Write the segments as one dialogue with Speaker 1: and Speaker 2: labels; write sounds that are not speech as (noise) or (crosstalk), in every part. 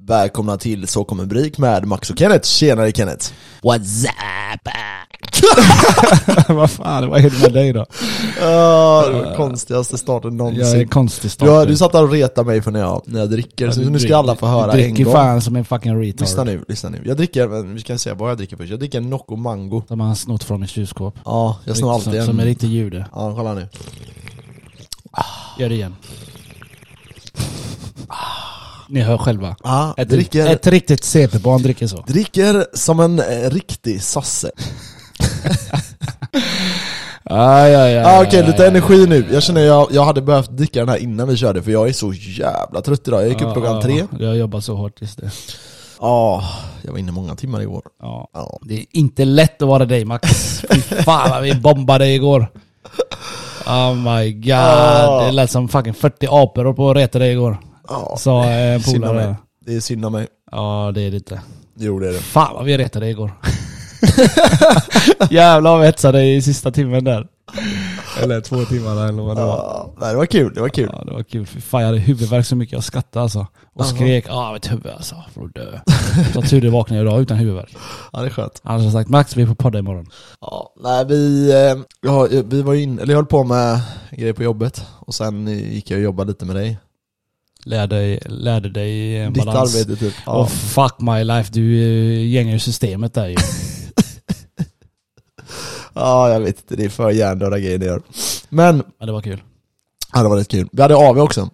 Speaker 1: Välkomna till Så kommer Brik med Max och Kenneth. Tjenare Kenneth!
Speaker 2: What's up? (laughs) Vad fan, vad är det med dig då?
Speaker 1: Uh, konstigaste starten
Speaker 2: Jag är
Speaker 1: någonsin.
Speaker 2: konstig
Speaker 1: Du,
Speaker 2: starter.
Speaker 1: du satt där och retade mig för när jag, när jag dricker, så nu ska alla få höra
Speaker 2: Du
Speaker 1: en
Speaker 2: dricker
Speaker 1: gång.
Speaker 2: fan som en fucking retard.
Speaker 1: Lyssna nu, lyssna nu. Jag dricker, men vi ska säga vad jag dricker först. Jag dricker en Nocco Mango.
Speaker 2: Som han snott från mitt kylskåp.
Speaker 1: Ja, jag snor alltid
Speaker 2: som, som en
Speaker 1: en.
Speaker 2: riktig jude.
Speaker 1: Ja, kolla nu.
Speaker 2: Gör det igen. Ni hör själva.
Speaker 1: Ja,
Speaker 2: Ett,
Speaker 1: Ah, dricker,
Speaker 2: ett riktigt CP-barn dricker så.
Speaker 1: dricker som en eh, riktig sasse.
Speaker 2: Ah, ja, ja,
Speaker 1: Ah, Okej, lite energi nu. Jag känner jag, jag hade behövt dricka den här innan vi körde för jag är så jävla trött idag. Jag gick upp klockan tre.
Speaker 2: Jag har jobbat så hårt just det.
Speaker 1: Ja, jag var inne många timmar igår.
Speaker 2: Ja.
Speaker 1: Ja.
Speaker 2: Det är inte lätt att vara dig Max. Fy fan vad vi bombade igår. Oh my god.
Speaker 1: Ja.
Speaker 2: Det lät som fucking 40 apor på att reta dig igår.
Speaker 1: Ja,
Speaker 2: Sa eh, en
Speaker 1: synd om mig.
Speaker 2: polare.
Speaker 1: Det är synd om mig.
Speaker 2: Ja det är det inte.
Speaker 1: Jo det är det.
Speaker 2: Fan vad vi retade igår. (laughs) Jävlar vad vi hetsade i sista timmen där. Eller två timmar eller vad det var.
Speaker 1: Ja, nej, det var kul, det var kul.
Speaker 2: Ja det var kul. Fy fan jag hade huvudvärk så mycket jag skrattade alltså. Och skrek ah mitt huvud alltså, får du dö. Så tur det vaknade jag idag utan huvudvärk.
Speaker 1: Ja, det är skönt.
Speaker 2: Annars hade jag sagt Max vi är på podda imorgon.
Speaker 1: Ja, nej vi, eh, ja, vi var in, eller jag höll på med grejer på jobbet och sen eh, gick jag och jobbade lite med dig.
Speaker 2: lärde dig, lärde dig eh,
Speaker 1: Ditt
Speaker 2: balans.
Speaker 1: arbete typ. Ja.
Speaker 2: Oh, fuck my life, du eh, gängar ju
Speaker 1: (laughs)
Speaker 2: systemet där ju.
Speaker 1: ja, jag vet inte, det är för hjärndöda grejer det gör. Men,
Speaker 2: Men det var kul.
Speaker 1: ja, det var rätt kul. Vi hade AV också.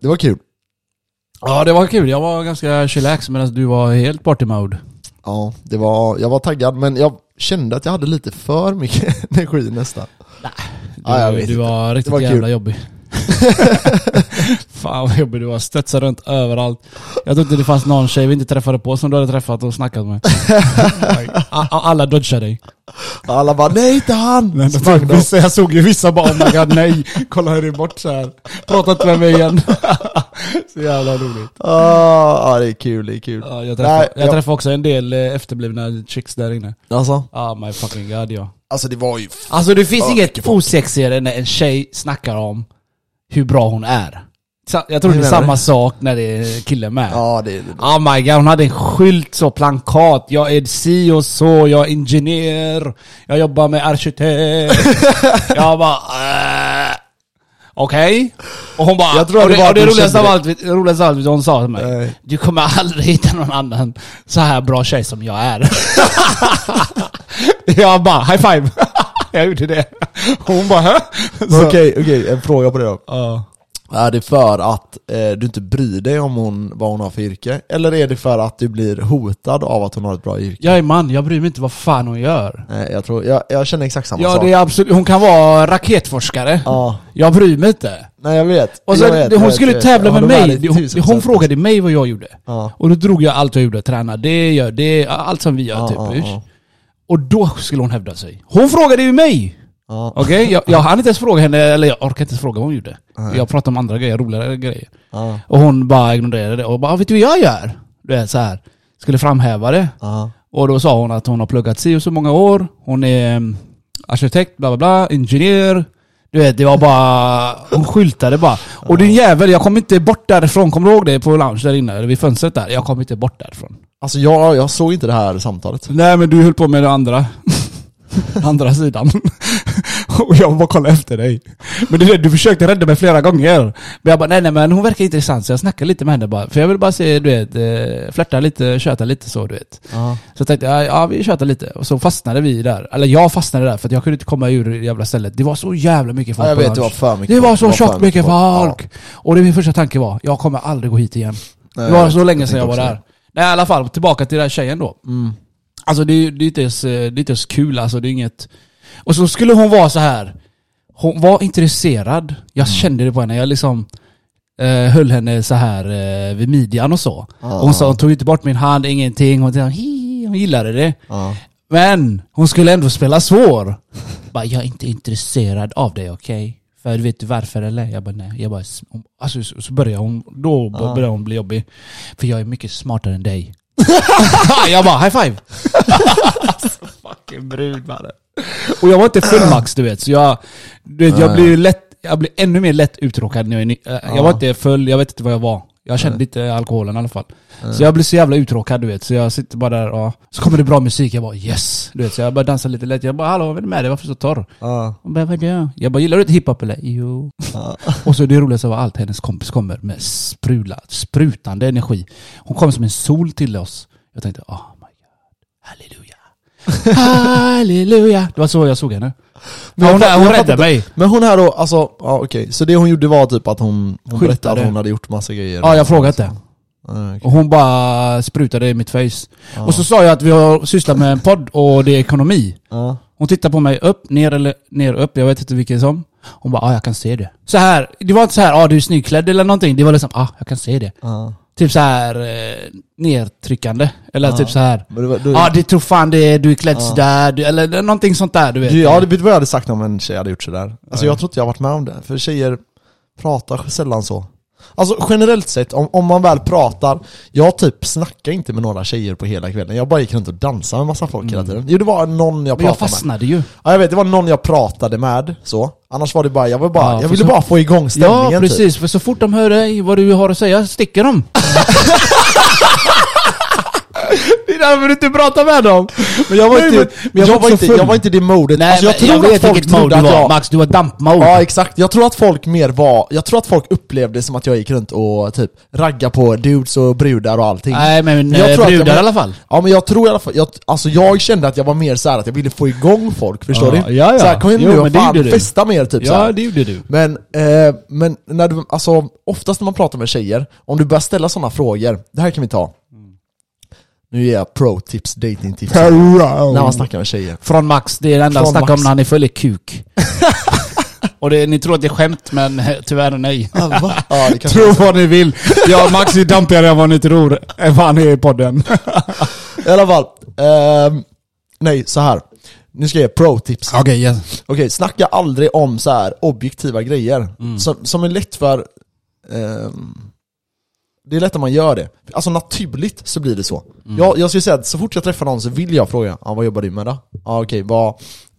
Speaker 1: Det var kul.
Speaker 2: Ja det var kul, jag var ganska chillax medan du var helt party mode.
Speaker 1: Ja, det var, jag var taggad men jag kände att jag hade lite för mycket (laughs) energi nästan.
Speaker 2: Du,
Speaker 1: Ja, jag vet
Speaker 2: du var riktigt
Speaker 1: var kul.
Speaker 2: jävla jobbig.
Speaker 1: (laughs)
Speaker 2: Fan vad jobbig du var, studsade runt överallt. Jag tror inte det fanns någon tjej vi inte träffade på som du hade träffat och
Speaker 1: (laughs)
Speaker 2: snackat med. A- a- Alla dodgade dig.
Speaker 1: Alla bara nej inte han! Så bara,
Speaker 2: Vissa, jag såg ju vissa bara oh my god nej, kolla hur det är bort så här. Prata inte med mig
Speaker 1: (laughs)
Speaker 2: igen. så jävla roligt.
Speaker 1: "Ah, Ja det är kul, det är kul.
Speaker 2: Ja, jag träffade,
Speaker 1: Nej,
Speaker 2: jag
Speaker 1: jag-
Speaker 2: träffade också en del eh, efterblivna chicks där inne.
Speaker 1: Alltså?
Speaker 2: Ah my fucking god ja.
Speaker 1: Alltså det var ju
Speaker 2: Alltså det finns
Speaker 1: Ja, mycket
Speaker 2: inget
Speaker 1: folk.
Speaker 2: osexigare när en tjej snackar om hur bra hon är. Sa- Jag tror
Speaker 1: Hur
Speaker 2: det är
Speaker 1: menar
Speaker 2: samma
Speaker 1: du?
Speaker 2: sak när det är killen med.
Speaker 1: Ja det är det.
Speaker 2: Oh my god, hon hade en skylt så, plankat. Jag är si och så, jag är ingenjör. Jag jobbar med arkitekt.
Speaker 1: (laughs)
Speaker 2: jag bara... Äh. Okej? Och hon bara...
Speaker 1: Jag tror
Speaker 2: och
Speaker 1: det
Speaker 2: det,
Speaker 1: var
Speaker 2: och det
Speaker 1: att hon
Speaker 2: roligaste av
Speaker 1: kände
Speaker 2: allt, vet- det roligaste av allt, vet du vad hon sa till mig.
Speaker 1: Nej.
Speaker 2: Du kommer aldrig hitta någon annan så här bra tjej som
Speaker 1: (laughs)
Speaker 2: jag är. jag bara, high five. jag gjorde det. Och hon bara, hä? Så-
Speaker 1: Okej, okej, en fråga på det då.
Speaker 2: Ja.
Speaker 1: Är det för att eh, du inte bryr dig om hon, vad hon har för yrke? Eller är det för att du blir hotad av att hon har ett bra yrke?
Speaker 2: jag är man, jag bryr mig inte vad fan hon gör.
Speaker 1: Nej, jag tror, jag, jag känner exakt samma
Speaker 2: Ja,
Speaker 1: sak.
Speaker 2: det är absolut. Hon kan vara raketforskare.
Speaker 1: Ja,
Speaker 2: Jag bryr mig inte.
Speaker 1: nej jag vet.
Speaker 2: Och så,
Speaker 1: jag vet,
Speaker 2: hon
Speaker 1: jag vet,
Speaker 2: skulle
Speaker 1: jag vet.
Speaker 2: tävla
Speaker 1: Ja,
Speaker 2: med
Speaker 1: de är
Speaker 2: mig.
Speaker 1: det
Speaker 2: Hon,
Speaker 1: 1000%.
Speaker 2: hon frågade mig vad jag gjorde.
Speaker 1: Ja.
Speaker 2: Och då drog jag allt jag gjorde. Träna det, gör det, allt som vi gör
Speaker 1: Ja,
Speaker 2: typ.
Speaker 1: ja,
Speaker 2: ish.
Speaker 1: ja.
Speaker 2: Och då skulle hon hävda sig. Hon frågade ju mig!
Speaker 1: Ja.
Speaker 2: Okej? Jag, jag hann inte ens fråga henne, eller jag orkade inte ens fråga vad hon gjorde. Jag pratade om andra grejer, roligare grejer.
Speaker 1: Ja.
Speaker 2: Och hon bara ignorerade det och bara, "Ah, vet du vad jag gör? Du vet så här. Skulle framhäva det.
Speaker 1: Ja.
Speaker 2: Och då sa hon att hon har pluggat si och så många år. Hon är mm, arkitekt, bla bla bla, ingenjör. Du vet, det var bara... Hon skyltade bara. Och din jävel, jag kom inte bort därifrån. Kommer du ihåg det på lounge där inne? Eller vid fönstret där? Jag kom inte bort därifrån.
Speaker 1: Alltså jag, jag såg inte det här samtalet.
Speaker 2: Nej men du höll på med det andra. (laughs) andra sidan. (laughs) och jag bara kollade efter dig. Men det, är det, du försökte rädda mig flera gånger. Men jag bara nej nej men hon verkar intressant så jag snackade lite med henne bara. För jag ville bara se, du vet, eh, flörta lite, köta lite så du vet.
Speaker 1: Ja.
Speaker 2: Så jag tänkte jag, ja vi tjötar lite. Och så fastnade vi där. Eller jag fastnade där för att jag kunde inte komma ur det jävla stället. Det var så jävla mycket folk
Speaker 1: Ja, jag
Speaker 2: på
Speaker 1: vet, det
Speaker 2: lunch.
Speaker 1: var för mycket
Speaker 2: Det var
Speaker 1: folk.
Speaker 2: så
Speaker 1: Det var för
Speaker 2: tjockt mycket
Speaker 1: mycket folk.
Speaker 2: folk. Och det min första tanke var, jag kommer aldrig gå hit igen.
Speaker 1: Nej,
Speaker 2: det var
Speaker 1: jag
Speaker 2: så
Speaker 1: vet.
Speaker 2: länge
Speaker 1: Jag
Speaker 2: sedan jag var
Speaker 1: tänkte också Mm.
Speaker 2: där. Nej i alla fall, tillbaka till den här tjejen då. Alltså det, är ju- det, är inte ens, eh, det är inte ens kul alltså, det är inget... Och så skulle hon vara så här. Hon var intresserad,
Speaker 1: Mm.
Speaker 2: jag kände det på henne. Jag liksom eh, höll henne så här eh, vid midjan och så. Och hon sa, hon tog inte bort min hand, ingenting. Hon, tänkte, "Hi", hon gillade det.
Speaker 1: Ja.
Speaker 2: Men hon skulle ändå spela svår. Bara, jag är inte intresserad av dig, okej? För vet du varför eller? Jag bara, nej. Jag bara, "S- hon- alltså, så så börjar hon, då b- börjar hon bli jobbig. För jag är mycket smartare än dig. (laughs) jag bara, high five!
Speaker 1: Fucking brud mannen.
Speaker 2: Och jag var inte full max du vet, så jag, eh, du vet, jag blir ju lätt, jag blir ännu mer lätt uttråkad när jag är ny. Äh, Jag var inte full, jag vet inte vad jag var. Jag kände inte alkoholen i alla fall. Så jag blev så jävla uttråkad du vet, så jag sitter bara där och så kommer det bra musik, jag bara yes! Du vet, så jag börjar dansa lite lätt, jag bara hallå vad är det med dig, varför så torr?
Speaker 1: Ja.
Speaker 2: Hon bara vadå? Jag bara gillar du inte hiphop eller? Jo.
Speaker 1: Ja.
Speaker 2: Och så det roligaste av allt, hennes kompis kommer med sprula, sprutande energi. Hon kom som en sol till oss. Jag tänkte oh my god,
Speaker 1: (laughs)
Speaker 2: halleluja. Halleluja! Det var så jag såg henne.
Speaker 1: Men
Speaker 2: Men hon,
Speaker 1: jag fa-
Speaker 2: hon
Speaker 1: jag fattar
Speaker 2: räddade mig.
Speaker 1: Men hon här då, alltså, ja okej. Så det hon gjorde var typ att hon, hon
Speaker 2: Skyltade.
Speaker 1: berättade att hon hade gjort massa grejer?
Speaker 2: Ja, jag frågade det.
Speaker 1: Ja, okej. Ah,
Speaker 2: Och hon bara sprutade i mitt face.
Speaker 1: Ja.
Speaker 2: Och så sa jag att vi har sysslat med en podd och det är ekonomi.
Speaker 1: Ja.
Speaker 2: Hon tittar på mig upp, ner eller ner, upp. Jag vet inte vilken som. Hon bara, ja ah, jag kan se det. Så här, det var inte så här, ja ah, du är snyggklädd eller någonting. Det var liksom, ja ah, jag kan se det.
Speaker 1: ja.
Speaker 2: Typ så här eh, nedtryckande. Eller
Speaker 1: Ja.
Speaker 2: typ så här.
Speaker 1: Men det var, du,
Speaker 2: Ja ah, det tror fan det är, du är klädd
Speaker 1: Ja.
Speaker 2: sådär. Du, eller någonting sånt där du vet.
Speaker 1: du, ja, det vet du vad jag hade sagt om en tjej hade gjort sådär? Alltså
Speaker 2: Nej.
Speaker 1: jag tror inte jag har varit med om det, för tjejer pratar sällan så. Alltså generellt sett, om, om man väl pratar, jag typ snackade inte med några tjejer på hela kvällen. Jag bara gick runt och dansade med massa folk hela tiden. Jo det var någon jag
Speaker 2: Mm. Men jag
Speaker 1: pratade med.
Speaker 2: fastnade ju.
Speaker 1: Ja jag vet, det var någon jag pratade med så. Annars var det bara, jag, var bara,
Speaker 2: Ja,
Speaker 1: jag
Speaker 2: för
Speaker 1: ville
Speaker 2: så-
Speaker 1: bara få igång stämningen typ.
Speaker 2: Ja precis, för så fort de hör dig, vad du har att säga,
Speaker 1: (laughs)
Speaker 2: sticker de. det är därför du inte pratar med dem.
Speaker 1: Men jag var
Speaker 2: Nej,
Speaker 1: inte,
Speaker 2: men-
Speaker 1: men jag
Speaker 2: jag
Speaker 1: var
Speaker 2: var
Speaker 1: inte,
Speaker 2: så full.
Speaker 1: jag var inte i det modet.
Speaker 2: Nej,
Speaker 1: Alltså,
Speaker 2: jag, men jag
Speaker 1: tror att
Speaker 2: vet
Speaker 1: folk
Speaker 2: vilket mode
Speaker 1: trodde
Speaker 2: du
Speaker 1: att
Speaker 2: var
Speaker 1: jag...
Speaker 2: Max, du var dampmode.
Speaker 1: Ja exakt, jag tror att folk mer var, jag tror att folk upplevde som att jag gick runt och typ ragga på dudes och brudar och allting.
Speaker 2: Nej men
Speaker 1: Jag
Speaker 2: jag
Speaker 1: tror att
Speaker 2: brudar
Speaker 1: jag-
Speaker 2: i alla fall.
Speaker 1: Ja men jag tror i alla fall, jag, alltså jag kände att jag var mer såhär att jag ville få igång folk, förstår
Speaker 2: Ja,
Speaker 1: du?
Speaker 2: ja, ja.
Speaker 1: Såhär, kom igen
Speaker 2: Jo,
Speaker 1: nu och
Speaker 2: men det
Speaker 1: fan,
Speaker 2: gjorde du.
Speaker 1: festa mer typ såhär.
Speaker 2: det gjorde du.
Speaker 1: Men, eh, men när du, alltså, oftast när man pratar med tjejer, om du börjar ställa sådana frågor, det här kan vi ta.
Speaker 2: Mm.
Speaker 1: Nu ger jag pro-tips,
Speaker 2: (laughs)
Speaker 1: dating-tips. När man snackar med tjejer.
Speaker 2: Från Max, det är det enda han
Speaker 1: Från
Speaker 2: snackar
Speaker 1: Max.
Speaker 2: om när han är full i (laughs) kuk. Och det, ni tror att det är skämt, men (laughs) eh, tyvärr nej.
Speaker 1: (laughs) Ja, det kanske
Speaker 2: Tro vad ni vill. Ja, Max är dampigare än vad ni tror, än vad han är i podden.
Speaker 1: I alla fall, ehm, nej så här. Nu ska jag ge pro-tips.
Speaker 2: (laughs) Okej, yes.
Speaker 1: Okej, snacka aldrig om så här objektiva grejer.
Speaker 2: Mm.
Speaker 1: Som, som är lätt för... ehm, det är lätt att man gör det. Alltså naturligt så blir det så.
Speaker 2: Mm.
Speaker 1: Jag, jag skulle säga att så fort jag träffar någon så vill jag fråga ah, vad jobbar du med då? Ah, Okej, vad...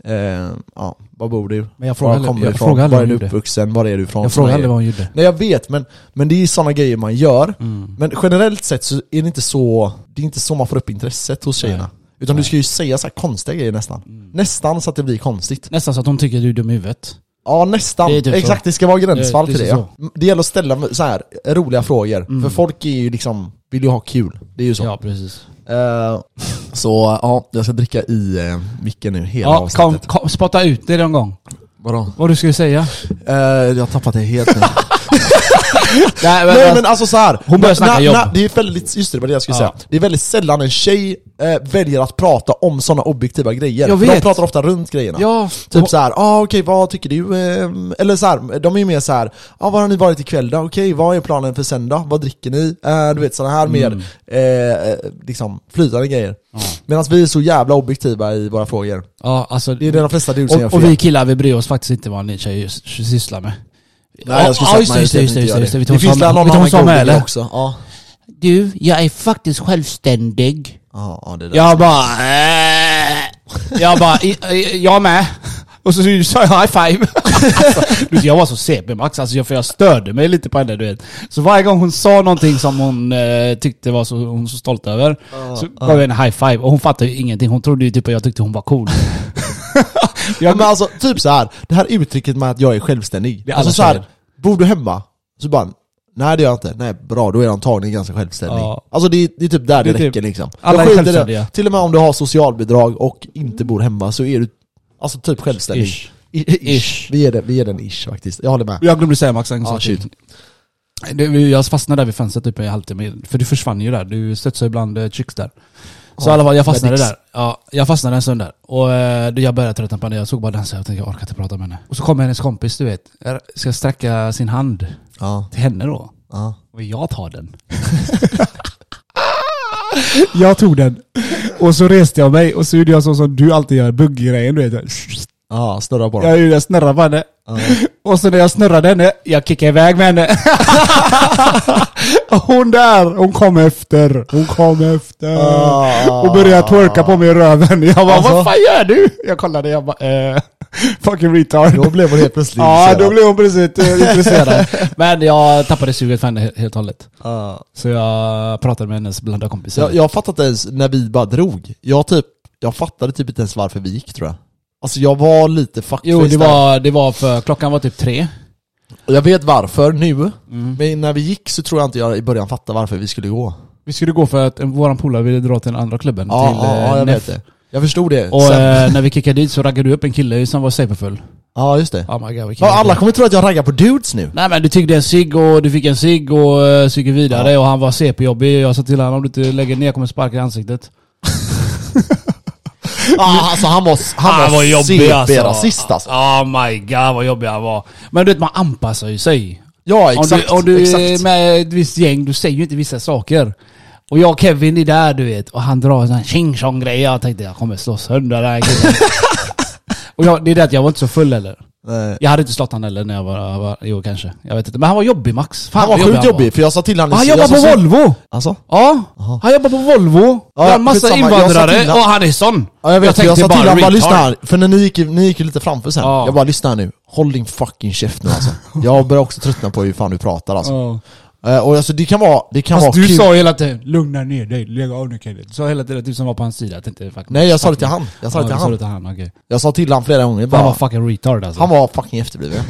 Speaker 1: Eh, ah, var bor du?
Speaker 2: Men jag frågar
Speaker 1: var
Speaker 2: aldrig-
Speaker 1: kommer du
Speaker 2: jag
Speaker 1: ifrån?
Speaker 2: frågar aldrig
Speaker 1: Var är du
Speaker 2: om det.
Speaker 1: uppvuxen? Var är du ifrån?
Speaker 2: Jag
Speaker 1: Såna
Speaker 2: frågade aldrig
Speaker 1: grejer.
Speaker 2: vad hon gjorde.
Speaker 1: Nej jag vet, men, men det är sådana grejer man gör.
Speaker 2: Mm.
Speaker 1: Men generellt sett så är det inte så, det är inte så man får upp intresset hos tjejerna.
Speaker 2: Nej. Mm.
Speaker 1: Utan du ska ju säga så här konstiga grejer nästan. Nästan så att det blir konstigt.
Speaker 2: Nästan så att hon tycker att du är dum i huvudet.
Speaker 1: Ja nästan,
Speaker 2: Det är typ så.
Speaker 1: exakt det ska vara gränsfall
Speaker 2: Det-
Speaker 1: till
Speaker 2: det
Speaker 1: det.
Speaker 2: är Mm.
Speaker 1: ja. det gäller att ställa så här roliga frågor. För folk är ju liksom, vill ju ha kul. Det är ju så.
Speaker 2: precis.
Speaker 1: Eh, så ja, jag ska dricka i eh, micken nu hela
Speaker 2: Ja, kom,
Speaker 1: avsnittet.
Speaker 2: kom, spotta ut det någon gång.
Speaker 1: Vadå?
Speaker 2: Vad du skulle säga.
Speaker 1: Eh, jag har tappat det helt (laughs) nu.
Speaker 2: Nej,
Speaker 1: Nej men alltså så här.
Speaker 2: Hon börjar snacka
Speaker 1: Nä-
Speaker 2: jobb.
Speaker 1: nä- det är väldigt, just det, det var det jag skulle
Speaker 2: Ja.
Speaker 1: säga. Det är väldigt sällan en tjej eh, väljer att prata om sådana objektiva grejer.
Speaker 2: Jag
Speaker 1: För De
Speaker 2: vet.
Speaker 1: pratar ofta runt grejerna.
Speaker 2: Ja,
Speaker 1: Typ så här, ah, okej vad tycker du? ehm?" Eller så här, de är ju mer så här, ah, vad har ni varit ikväll då? Okej, vad är planen för sen då? Vad dricker ni? Eh, du vet sådana här
Speaker 2: Mm.
Speaker 1: mer eh, eh, liksom, flytande grejer. Medan vi är så jävla objektiva i våra frågor.
Speaker 2: ja, alltså,
Speaker 1: Det är det de flesta du gör
Speaker 2: och,
Speaker 1: fel.
Speaker 2: och vi killar, vi bryr oss faktiskt inte vad ni tjejer s- sysslar med.
Speaker 1: Nej, jag skulle säga
Speaker 2: Ja,
Speaker 1: att
Speaker 2: just det, just det,
Speaker 1: majoriteten
Speaker 2: just det,
Speaker 1: inte gör
Speaker 2: just det. Vi tar
Speaker 1: Det
Speaker 2: oss
Speaker 1: finns
Speaker 2: an-
Speaker 1: väl någon
Speaker 2: vi tar
Speaker 1: annan
Speaker 2: oss an
Speaker 1: god
Speaker 2: med,
Speaker 1: grej
Speaker 2: eller?
Speaker 1: också. Ja,
Speaker 2: Du, jag är faktiskt självständig.
Speaker 1: ja, ja det där.
Speaker 2: Jag bara... Äh. Jag bara, i- i- jag med. Och så sa jag high five. (laughs) Alltså, du vet, jag var så CP Max, alltså, jag- för jag störde mig lite på henne du vet. Så varje gång hon sa någonting som hon eh, tyckte var så, hon var så stolt över, så gav jag henne high five. Och hon fattade ju ingenting, hon trodde ju typ att jag tyckte hon
Speaker 1: (laughs)
Speaker 2: var cool.
Speaker 1: Ja, men alltså, typ så här. det här uttrycket med att jag är självständig.
Speaker 2: Det är alla
Speaker 1: alltså så här,
Speaker 2: tjejer.
Speaker 1: bor du hemma? Så bara, nej det gör jag inte. Nej, bra, då är jag antagligen ganska självständig.
Speaker 2: Ja.
Speaker 1: Alltså det, är- det är typ där det,
Speaker 2: Det är typ-
Speaker 1: räcker liksom. Jag
Speaker 2: alla är
Speaker 1: skiter i det.
Speaker 2: självständiga.
Speaker 1: Till och med om du har socialbidrag och inte bor hemma så är du alltså typ självständig.
Speaker 2: Ish.
Speaker 1: I- ish.
Speaker 2: Ish.
Speaker 1: Vi, ger den, vi ger den ish faktiskt, jag håller med.
Speaker 2: Jag glömde säga Max en
Speaker 1: Ja,
Speaker 2: sak
Speaker 1: shoot.
Speaker 2: till. Det- Jag fastnade där vid fönstret typ i en halvtimme, för du försvann ju där. Du studsade ibland eh, chicks där. Så
Speaker 1: Ja,
Speaker 2: i alla fall, jag
Speaker 1: med
Speaker 2: fastnade
Speaker 1: dicks.
Speaker 2: där. Ja, jag fastnade en stund där. Och eh, då jag började tröttna på henne. Jag såg bara dansa och tänkte jag orkar inte prata med henne. Och så kommer hennes kompis, du vet. Jag Ska sträcka sin hand
Speaker 1: Ja,
Speaker 2: till henne då.
Speaker 1: ja.
Speaker 2: Och jag tar den. jag tog den. Och så reste jag mig och så gjorde jag så som du alltid gör, bugggrejen du vet.
Speaker 1: ja snurra på dem.
Speaker 2: Jag gjorde jag snurrade på henne. (laughs) Och så när jag snurrade henne, jag kickade iväg med henne. (laughs) Och hon där, hon kom efter. Hon kom efter.
Speaker 1: Ah.
Speaker 2: Och började twerka på mig i röven. Jag bara,
Speaker 1: Alltså?
Speaker 2: vad fan gör du? Jag kollade, jag bara, eh. (laughs) Fucking retard.
Speaker 1: Då blev hon helt plötsligt
Speaker 2: ja,
Speaker 1: intresserad.
Speaker 2: då blev hon plötsligt eh, intresserad.
Speaker 1: (laughs)
Speaker 2: Men jag tappade suget för henne he- helt och hållet.
Speaker 1: Ja.
Speaker 2: Så jag pratade med hennes blandade kompisar.
Speaker 1: jag, jag har fattat ens när vi bara drog. Jag, typ, jag fattade typ inte ens varför vi gick tror jag. Alltså jag var lite fuckface
Speaker 2: jo, det
Speaker 1: där.
Speaker 2: var, det var för klockan var typ tre.
Speaker 1: Och jag vet varför nu,
Speaker 2: Mm.
Speaker 1: men när vi gick så tror jag inte jag i början fattade varför vi skulle gå.
Speaker 2: Vi skulle gå för att eh, våran polare ville dra till den andra klubben.
Speaker 1: Ja,
Speaker 2: till
Speaker 1: ja,
Speaker 2: eh,
Speaker 1: ja jag
Speaker 2: Neff.
Speaker 1: vet det. Jag förstod det
Speaker 2: Och
Speaker 1: sen.
Speaker 2: eh, när vi kickade dit så raggade du upp en kille som var superfull.
Speaker 1: ja, just det.
Speaker 2: Oh my god,
Speaker 1: Ja, alla kommer tro att jag raggar på dudes
Speaker 2: (laughs)
Speaker 1: nu.
Speaker 2: Nej men du tyckte en cigg och du fick en cigg och uh, så gick vi vidare och han var CP-jobbig. Jag sa till honom om du inte lägger ner jag kommer sparka i ansiktet.
Speaker 1: Ah, alltså han var, han var, CP-rasist alltså.
Speaker 2: Oh my god vad jobbig han var. Men du vet man anpassar ju sig.
Speaker 1: Ja,
Speaker 2: Om
Speaker 1: exakt.
Speaker 2: du, om du är
Speaker 1: exakt.
Speaker 2: med ett visst gäng, du säger ju inte vissa saker. Och jag och Kevin är där du vet och han drar en sån här tjing tjong grej. Jag tänkte jag kommer slå sönder den
Speaker 1: (laughs)
Speaker 2: här killen. Och jag, det är det att jag var inte så full heller.
Speaker 1: Nej.
Speaker 2: Jag hade inte slått han heller när jag var, var jo kanske. Jag vet inte. Men han var jobbig Max. Fan,
Speaker 1: Han var
Speaker 2: vad
Speaker 1: sjukt
Speaker 2: var.
Speaker 1: jobbig, för jag sa till honom... liksom, jag
Speaker 2: Han Ah, jobbar
Speaker 1: sa
Speaker 2: på
Speaker 1: så-
Speaker 2: Volvo!
Speaker 1: Alltså?
Speaker 2: Ja, han jobbar på Volvo.
Speaker 1: Ja,
Speaker 2: Ja, en massa
Speaker 1: skitsamma, jag sa till
Speaker 2: invandrare
Speaker 1: han-
Speaker 2: och han är sån.
Speaker 1: Ja, jag vet, för jag sa till honom bara
Speaker 2: retard.
Speaker 1: lyssna här, för när ni gick, ni gick ju lite framför sen.
Speaker 2: Ja.
Speaker 1: Jag bara lyssna här nu, håll din fucking käft nu alltså. Jag börjar också tröttna på hur fan du pratar alltså.
Speaker 2: Ja.
Speaker 1: Eh, Och alltså det kan vara, det kan
Speaker 2: Fast
Speaker 1: vara
Speaker 2: du
Speaker 1: kul.
Speaker 2: sa hela tiden 'Lugna ner dig, lägg av nu Kevin' Du sa hela tiden att du som var på hans sida, jag tänkte fuck
Speaker 1: Nej jag sa det till han. Jag sa det
Speaker 2: Ja,
Speaker 1: till
Speaker 2: du sa det
Speaker 1: han.
Speaker 2: till han, okej.
Speaker 1: Jag sa till han flera gånger bara.
Speaker 2: Han var fucking retard alltså.
Speaker 1: Han var fucking efterbliven.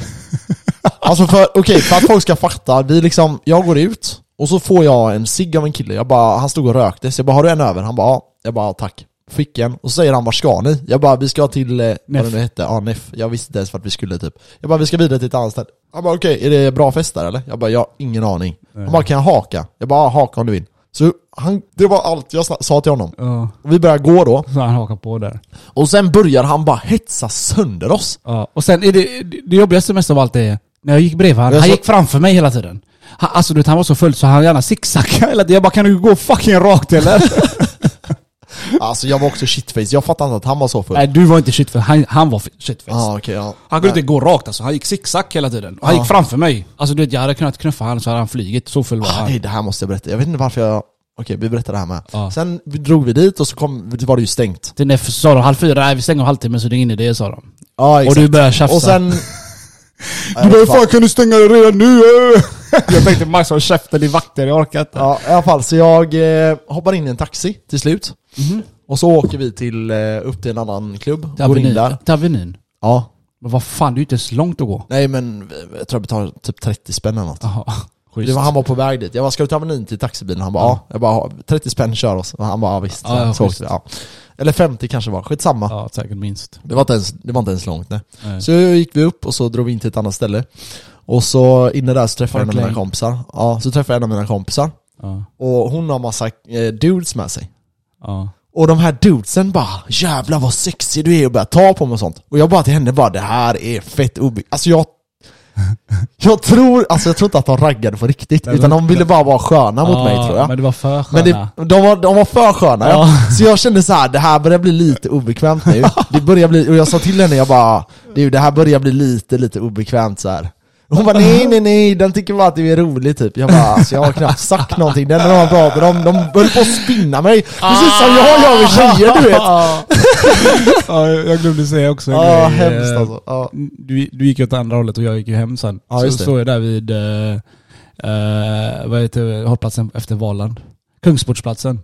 Speaker 1: alltså för, okej, för att folk ska fatta, vi liksom, jag går ut och så får jag en cigg av en kille, jag bara, han stod och rökte, så jag bara 'Har du en över?' Han bara ja. Jag bara 'Tack' Fick en, och så säger han 'Vart ska ni?' Jag bara 'Vi ska till, eh, vad det
Speaker 2: Neff.
Speaker 1: nu hette, ja Neff, jag visste inte ens vart vi skulle typ Jag bara 'Vi ska vidare till ett annat ställe' Han bara 'Okej, är det bra fest där eller?' Jag bara 'Jag har ingen aning' Han bara 'Kan jag haka?' Jag bara "Ja, 'Haka om du vill' Så han, det var allt jag sa- sa till honom
Speaker 2: Ja,
Speaker 1: Vi börjar gå då,
Speaker 2: så han hakar på där.
Speaker 1: och sen börjar han bara hetsa sönder oss
Speaker 2: Ja. Och sen är det, det jobbigaste mest av allt är, när jag gick bredvid han,
Speaker 1: Jag
Speaker 2: han
Speaker 1: sa-
Speaker 2: gick framför mig hela tiden. Han, alltså du vet, han var så full så han gärna zigzaggade hela tiden. Jag bara 'Kan du gå fucking rakt eller?'
Speaker 1: Alltså jag var också shitface, jag fattar inte att han var så full.
Speaker 2: Nej du var inte shitface, han, han var shitface.
Speaker 1: ah, okej, ja.
Speaker 2: Han kunde inte gå rakt alltså, han gick zigzag hela tiden. Han gick framför mig. Alltså du vet, jag hade kunnat knuffa honom så hade han flugit. Så full var
Speaker 1: ah,
Speaker 2: han.
Speaker 1: nej, det här måste jag berätta, jag vet inte varför jag... Okej, vi berättar det här med.
Speaker 2: Ja.
Speaker 1: Sen vi- drog vi dit och så kom, var det ju stängt.
Speaker 2: Till Neff sa de halv fyra, nej vi stänger om halvtimmen så det är ingen idé sa de.
Speaker 1: Ja,
Speaker 2: Och
Speaker 1: exakt.
Speaker 2: du började tjafsa.
Speaker 1: Och
Speaker 2: (laughs)
Speaker 1: sen...
Speaker 2: du
Speaker 1: bara, "Fan,
Speaker 2: kan du stänga det redan nu? jag tänkte Max håll käften, din vakter, jag orkar inte.
Speaker 1: ja, i alla fall, så jag eh, hoppar in i en taxi till slut. Och så åker vi till, eh, upp till en annan klubb,
Speaker 2: Mhm. Till
Speaker 1: går in där.
Speaker 2: Avenyn. Till Avenyn.
Speaker 1: Ja.
Speaker 2: Men vad fan, det är ju inte ens långt att gå.
Speaker 1: Nej men, eh, jag tror jag betalade typ 30 spänn eller något.
Speaker 2: Jaha.
Speaker 1: Det var, han var på väg dit. Jag bara, ska du ta menyn till taxibilen? Han bara, ja. Jag bara, 30 spänn kör oss. Och han bara, ja visst.
Speaker 2: Ja, ja,
Speaker 1: så
Speaker 2: schysst.
Speaker 1: åkte vi, ja. Eller 50 kanske var, skitsamma.
Speaker 2: Ja, säkert minst.
Speaker 1: Det var inte ens, det var inte ens långt nej.
Speaker 2: Nej.
Speaker 1: Så gick vi upp och så drog vi in till ett annat ställe. Och så inne där så träffade jag en av
Speaker 2: Parkland.
Speaker 1: mina kompisar. Ja, så träffade jag en av mina kompisar.
Speaker 2: Ja.
Speaker 1: Och hon har massa eh, dudes med sig.
Speaker 2: Ja.
Speaker 1: Och de här dudesen bara 'Jävlar vad sexig du är' och börjar ta på mig och sånt. Och jag bara till henne bara 'Det här är fett obyggt' Alltså
Speaker 2: (laughs)
Speaker 1: jag... Jag tror, alltså jag tror inte att de raggade på riktigt.
Speaker 2: Nej,
Speaker 1: utan
Speaker 2: men-
Speaker 1: de ville bara vara sköna mot mig tror jag.
Speaker 2: Men det var för
Speaker 1: Men
Speaker 2: sköna.
Speaker 1: det, de, var, de var för sköna ja. Så jag kände så här, det här börjar bli lite obekvämt
Speaker 2: (laughs)
Speaker 1: nu. Det börjar bli, och jag sa till henne, jag bara, du det här börjar bli lite, lite obekvämt så här. Hon bara nej nej nej, den tycker bara att du är rolig typ. Jag bara alltså, jag har knappt sagt någonting. Den de pratade om, de höll på att spinna mig. Precis som jag gör med tjejer du vet.
Speaker 2: Ah. ja, jag glömde säga också en
Speaker 1: Ja,
Speaker 2: grej.
Speaker 1: hemskt
Speaker 2: Eh,
Speaker 1: alltså. Ja.
Speaker 2: du, du gick ju åt andra hållet och jag gick ju hem sen.
Speaker 1: Ja,
Speaker 2: så
Speaker 1: just det.
Speaker 2: står jag där vid, eh, eh, vad heter det, hållplatsen efter Valand. Kungsportsplatsen.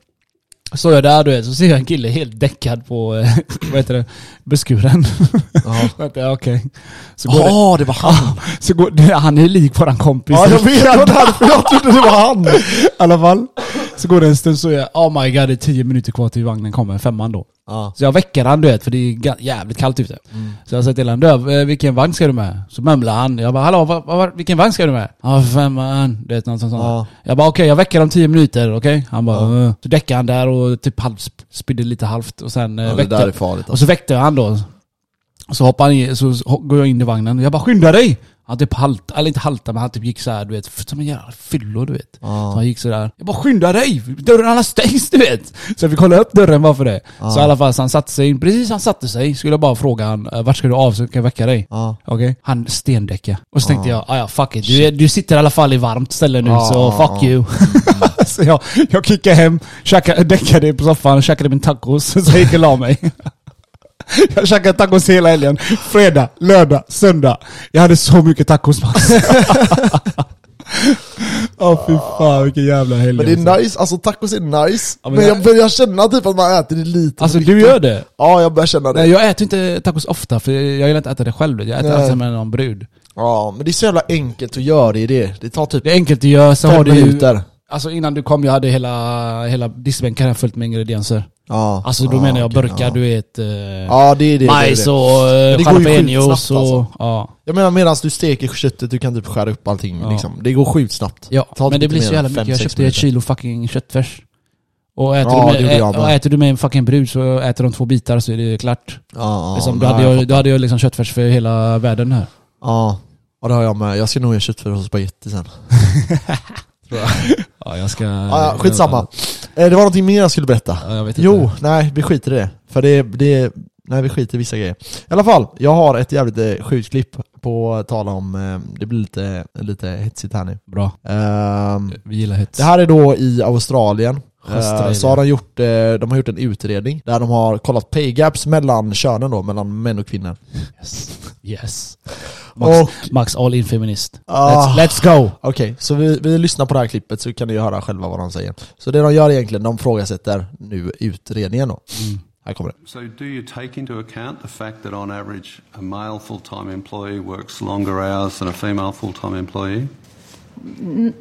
Speaker 2: Står jag där du vet, så ser jag en kille helt däckad på, eh, (laughs) vad heter det, beskuren.
Speaker 1: Ja.
Speaker 2: (laughs) Vänta, ja, okej. Så går det,
Speaker 1: Åh, det var han!
Speaker 2: så går det, han är lik våran kompis.
Speaker 1: Ja jag vet, det var därför jag trodde det var han!
Speaker 2: I alla fall. Så går det en stund så är jag, oh my god det är 10 minuter kvar till vagnen kommer, femman då.
Speaker 1: Ja.
Speaker 2: Så jag väcker han du vet, för det är ga- jävligt kallt ute.
Speaker 1: Mm.
Speaker 2: Så jag säger till honom, du, eh, vilken vagn ska du med? Så mumlar han. Jag bara, hallå, vad, vad, vad- vilken vagn ska du med? Ja, femman. Du vet, något sånt.
Speaker 1: Ja.
Speaker 2: Jag bara, okej, jag väcker om tio minuter, okej? Han bara, "Eh." Så däckar han där och typ halvt, spydde lite halvt. Och sen eh,
Speaker 1: Ja, det
Speaker 2: väckte-
Speaker 1: där är farligt
Speaker 2: och
Speaker 1: alltså.
Speaker 2: så väckte jag han då. Och så hoppar han i, så så går jag in i vagnen. Jag bara skynda dig! Han typ halt, eller inte halta men han typ gick så här, du vet, som en jävla fyllo du vet. Så han gick så där. Jag bara skynda dig! Dörrarna stängs du vet! Så vi kollade upp dörren bara för det. Så i alla fall så han satte sig in, precis han satte sig skulle jag bara fråga han, "Eh, vart ska du av så kan jag väcka dig?
Speaker 1: Ja.
Speaker 2: Okej? Han stendäckade. Och så tänkte jag, "Ah, ja fuck it, du, är- du sitter i alla fall i varmt ställe nu
Speaker 1: Ja,
Speaker 2: så
Speaker 1: ja,
Speaker 2: fuck
Speaker 1: ja.
Speaker 2: you.
Speaker 1: Mm.
Speaker 2: (laughs) så jag, (laughs) jag kickade hem, käkade, däckade på soffan, käkade min tacos, så jag gick och la mig. Jag käkade tacos hela helgen. Fredag, lördag, söndag. Jag hade så mycket tacos Max. (laughs) Åh fy fan vilken jävla helg.
Speaker 1: Men det
Speaker 2: alltså.
Speaker 1: är nice, alltså tacos är nice.
Speaker 2: Ja, men
Speaker 1: men jag,
Speaker 2: jag-
Speaker 1: börjar känna typ att man äter det lite för
Speaker 2: Alltså du
Speaker 1: mycket.
Speaker 2: gör det?
Speaker 1: Ja, jag börjar känna det.
Speaker 2: Nej, jag äter inte tacos ofta för jag gillar inte att äta det själv. Jag äter
Speaker 1: Nej.
Speaker 2: alltid med någon brud.
Speaker 1: Ja, men det är så jävla enkelt att göra det i det. Det tar typ
Speaker 2: Det är enkelt att göra, så har
Speaker 1: fem
Speaker 2: du ju...
Speaker 1: minuter.
Speaker 2: Alltså innan du kom, jag hade hela, hela diskbänken här fullt med ingredienser.
Speaker 1: Ja.
Speaker 2: Alltså då
Speaker 1: ja,
Speaker 2: menar jag
Speaker 1: Ah, okej,
Speaker 2: burkar,
Speaker 1: ja.
Speaker 2: du vet... eh,
Speaker 1: Ja, det är det.
Speaker 2: majs
Speaker 1: det, är det.
Speaker 2: och eh,
Speaker 1: det går ju
Speaker 2: jalapenos
Speaker 1: skitsnabbt,
Speaker 2: och...
Speaker 1: alltså.
Speaker 2: Ja.
Speaker 1: Jag menar medan du steker köttet, du kan typ skära upp allting
Speaker 2: Ja.
Speaker 1: liksom. Det går sjukt snabbt.
Speaker 2: Ja,
Speaker 1: Ta
Speaker 2: men
Speaker 1: typ
Speaker 2: det blir
Speaker 1: inte
Speaker 2: så
Speaker 1: mer än
Speaker 2: jävla mycket.
Speaker 1: fem,
Speaker 2: Jag
Speaker 1: sex
Speaker 2: köpte ett
Speaker 1: minuter.
Speaker 2: kilo fucking köttfärs. Och äter,
Speaker 1: Ja, det
Speaker 2: du
Speaker 1: gjorde
Speaker 2: med,
Speaker 1: jag
Speaker 2: ä, och
Speaker 1: med.
Speaker 2: äter du med en fucking brud så äter de två bitar så är det klart.
Speaker 1: Ja,
Speaker 2: liksom, då,
Speaker 1: nej,
Speaker 2: hade jag,
Speaker 1: fattar.
Speaker 2: då hade jag liksom köttfärs för hela världen här.
Speaker 1: Ja, ja det har jag med. Jag ska nog göra köttfärs och spagetti sen.
Speaker 2: Ja, jag ska...
Speaker 1: Ja, ja, skitsamma. Eh, Det var någonting mer jag skulle berätta.
Speaker 2: Ja, jag vet inte.
Speaker 1: Jo, nej vi skiter i det. För det, det nej vi skiter i vissa grejer. I alla fall, jag har ett jävligt eh, sjukt klipp på att tala om, eh, det blir lite, lite hetsigt här nu.
Speaker 2: Bra.
Speaker 1: Ehm,
Speaker 2: Vi gillar hets.
Speaker 1: det här är då i Australien. Eh,
Speaker 2: Australien.
Speaker 1: Så har de, gjort, eh, de har gjort en utredning där de har kollat pay gaps mellan könen då, mellan män och kvinnor.
Speaker 2: Yes. yes. Max,
Speaker 1: Och-
Speaker 2: Max all in feminist.
Speaker 1: Ah.
Speaker 2: Let's, let's go!
Speaker 1: Okej, så vi, vi lyssnar på det här klippet så kan ni ju höra själva vad de säger. Så det de gör egentligen, de frågasätter nu utredningen då.
Speaker 2: Mm.
Speaker 1: Här kommer det.
Speaker 3: So, do you take into account the fact that on average a male full time employee works longer hours than a female full time employee?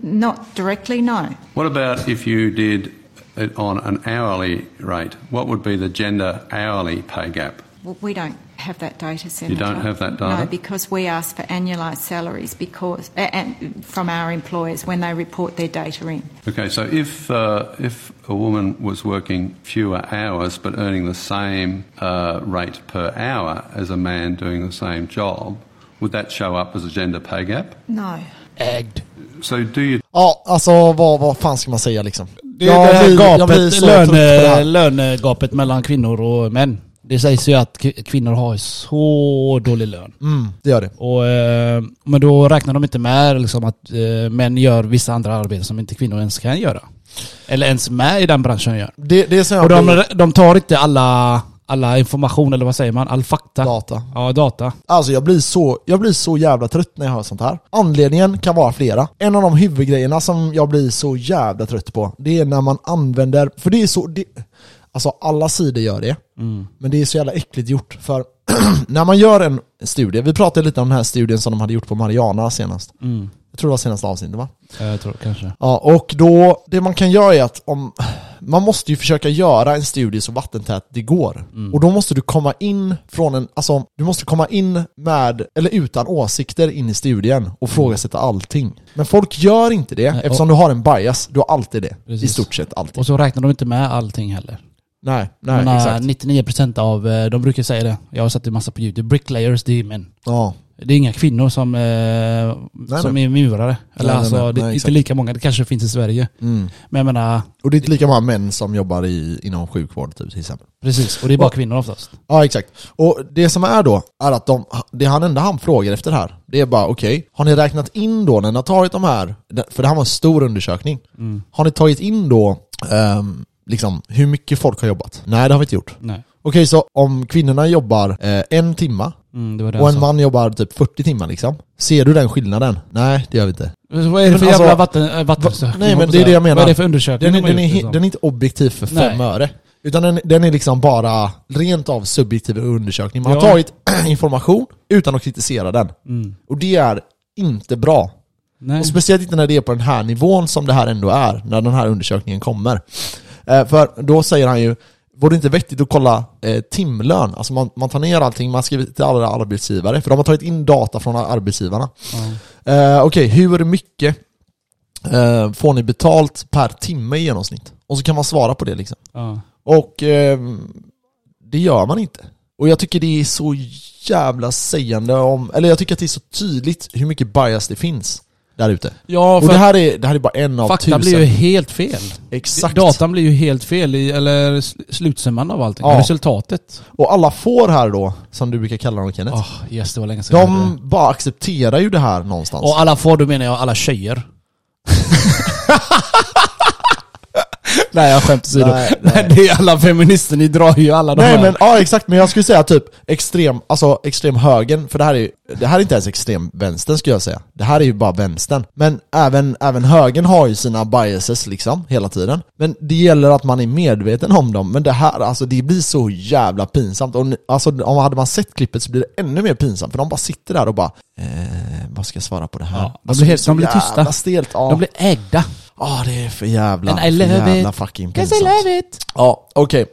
Speaker 4: Not directly, no.
Speaker 3: What about if you did it on an hourly rate? What would be the gender hourly pay gap?
Speaker 4: W- We don't have that data, Senator.
Speaker 3: don't have that data?
Speaker 4: No, because we ask for annualised salaries because, a- and from our employers when they report their data in.
Speaker 3: Okay, so if, uh, if a woman was working fewer hours but earning the same uh, rate per hour as a man doing the same job, would that show up as a gender pay gap?
Speaker 4: No.
Speaker 2: Ägd.
Speaker 3: So, do you
Speaker 1: Ja, alltså vad, vad fan ska man säga liksom?
Speaker 2: Det är det här
Speaker 1: blir- jag blir
Speaker 2: gapet,
Speaker 1: så trött på det här.
Speaker 2: löne, lönegapet mellan kvinnor och män. Det sägs ju att k- kvinnor har så dålig lön.
Speaker 1: Mm, det gör det.
Speaker 2: Och, eh, men då räknar de inte med liksom, att eh, män gör vissa andra arbeten som inte kvinnor ens kan göra. Eller ens med i den branschen gör.
Speaker 1: Det, det är så jag
Speaker 2: Och
Speaker 1: blir-
Speaker 2: de, de tar inte alla, alla information, eller vad säger man? All fakta.
Speaker 1: data.
Speaker 2: Ja, data.
Speaker 1: Alltså jag blir, så, jag blir så jävla trött när jag hör sånt här. Anledningen kan vara flera. En av de huvudgrejerna som jag blir så jävla trött på, det är när man använder, för det är så, det, alltså alla sidor gör det, men det är så jävla äckligt gjort. För (clears throat) när man gör en studie, vi pratade lite om den här studien som de hade gjort på Mariana senast. Jag tror det var senaste avsnittet va?
Speaker 2: Ja, Jag Eh, tror kanske.
Speaker 1: Ja, och då, det man kan göra är att om, man måste ju försöka göra en studie så vattentät det går.
Speaker 2: Mm.
Speaker 1: Och då måste du komma in från en, alltså du måste komma in med, eller utan åsikter in i studien och frågasätta allting. Men folk gör inte det,
Speaker 2: Mm. Nej,
Speaker 1: eftersom du har en bias. Du har alltid det. I
Speaker 2: Precis.
Speaker 1: stort sett alltid.
Speaker 2: Och så räknar de inte med allting heller.
Speaker 1: Nej, nej
Speaker 2: Men, eh,
Speaker 1: exakt.
Speaker 2: 99% av, eh, de brukar säga det, jag har sett det massa på youtube, bricklayers det är män.
Speaker 1: Ja.
Speaker 2: Det är inga kvinnor som, eh, som är murare. Eller
Speaker 1: nej,
Speaker 2: alltså,
Speaker 1: nej.
Speaker 2: det är
Speaker 1: Nej,
Speaker 2: inte
Speaker 1: exakt. Mm.
Speaker 2: lika många, det kanske finns i Sverige. Men jag menar,
Speaker 1: Och det är inte lika många män som jobbar i, inom sjukvård typ, till exempel.
Speaker 2: precis. Och det är bara kvinnor oftast.
Speaker 1: Ja exakt. Och det som är då, är att de, det han enda han frågar efter här, det är bara okej, har ni räknat in då när ni har tagit de här, för det här var en stor undersökning, har ni tagit in då ehm, liksom hur mycket folk har jobbat? Nej det har vi inte gjort.
Speaker 2: Nej.
Speaker 1: Okej så om kvinnorna jobbar eh, en timma
Speaker 2: Mm, det var det
Speaker 1: och
Speaker 2: jag
Speaker 1: en
Speaker 2: sa.
Speaker 1: man jobbar typ 40 timmar liksom, ser du den skillnaden? Nej det gör vi inte.
Speaker 2: Men Vad är det för
Speaker 1: Men alltså-
Speaker 2: jävla vatten, äh, vattensökning?
Speaker 1: Nej, men
Speaker 2: hoppas
Speaker 1: det är
Speaker 2: jag.
Speaker 1: det jag menar.
Speaker 2: Vad är det för undersökning
Speaker 1: Den, är-
Speaker 2: de har
Speaker 1: den, är,
Speaker 2: gjort,
Speaker 1: he-
Speaker 2: liksom?
Speaker 1: den är inte objektiv för fem
Speaker 2: Nej.
Speaker 1: öre. Utan den, den är liksom bara rent av subjektiv undersökning. Man har
Speaker 2: Ja. Mm.
Speaker 1: tagit (clears throat) information utan att kritisera den. Och det är inte bra.
Speaker 2: Nej.
Speaker 1: Och speciellt inte när det är på den här nivån som det här ändå är, när den här undersökningen kommer. Eh, för då säger han ju, vore det inte vettigt att kolla eh, timlön? Alltså man, man tar ner allting, man skriver till alla arbetsgivare, för de har tagit in data från arbetsgivarna. Eh, Okej, hur mycket eh, får ni betalt per timme i genomsnitt? Och så kan man svara på det liksom.
Speaker 2: Ja.
Speaker 1: Och eh, det gör man inte. Och jag tycker det är så jävla sägande om, eller jag tycker att det är så tydligt hur mycket bias det finns där ute.
Speaker 2: Ja,
Speaker 1: Och
Speaker 2: för
Speaker 1: det här, är, det här är bara en av
Speaker 2: fakta
Speaker 1: tusen.
Speaker 2: blir ju helt fel.
Speaker 1: Exakt.
Speaker 2: Datan blir ju helt fel, i, eller sl- slutsumman av allting.
Speaker 1: Ja.
Speaker 2: Resultatet.
Speaker 1: Och alla får här då, som du brukar kalla dem Kenneth,
Speaker 2: Åh, yes, det var länge sedan jag hörde
Speaker 1: de
Speaker 2: det.
Speaker 1: bara accepterar ju det här någonstans.
Speaker 2: Och alla får, då menar jag alla tjejer. Nej jag skämt åsido.
Speaker 1: Nej,
Speaker 2: Men (laughs) det är alla feminister, ni drar ju alla de
Speaker 1: Nej
Speaker 2: här.
Speaker 1: men ja exakt, men jag skulle säga typ extrem, alltså extrem högern, för det här är ju, det här är inte ens extrem vänstern skulle jag säga. Det här är ju bara vänstern. Men även, även högern har ju sina biases liksom, hela tiden. Men det gäller att man är medveten om dem. Men det här, alltså det blir så jävla pinsamt. Och ni- alltså om hade man sett klippet så blir det ännu mer pinsamt, för de bara sitter där och bara eh, vad ska jag svara på det här?
Speaker 2: Ja, de
Speaker 1: Alltså,
Speaker 2: blir
Speaker 1: det är
Speaker 2: helt-
Speaker 1: så
Speaker 2: de blir tysta.
Speaker 1: jävla Stelt, ja.
Speaker 2: De blir ägda.
Speaker 1: Ja, det är för jävla,
Speaker 2: And I
Speaker 1: för
Speaker 2: love
Speaker 1: jävla
Speaker 2: it.
Speaker 1: fucking
Speaker 2: 'Cause I
Speaker 1: pinsamt.
Speaker 2: love it.
Speaker 1: Ja, okej.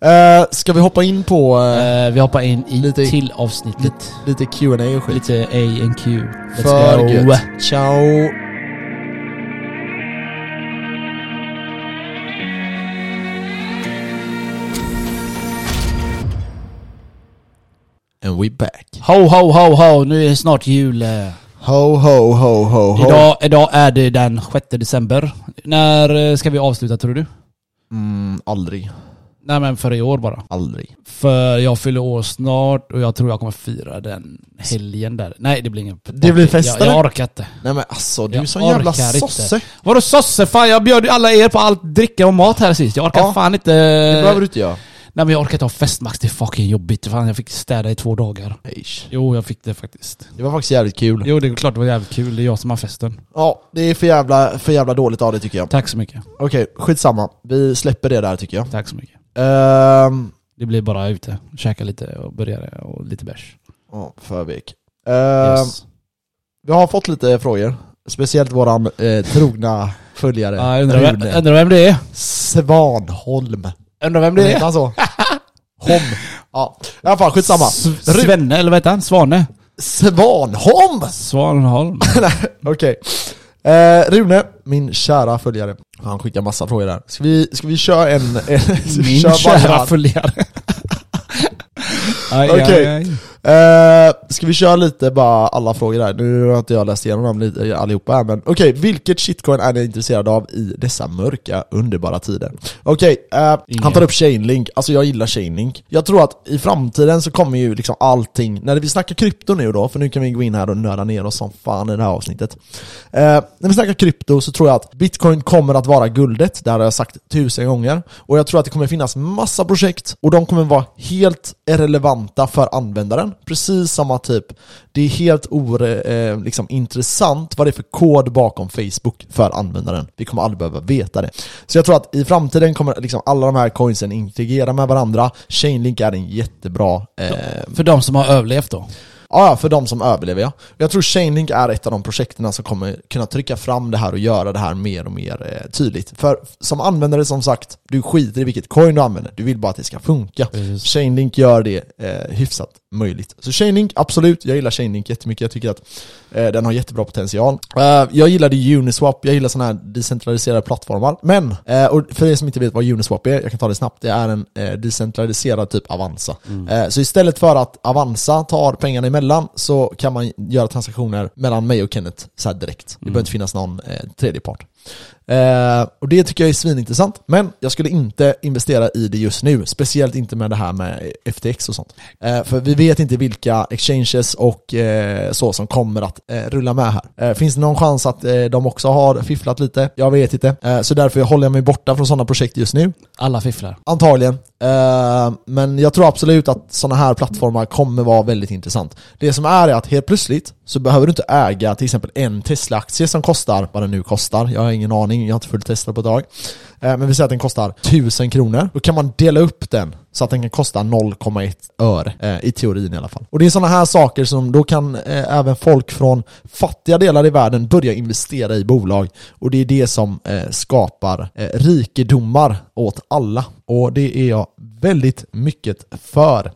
Speaker 1: Eh, ska vi hoppa in på eh,
Speaker 2: Eh, vi hoppar in i
Speaker 1: Lite-
Speaker 2: till avsnittet.
Speaker 1: lite Q&A och skit?
Speaker 2: Lite A and Q. Let's
Speaker 1: För
Speaker 2: go.
Speaker 1: gött. Ciao! And we back.
Speaker 2: Ho, ho, ho, ho. Nu är det snart jul. eh.
Speaker 1: Ho, ho, ho, ho, ho.
Speaker 2: Idag, idag är det den 6 december. När eh, ska vi avsluta tror du?
Speaker 1: Mm, aldrig.
Speaker 2: Nej men för i år bara.
Speaker 1: Aldrig.
Speaker 2: För jag fyller år snart och jag tror jag kommer fira den helgen där. Nej det blir ingen
Speaker 1: Det blir fest,
Speaker 2: jag, jag
Speaker 1: eller?
Speaker 2: orkar inte.
Speaker 1: Nej men alltså, du är
Speaker 2: Jag
Speaker 1: sån jävla
Speaker 2: orkar inte.
Speaker 1: sosse.
Speaker 2: Vadå sosse? Fan jag bjöd ju alla er på allt dricka och mat här sist. Jag orkar
Speaker 1: Ja.
Speaker 2: fan inte...
Speaker 1: Det behöver du inte göra.
Speaker 2: Nej men jag orkar inte ha festmax, det är fucking jobbigt. Fan jag fick städa i två dagar.
Speaker 1: Eish.
Speaker 2: Jo jag fick det faktiskt.
Speaker 1: Det var faktiskt jävligt kul.
Speaker 2: Jo det är klart det var jävligt kul, det är jag som har festen.
Speaker 1: Ja, det är för jävla, för jävla dåligt av det tycker jag.
Speaker 2: Tack så mycket.
Speaker 1: Okej, skitsamma. Vi släpper det där tycker jag.
Speaker 2: Tack så mycket.
Speaker 1: Ehm,
Speaker 2: Det blir bara ute, käka lite och burgare och lite bärs.
Speaker 1: Ja, för vek. Ehm,
Speaker 2: Yes.
Speaker 1: Vi har fått lite frågor. Speciellt våran eh, trogna följare
Speaker 2: Ja, jag undrar, vem,
Speaker 1: Rune
Speaker 2: undrar vem det är?
Speaker 1: Svanholm.
Speaker 2: Undrar vem
Speaker 1: Heter han
Speaker 2: (laughs)
Speaker 1: så? Hom. Ja, i alla fall skitsamma.
Speaker 2: S-
Speaker 1: Ru-
Speaker 2: Svenne, eller vad heter han? Svane?
Speaker 1: Svanholm! (laughs)
Speaker 2: Svanholm.
Speaker 1: Okej. Eh, Rune, min kära följare. Han skickar massa frågor där. Ska vi, ska vi köra en... (laughs) en ska vi
Speaker 2: Min
Speaker 1: köra varje
Speaker 2: kära
Speaker 1: hand?
Speaker 2: följare. Aj, aj,
Speaker 1: Okej.
Speaker 2: aj.
Speaker 1: Eh, ska vi köra lite bara alla frågor där? Nu har inte jag läst igenom dem lite, allihopa här men okej, vilket shitcoin är ni intresserade av i dessa mörka, underbara tider? Okej, eh, han tar upp Chainlink, alltså jag gillar Chainlink Jag tror att i framtiden så kommer ju liksom allting, när vi snackar krypto nu då, för nu kan vi gå in här och nöra ner oss som fan i det här avsnittet Eh, När vi snackar krypto så tror jag att bitcoin kommer att vara guldet, det här har jag sagt tusen gånger Och jag tror att det kommer finnas massa projekt och de kommer vara helt relevanta för användaren Precis samma typ, det är helt or, eh, liksom, intressant vad det är för kod bakom Facebook för användaren Vi kommer aldrig behöva veta det Så jag tror att i framtiden kommer liksom alla de här coinsen integrera med varandra Chainlink är en jättebra eh,
Speaker 2: För de som har överlevt då.
Speaker 1: Ja, ja, för de som överlever ja. Jag tror Chainlink är ett av de projekten som kommer kunna trycka fram det här och göra det här mer och mer eh, tydligt. För som användare, som sagt, du skiter i vilket coin du använder. Du vill bara att det ska funka.
Speaker 2: Precis.
Speaker 1: Chainlink gör det eh, hyfsat möjligt. Så Chainlink, absolut. Jag gillar Chainlink jättemycket. Jag tycker att eh, den har jättebra potential. Eh, jag gillade Uniswap. Jag gillar sådana här decentraliserade plattformar. Men, eh, och för er som inte vet vad Uniswap är, jag kan ta det snabbt. Det är en eh, decentraliserad typ Avanza. Eh, så istället för att Avanza tar pengarna emellan så kan man göra transaktioner mellan mig och Kenneth så här direkt. Det behöver inte finnas någon eh, tredje part. Eh, och det tycker jag är svinintressant, men jag skulle inte investera i det just nu. Speciellt inte med det här med FTX och sånt. Eh, för vi vet inte vilka exchanges och eh, så som kommer att eh, rulla med här. Eh, finns det någon chans att eh, de också har fifflat lite? Jag vet inte. Eh, så därför håller jag mig borta från sådana projekt just nu.
Speaker 2: Alla fifflar.
Speaker 1: Antagligen. Eh, men jag tror absolut att sådana här plattformar kommer vara väldigt intressant. Det som är är att helt plötsligt så behöver du inte äga till exempel en Tesla-aktie som kostar vad den nu kostar. Jag har ingen aning, jag har inte följt Tesla på ett tag. Eh, men vi säger att den kostar 1000 kronor. Då kan man dela upp den så att den kan kosta 0,1 öre. eh, I teorin i alla fall. Och det är sådana här saker som då kan eh, även folk från fattiga delar i världen börja investera i bolag. Och det är det som eh, skapar eh, rikedomar åt alla. Och det är jag väldigt mycket för.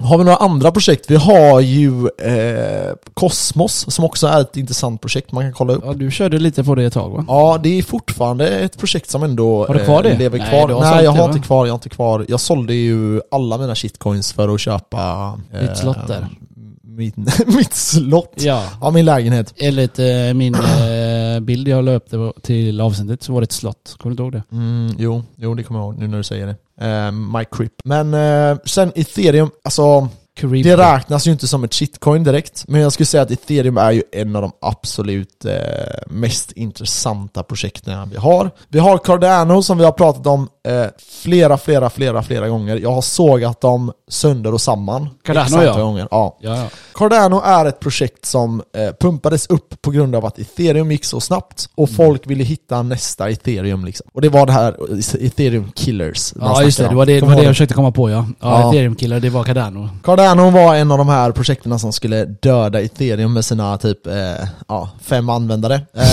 Speaker 1: Har vi några andra projekt? Vi har ju eh, Cosmos som också är ett intressant projekt man kan kolla upp.
Speaker 2: Ja, du körde lite på det ett tag va?
Speaker 1: Ja, det är fortfarande ett projekt som ändå
Speaker 2: Har du kvar
Speaker 1: eh,
Speaker 2: det?
Speaker 1: lever
Speaker 2: Nej,
Speaker 1: kvar.
Speaker 2: du
Speaker 1: Nej,
Speaker 2: har sålt
Speaker 1: jag
Speaker 2: det,
Speaker 1: har
Speaker 2: va?
Speaker 1: inte kvar, jag har inte kvar. Jag sålde ju alla mina shitcoins för att köpa...
Speaker 2: Ditt slott där.
Speaker 1: Min, mitt (laughs) slott? Ja.
Speaker 2: Ja.
Speaker 1: min lägenhet.
Speaker 2: Enligt eh, min eh, bild jag la upp det på- till avsnittet så var det ett slott. Kommer du inte ihåg det?
Speaker 1: Mm, jo, jo, det kommer jag ihåg nu när du säger det. Eh, my Crip. Men eh, sen ethereum, alltså
Speaker 2: Carib-
Speaker 1: Det räknas ju inte som ett shitcoin direkt, men jag skulle säga att ethereum är ju en av de absolut eh, mest intressanta projekten vi har. Vi har Cardano som vi har pratat om eh, flera, flera, flera, flera gånger. Jag har sågat dem sönder och samman.
Speaker 2: Cardano,
Speaker 1: Exakt
Speaker 2: ja.
Speaker 1: några Gånger. ja.
Speaker 2: Ja, ja.
Speaker 1: Cardano är ett projekt som eh, pumpades upp på grund av att ethereum gick så snabbt och
Speaker 2: Mm.
Speaker 1: folk ville hitta nästa ethereum liksom. Och det var det här eh, ethereum killers. man
Speaker 2: ja just det.
Speaker 1: snackade
Speaker 2: Det
Speaker 1: om.
Speaker 2: var det, det,
Speaker 1: Kommer
Speaker 2: var det
Speaker 1: ihåg
Speaker 2: jag försökte komma på ja. Ja,
Speaker 1: Ja.
Speaker 2: Ethereum-killar, det var Cardano.
Speaker 1: Cardano var en av de här projekten som skulle döda ethereum med sina typ eh, ja, fem användare. Eh,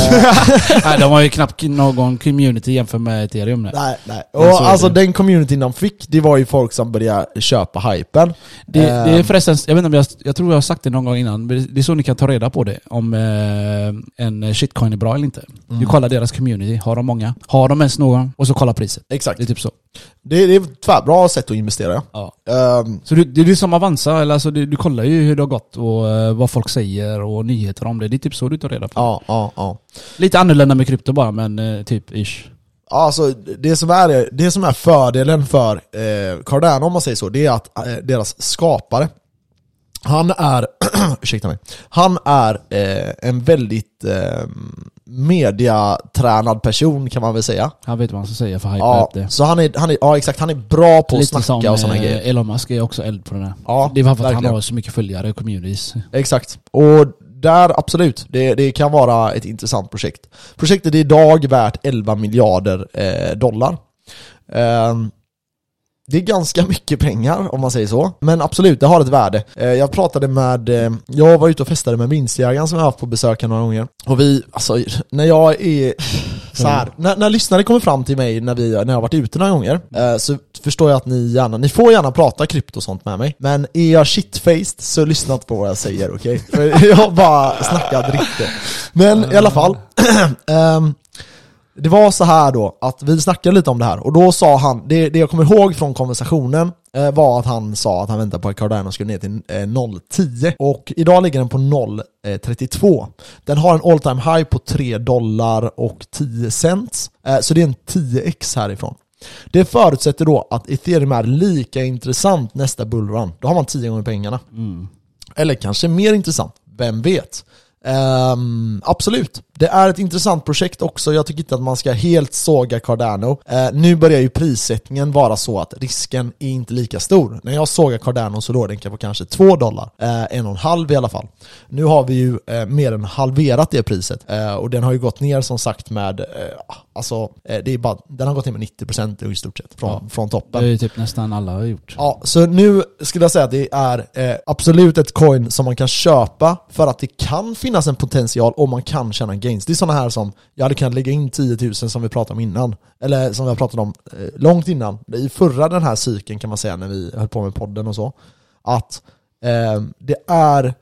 Speaker 2: Nej, de har ju knappt någon community jämfört med Ethereum. Nej.
Speaker 1: nej, nej.
Speaker 2: Men så är
Speaker 1: Och
Speaker 2: det.
Speaker 1: alltså den communityn de fick, det var ju folk som började köpa hypen.
Speaker 2: Det, det är
Speaker 1: Ehm.
Speaker 2: förresten, jag vet inte om jag, jag tror jag har sagt det någon gång innan, men det är så ni kan ta reda på det, om eh, en shitcoin är bra eller inte. Du
Speaker 1: Mm.
Speaker 2: kollar deras community, har de många? Har de ens någon? Och så kolla priset.
Speaker 1: Exakt.
Speaker 2: Det är typ så.
Speaker 1: Det, det är ett tvärbra sätt att investera.
Speaker 2: Ja.
Speaker 1: Ehm,
Speaker 2: Så du, det är du som Avanza, eller alltså du, du kollar ju hur det har gått och eh, vad folk säger och nyheter om det. Det är typ så du tar reda på.
Speaker 1: ja, ja, ja.
Speaker 2: Lite annorlunda med krypto bara, men eh, typ ish.
Speaker 1: Alltså det som är, det som är fördelen för eh, Cardano om man säger så, det är att eh, deras skapare han är, (clears throat) ursäkta mig, han är eh, en väldigt eh, mediatränad person kan man väl säga.
Speaker 2: Han vet vad han ska säga för hype
Speaker 1: Ja,
Speaker 2: det.
Speaker 1: så han är, han är, ja exakt, han är bra på att
Speaker 2: Lite som
Speaker 1: snacka och sådana
Speaker 2: eh,
Speaker 1: grejer.
Speaker 2: Elon Musk är också eld på den här.
Speaker 1: Ja,
Speaker 2: det är bara för att han
Speaker 1: verkligen.
Speaker 2: har så mycket följare och communities.
Speaker 1: Exakt. Och där, absolut, det, det kan vara ett intressant projekt. Projektet är idag värt 11 miljarder eh, dollar. Ehm, det är ganska (laughs) mycket pengar om man säger så. Men absolut, det har ett värde. Eh, jag pratade med, eh, jag var ute och festade med vinstjägaren som jag har haft på besök här några gånger. Och vi, alltså när jag är så här, när, när lyssnare kommer fram till mig när, vi, när jag har varit ute några gånger eh, så förstår jag att ni gärna, ni får gärna prata krypto och sånt med mig. Men är jag shitfaced så lyssna inte på vad jag säger, okej? För (laughs) jag bara snackar dritte. Men i alla fall. (clears throat) ehm, det var så här då, att vi snackade lite om det här och då sa han, det, det jag kommer ihåg från konversationen eh, var att han sa att han väntar på att Cardano skulle ner till eh, 0,10 och idag ligger den på 0,32. Den har en all time high på 3 dollar och 10 cents, eh, så det är en 10x härifrån. Det förutsätter då att ethereum är lika intressant nästa bullrun. Då har man 10 gånger pengarna. Eller kanske mer intressant, vem vet? Ehm, absolut, det är ett intressant projekt också. Jag tycker inte att man ska helt såga Cardano. Eh, nu börjar ju prissättningen vara så att risken är inte lika stor. När jag sågar Cardano så låg den på kanske 2 dollar, eh, en och en halv i alla fall. Nu har vi ju eh, mer än halverat det priset eh, och den har ju gått ner som sagt med, eh, alltså, eh, det är bara, den har gått ner med 90% i stort sett från, från toppen.
Speaker 2: Det är ju typ nästan alla har gjort.
Speaker 1: Ja, så nu skulle jag säga att det är eh, absolut ett coin som man kan köpa för att det kan finnas en potential och man kan tjäna gains. Det är sådana här som, jag hade kunnat lägga in 10 000 som vi pratade om innan. Eller som vi har pratat om eh, långt innan. I förra den här cykeln kan man säga när vi höll på med podden och så. Att eh, det är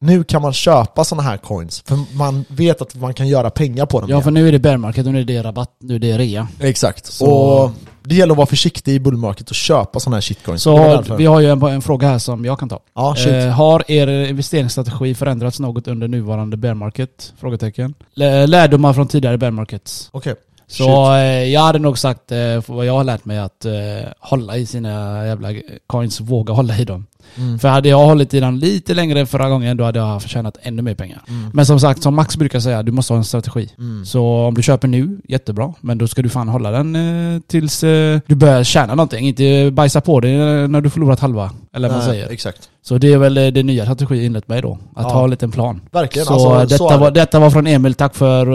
Speaker 1: nu kan man köpa sådana här coins, för man vet att man kan göra pengar på dem.
Speaker 2: Ja
Speaker 1: igen.
Speaker 2: för nu är det bear market och nu är det rabatt, nu är det rea.
Speaker 1: Exakt.
Speaker 2: Så-
Speaker 1: Och det gäller att vara försiktig i bullmarket och köpa sådana här shitcoins.
Speaker 2: Så
Speaker 1: Det var därför.
Speaker 2: vi har ju en, en fråga här som jag kan ta.
Speaker 1: Ja, shit.
Speaker 2: eh, har er investeringsstrategi förändrats något under nuvarande bear market? Frågetecken. Lä- Lärdomar från tidigare bear markets.
Speaker 1: Okej.
Speaker 2: Så eh, jag hade nog sagt, eh, för vad jag har lärt mig, att eh, hålla i sina jävla coins, våga hålla i dem.
Speaker 1: Mm.
Speaker 2: För hade jag hållit i den lite längre förra gången, då hade jag förtjänat ännu mer pengar.
Speaker 1: Mm.
Speaker 2: Men som sagt, som Max brukar säga, du måste ha en strategi. Så om du köper nu, jättebra. Men då ska du fan hålla den eh, tills eh, du börjar tjäna någonting. Inte bajsa på dig eh, när du förlorat halva. Eller vad man
Speaker 1: Nej,
Speaker 2: säger.
Speaker 1: Exakt.
Speaker 2: Så det är väl eh, det nya strategin enligt mig då. Att
Speaker 1: Ja.
Speaker 2: ha en liten plan.
Speaker 1: Verkligen,
Speaker 2: Så,
Speaker 1: alltså, så
Speaker 2: detta,
Speaker 1: är det.
Speaker 2: var, detta var från Emil, tack för,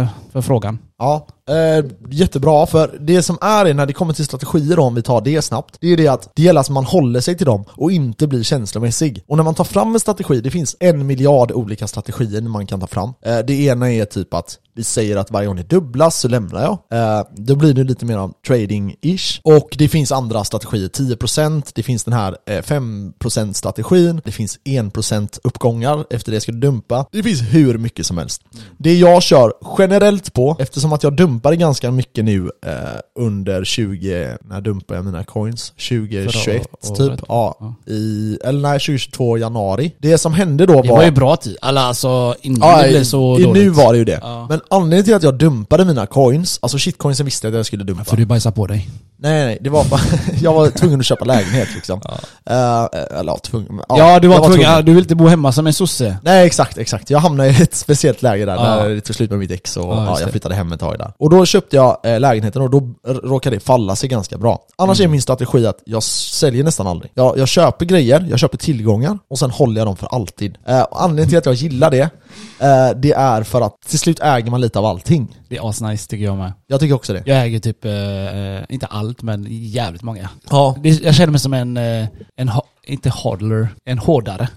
Speaker 2: eh, för frågan.
Speaker 1: Ja, eh, jättebra. För det som är det när det kommer till strategier, då, om vi tar det snabbt, det är ju det att det gäller att man håller sig till dem och inte blir känslomässig. Och när man tar fram en strategi, det finns en miljard olika strategier man kan ta fram. Eh, det ena är typ att vi säger att varje gång det dubblas så lämnar jag. Eh, då blir det lite mer av trading-ish. Och det finns andra strategier, 10%, det finns den här eh, 5% strategin, det finns 1% uppgångar, efter det ska du dumpa. Det finns hur mycket som helst. Det jag kör generellt på, eftersom att jag dumpade ganska mycket nu eh, under 20, när dumpade jag mina coins? 2021
Speaker 2: Förra
Speaker 1: typ.
Speaker 2: året.
Speaker 1: Ja, i, eller nej, 2022 januari. Det som hände då var...
Speaker 2: Det var ju bra tid. Alla alltså innan det
Speaker 1: i-
Speaker 2: blev så
Speaker 1: i,
Speaker 2: dåligt.
Speaker 1: nu var det ju det.
Speaker 2: Ja.
Speaker 1: Men anledningen till att jag dumpade mina coins, alltså shitcoinsen visste jag att jag skulle dumpa.
Speaker 2: För du bajsar på dig.
Speaker 1: Nej nej, det var bara, (laughs) jag var tvungen att köpa lägenhet liksom. Eh, eller ja, tvungen. men,
Speaker 2: Ja, du var,
Speaker 1: jag
Speaker 2: tvungen. Ja, Du vill inte bo hemma som en sosse.
Speaker 1: Nej exakt, exakt. Jag hamnade i ett (laughs) speciellt läge där,
Speaker 2: Ja.
Speaker 1: när det tog slut med mitt ex och
Speaker 2: Ja,
Speaker 1: ja,
Speaker 2: just
Speaker 1: jag
Speaker 2: det.
Speaker 1: flyttade hem ett tag där. Och då köpte jag eh, lägenheten och då r- råkade det falla sig ganska bra. Annars är
Speaker 2: Mm.
Speaker 1: min strategi att jag säljer nästan aldrig. Jag, jag köper grejer, jag köper tillgångar och sen håller jag dem för alltid. Eh, och anledningen till att jag gillar det, eh, det är för att till slut äger man lite av allting.
Speaker 2: Det är asnice tycker jag med.
Speaker 1: Jag tycker också det.
Speaker 2: Jag äger typ, eh, inte allt, men jävligt många.
Speaker 1: (laughs) Ja.
Speaker 2: Det, jag känner mig som en, eh, en ho- inte hodler, en hårdare.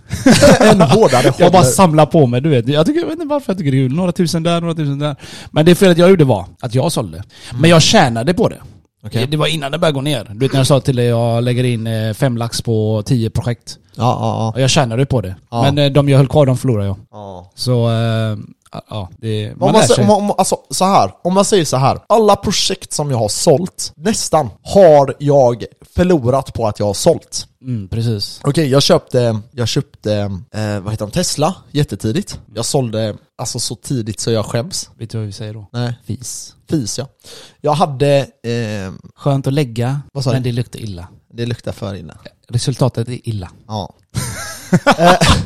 Speaker 1: En hårdare
Speaker 2: Jag bara
Speaker 1: håller-
Speaker 2: samlar på mig, du vet. Jag, tycker, jag vet inte varför jag tycker det är kul. Några tusen där, några tusen där. Men det felet jag gjorde var att jag sålde. Men jag tjänade på det.
Speaker 1: Mm. Okej.
Speaker 2: Det- Det var innan det började gå ner. Du vet när jag sa till dig jag lägger in eh, fem lax på tio projekt.
Speaker 1: Ja, ja,
Speaker 2: Och jag tjänade på det.
Speaker 1: Ja.
Speaker 2: Men eh, de jag höll kvar, de förlorade jag.
Speaker 1: ja.
Speaker 2: Så, eh, ja. Det, man
Speaker 1: Om
Speaker 2: lär
Speaker 1: man, sä-
Speaker 2: sig.
Speaker 1: om, man- om, alltså, så här, om man säger så här, alla projekt som jag har sålt, nästan, har jag förlorat på att jag har sålt.
Speaker 2: Mm, precis.
Speaker 1: Okej, jag köpte, jag köpte eh, vad heter de, Tesla jättetidigt. Jag sålde alltså så tidigt så jag skäms.
Speaker 2: Vet du vad vi säger då?
Speaker 1: Nej.
Speaker 2: Fis.
Speaker 1: Fis ja. Jag hade, eh,
Speaker 2: Skönt att lägga,
Speaker 1: Vad sa
Speaker 2: men
Speaker 1: du?
Speaker 2: det luktar illa.
Speaker 1: det luktar för illa.
Speaker 2: Resultatet är illa.
Speaker 1: Ja. (laughs) eh, (laughs)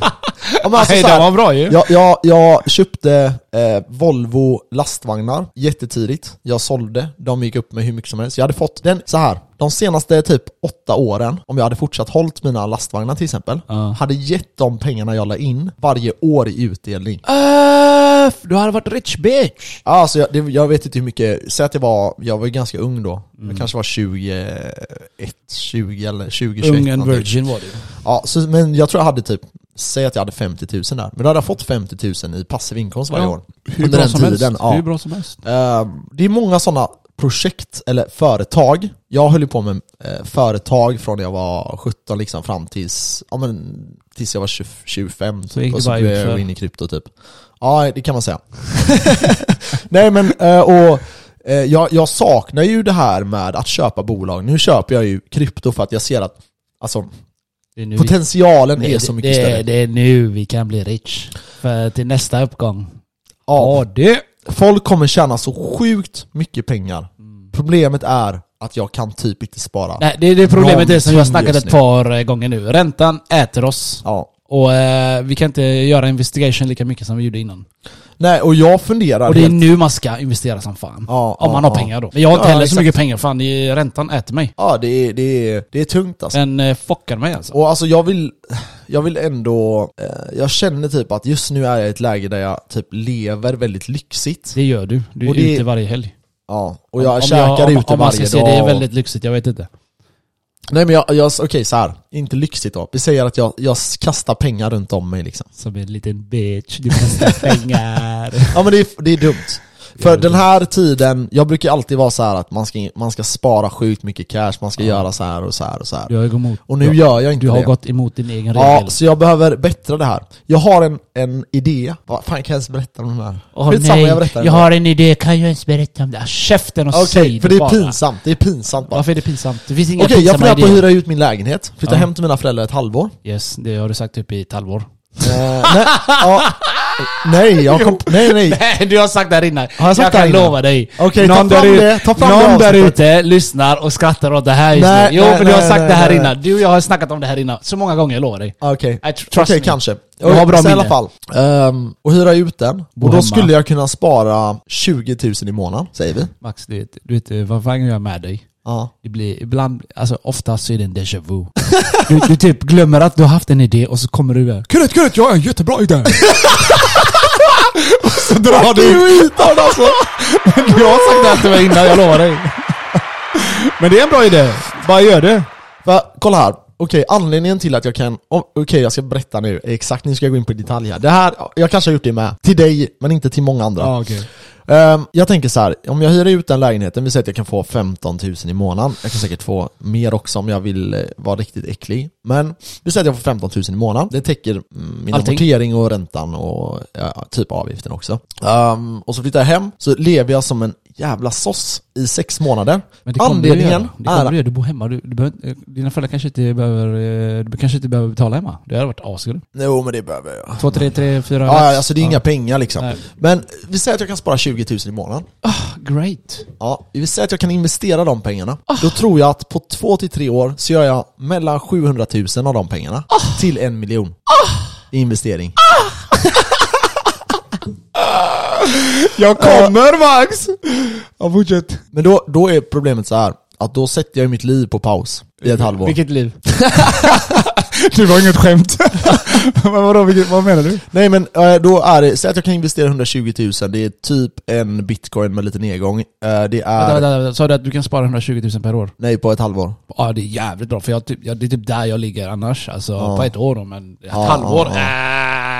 Speaker 1: ja, men alltså,
Speaker 2: Nej,
Speaker 1: så här,
Speaker 2: det var bra ju.
Speaker 1: jag, jag, jag köpte eh, Volvo lastvagnar jättetidigt. Jag sålde, de gick upp med hur mycket som helst. Jag hade fått den, så här, de senaste typ åtta åren, om jag hade fortsatt hållit mina lastvagnar till exempel,
Speaker 2: Ja.
Speaker 1: hade gett de pengarna jag la in varje år i utdelning.
Speaker 2: Öff, du hade varit rich bitch!
Speaker 1: Ja, Alltså jag, det, jag vet inte hur mycket, säg att jag var, jag var ju ganska ung då.
Speaker 2: Mm.
Speaker 1: Jag kanske var 21, 20 eller 20, 21
Speaker 2: Ung and
Speaker 1: någonting.
Speaker 2: virgin var du.
Speaker 1: Ja, så, men jag tror jag hade typ, säg att jag hade 50 000 där. Men då hade jag fått 50 000 i passiv inkomst varje
Speaker 2: Ja.
Speaker 1: år.
Speaker 2: Hur bra som helst.
Speaker 1: ja.
Speaker 2: Hur bra som helst.
Speaker 1: Ehm, det är många sådana projekt eller företag. Jag höll ju på med eh, företag från när jag var 17 liksom fram tills, ja, men, tills jag var 20, 25.
Speaker 2: Så gick
Speaker 1: och
Speaker 2: det
Speaker 1: så
Speaker 2: bara
Speaker 1: blev
Speaker 2: utför.
Speaker 1: jag in i krypto typ. Ja, det kan man säga. (laughs) Nej men, eh, och eh, jag, jag saknar ju det här med att köpa bolag. Nu köper jag ju krypto för att jag ser att alltså,
Speaker 2: Det är nu
Speaker 1: potentialen
Speaker 2: vi,
Speaker 1: är så mycket
Speaker 2: det,
Speaker 1: större.
Speaker 2: Det är nu vi kan bli rich. För till nästa uppgång.
Speaker 1: Ja,
Speaker 2: du!
Speaker 1: folk kommer tjäna så sjukt mycket pengar.
Speaker 2: Mm.
Speaker 1: Problemet är att jag kan typ inte spara.
Speaker 2: Nej, det är det problemet är som jag
Speaker 1: Någonting
Speaker 2: snackat
Speaker 1: just
Speaker 2: ett par eh, gånger nu. Räntan äter oss.
Speaker 1: Ja.
Speaker 2: Och eh, vi kan inte göra investigation lika mycket som vi gjorde innan.
Speaker 1: Nej, och jag funderar
Speaker 2: Och det är
Speaker 1: helt-
Speaker 2: nu man ska investera som fan.
Speaker 1: Ja,
Speaker 2: Om man
Speaker 1: ja,
Speaker 2: har
Speaker 1: ja.
Speaker 2: pengar då. Men jag har inte
Speaker 1: Ja,
Speaker 2: heller
Speaker 1: exakt.
Speaker 2: så mycket pengar. Fan, det är, räntan äter mig.
Speaker 1: Ja, det är, det är, det är tungt alltså.
Speaker 2: Den eh, fuckar mig alltså.
Speaker 1: Och alltså jag vill, jag vill ändå, eh, jag känner typ att just nu är jag i ett läge där jag typ lever väldigt lyxigt.
Speaker 2: Det gör du. Du är
Speaker 1: Och det-
Speaker 2: ute varje helg.
Speaker 1: Ja, och jag
Speaker 2: Om
Speaker 1: käkar
Speaker 2: om,
Speaker 1: ute
Speaker 2: om man
Speaker 1: varje
Speaker 2: ska se,
Speaker 1: dag.
Speaker 2: Det är väldigt lyxigt, jag vet inte.
Speaker 1: Nej men jag, jag okej så här. inte lyxigt då. Vi säger att jag, jag kastar pengar runt om mig liksom.
Speaker 2: Som en liten bitch,
Speaker 1: (laughs)
Speaker 2: du kastar pengar.
Speaker 1: Ja men det är, det är
Speaker 2: (laughs)
Speaker 1: dumt. För den här tiden, jag brukar alltid vara så här att man ska, man ska spara sjukt mycket cash, man ska göra så här och så här och så
Speaker 2: Du
Speaker 1: här.
Speaker 2: har ju gått emot.
Speaker 1: Och nu
Speaker 2: du,
Speaker 1: gör jag inte
Speaker 2: du har
Speaker 1: det.
Speaker 2: gått emot din egen
Speaker 1: Ja,
Speaker 2: regel.
Speaker 1: så jag behöver bättra det här. Jag har en, en idé. Vad fan kan jag ens berätta om den här?
Speaker 2: Åh
Speaker 1: Skitsamma,
Speaker 2: nej,
Speaker 1: jag
Speaker 2: jag,
Speaker 1: berättar
Speaker 2: har en idé, kan jag ens berätta om det? Ah, Käften och
Speaker 1: Okej,
Speaker 2: säg
Speaker 1: för det är
Speaker 2: bara.
Speaker 1: pinsamt. Det är pinsamt bara.
Speaker 2: Varför är det pinsamt? Det finns inga
Speaker 1: Okej, jag
Speaker 2: pinsamma
Speaker 1: funderar på att
Speaker 2: idéer.
Speaker 1: hyra ut min lägenhet. Flytta
Speaker 2: Ja.
Speaker 1: hem till mina föräldrar ett halvår.
Speaker 2: (laughs) Yes, det har du sagt typ i ett halvår.
Speaker 1: Eh, nej, ja. nej, jag kom, nej, nej.
Speaker 2: Nej, du har sagt det här innan.
Speaker 1: Har jag sagt det
Speaker 2: jag
Speaker 1: här
Speaker 2: kan
Speaker 1: innan?
Speaker 2: lova dig.
Speaker 1: Okej, ta
Speaker 2: Någon
Speaker 1: fram
Speaker 2: där ut-
Speaker 1: det, ta fram det
Speaker 2: Någon där
Speaker 1: avsnittet.
Speaker 2: ute lyssnar och skrattar åt det här just
Speaker 1: Nej,
Speaker 2: nu. Jo,
Speaker 1: nej,
Speaker 2: för du har
Speaker 1: nej,
Speaker 2: sagt
Speaker 1: nej,
Speaker 2: det här
Speaker 1: nej.
Speaker 2: innan. Du och jag har snackat om det här innan. Så många gånger, jag lovar dig.
Speaker 1: Okej,
Speaker 2: I tr- trust
Speaker 1: Okej,
Speaker 2: me.
Speaker 1: kanske.
Speaker 2: Jag har bra
Speaker 1: Så i alla
Speaker 2: minne.
Speaker 1: fall. ehm, och hyra ut den.
Speaker 2: Bo
Speaker 1: och då
Speaker 2: hemma.
Speaker 1: skulle jag kunna spara 20 000 i månaden, säger vi.
Speaker 2: Max, du vet, du vet eh, vad fan jag är med dig?
Speaker 1: Ja.
Speaker 2: Det blir ibland, alltså oftast så är det en déjà (laughs) vu. Du, du typ glömmer att du har haft en idé och så kommer du där.
Speaker 5: Kuret, kuret, jag har en jättebra
Speaker 2: (laughs)
Speaker 5: idé! Och så drar
Speaker 1: Det är
Speaker 5: du.
Speaker 1: ju hitan alltså!
Speaker 2: Jag har sagt det här till mig innan, jag lovar dig.
Speaker 5: Men det är en bra idé. Vad gör du?
Speaker 1: För, kolla här. Okej, anledningen till att jag kan... om- Okej, jag ska berätta nu exakt. Nu ska jag gå in på detalj här. Det här, jag kanske har gjort det med. Till dig, men inte till många andra.
Speaker 5: Ja, okej.
Speaker 1: Ehm, jag tänker så här, om jag hyr ut den lägenheten, vi säger att jag kan få 15 000 i månaden. Jag kan säkert få mer också om jag vill eh, vara riktigt äcklig. Men vi säger att jag får 15 000 i månaden. Det täcker mm, min
Speaker 2: Allting.
Speaker 1: amortering och räntan och ja, typ avgiften också. Ehm, och så flyttar jag hem, så lever jag som en jävla soss i sex månader.
Speaker 2: Men det kommer
Speaker 1: Anledningen
Speaker 2: du göra. Det kommer du
Speaker 1: är...
Speaker 2: göra. Du bor hemma. Du, du behöver, inte- dina föräldrar kanske inte behöver, eh, du kanske inte behöver betala hemma. Det hade varit asgrymt.
Speaker 1: Jo men det behöver jag.
Speaker 2: Två, tre, tre, fyra
Speaker 1: Ja,
Speaker 2: lax.
Speaker 1: ja, alltså det är inga pengar liksom.
Speaker 2: Nej.
Speaker 1: Men vi säger att jag kan spara 20 000 i månaden.
Speaker 2: Great.
Speaker 1: Ja, vi säger att jag kan investera de pengarna.
Speaker 2: Ah.
Speaker 1: Då tror jag att på två till tre år så gör jag mellan 700 000 av de pengarna
Speaker 2: Ah.
Speaker 1: till en miljon i investering.
Speaker 5: Jag kommer Max! Ja, fortsätt.
Speaker 1: Men då, då är problemet så här att då sätter jag ju mitt liv på paus i ett halvår.
Speaker 2: Vilket liv.
Speaker 5: (laughs) Det var inget skämt. (laughs) Men vadå, vilket, vad menar du?
Speaker 1: Nej men eh, då är det, säg att jag kan investera 120 000, det är typ en bitcoin med lite nedgång. Eh, Det
Speaker 2: Vänta,
Speaker 1: är,
Speaker 2: vänta, vänta. Sa du att du kan spara 120 000 per år?
Speaker 1: nej på ett halvår.
Speaker 2: Ja det är jävligt bra, för jag, typ, jag, det är typ där jag ligger annars. Alltså på ett år då, men ett
Speaker 1: Ja,
Speaker 2: halvår?
Speaker 1: ja,